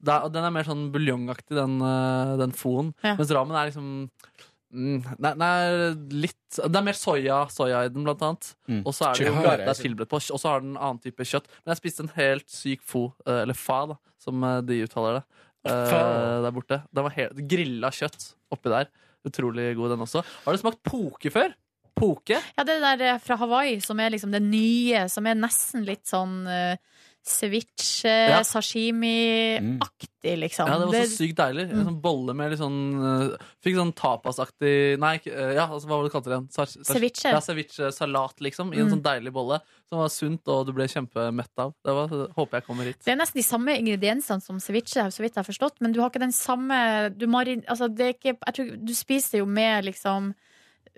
Speaker 4: Det er, den er mer sånn buljongaktig, den, eh, den foen.
Speaker 3: Ja.
Speaker 4: Mens ramen er liksom mm, Nei, den er litt Det er mer soya, soya i den, blant annet.
Speaker 6: Mm.
Speaker 4: Og så er det jo
Speaker 6: Chihara,
Speaker 4: det er
Speaker 6: jeg-
Speaker 4: tilberedt på, og så har den en annen type kjøtt. Men jeg spiste en helt syk fo, eh, eller fa, da, som eh, de uttaler det, eh,
Speaker 2: Fa.
Speaker 4: der borte. Det var helt, grilla kjøtt oppi der. Utrolig god, den også. Har du smakt poke før? Poke?
Speaker 3: Ja, det der eh, fra Hawaii, som er liksom det nye, som er nesten litt sånn eh, ceviche,
Speaker 4: Ja.
Speaker 3: sashimi-aktig, liksom.
Speaker 4: Ja, det var så
Speaker 3: Det-
Speaker 4: sykt deilig. En
Speaker 3: Mm.
Speaker 4: sånn bolle med litt sånn eh, Fikk sånn tapasaktig Nei, ikke- eh, ja, altså, hva var det du kalte det igjen? Sar- sar-
Speaker 3: Ceviche.
Speaker 4: Ja, ceviche-salat, liksom. I en
Speaker 3: Mm.
Speaker 4: sånn deilig bolle som var sunt, og du ble kjempemett av. Det var, håper jeg kommer hit.
Speaker 3: Det er nesten de samme ingrediensene som ceviche, så vidt jeg har forstått, men du har ikke den samme du, marin, altså, det er ikke, jeg tror, du spiser det jo med liksom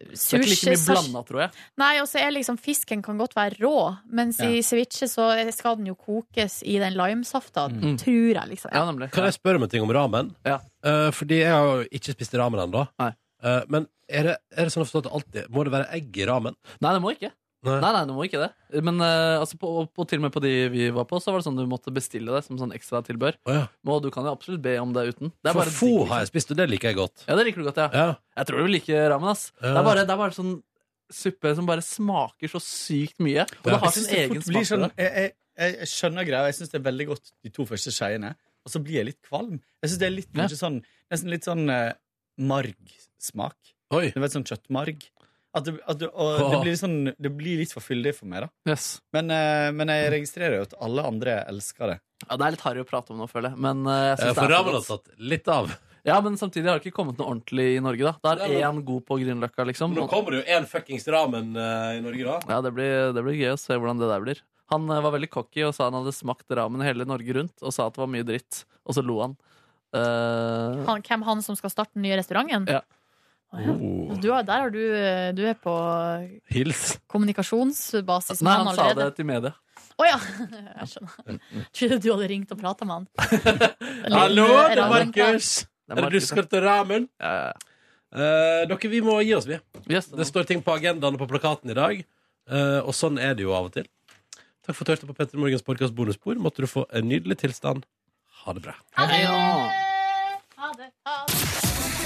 Speaker 4: Det er ikke
Speaker 3: sushi
Speaker 4: like mye
Speaker 3: sash-
Speaker 4: blanda, tror jeg.
Speaker 3: Nei, og så er liksom fisken kan godt være rå, mens i ceviche så skal den jo kokes i den limesafta,
Speaker 4: Mm.
Speaker 3: tror jeg, liksom.
Speaker 4: Ja, nemlig.
Speaker 2: Kan jeg spørre om en ting om ramen?
Speaker 4: Ja.
Speaker 2: Eh, fordi jeg har jo ikke spist ramen ennå.
Speaker 4: Nei.
Speaker 2: Eh, men er det, er det sånn å forstå at det alltid må det være egg i ramen?
Speaker 4: Nei, det må ikke.
Speaker 2: Nei.
Speaker 4: Nei, nei, du må ikke det. Men eh, altså, på, og til og med på de vi var på, så var det sånn du måtte bestille det som sånn ekstra tilbør.
Speaker 2: Å ja.
Speaker 4: Og du kan jo absolutt be om det uten. Det er
Speaker 2: For
Speaker 4: bare
Speaker 2: få
Speaker 4: digg, liksom.
Speaker 2: har jeg spist, og det liker jeg godt.
Speaker 4: Ja, det liker du godt, ja.
Speaker 2: Ja.
Speaker 4: Jeg tror du liker ramen, ass.
Speaker 2: Ja.
Speaker 4: Det, er bare, det er bare sånn suppe som bare smaker så sykt mye. Og
Speaker 2: Ja.
Speaker 4: det har sin egen
Speaker 6: Jeg,
Speaker 4: smak. til det.
Speaker 6: sånn, jeg, jeg, jeg jeg skjønner greia. Jeg syns det er veldig godt de to første skeiene. Og så blir jeg litt kvalm. Jeg synes det er litt,
Speaker 4: Ja.
Speaker 6: mye sånn, Nesten litt sånn eh, margsmak.
Speaker 2: Oi.
Speaker 6: Du vet, sånn kjøttmarg. At det, at du, og det,
Speaker 2: Åh.
Speaker 6: blir litt sånn, det blir litt for fyldig for meg, da.
Speaker 4: Yes.
Speaker 6: Men, eh, men jeg registrerer jo at alle andre elsker det.
Speaker 4: Ja, det er litt harry å prate om nå, føler jeg. Men eh, jeg
Speaker 2: Eh,
Speaker 4: synes
Speaker 2: For
Speaker 4: det er
Speaker 2: ramen
Speaker 4: så
Speaker 2: har
Speaker 4: godt.
Speaker 2: tatt litt av.
Speaker 4: Ja, men samtidig har det ikke kommet noe ordentlig i Norge, da. Det er én god på Grünerløkka, liksom.
Speaker 2: Nå kommer det jo en fuckings ramen eh, i Norge, da.
Speaker 4: Ja, det blir, det blir gøy å se hvordan det der blir. Han eh, var veldig cocky og sa han hadde smakt ramen hele Norge rundt og sa at det var mye dritt. Og så lo han. Eh,
Speaker 3: Han, hvem han som skal starte den nye restauranten?
Speaker 4: Ja.
Speaker 3: Å, ja. Du, har- der har du, du er på
Speaker 2: Oh, Hils.
Speaker 3: kommunikasjonsbasis
Speaker 4: nei,
Speaker 3: med
Speaker 4: han
Speaker 3: han
Speaker 4: sa det
Speaker 3: allerede.
Speaker 4: til media.
Speaker 3: Å ja! Jeg skjønner. Trodde du hadde ringt og prata med han.
Speaker 2: Hallo, det er
Speaker 3: Ramen klar.
Speaker 2: Markus.
Speaker 4: Det
Speaker 2: Er det du
Speaker 4: Markus,
Speaker 2: skal til ramen?
Speaker 4: Ja, ja,
Speaker 2: Eh, dere, vi må gi oss, vi.
Speaker 4: ja. sånn- Yes,
Speaker 2: Det står ting på agendaen og på plakaten i dag, eh, og sånn er det jo av og til. Takk for at du hørte på Petter Morgens podkast bonusbord. Måtte du få en nydelig tilstand. Ha det bra.
Speaker 3: Ha det. Ha det.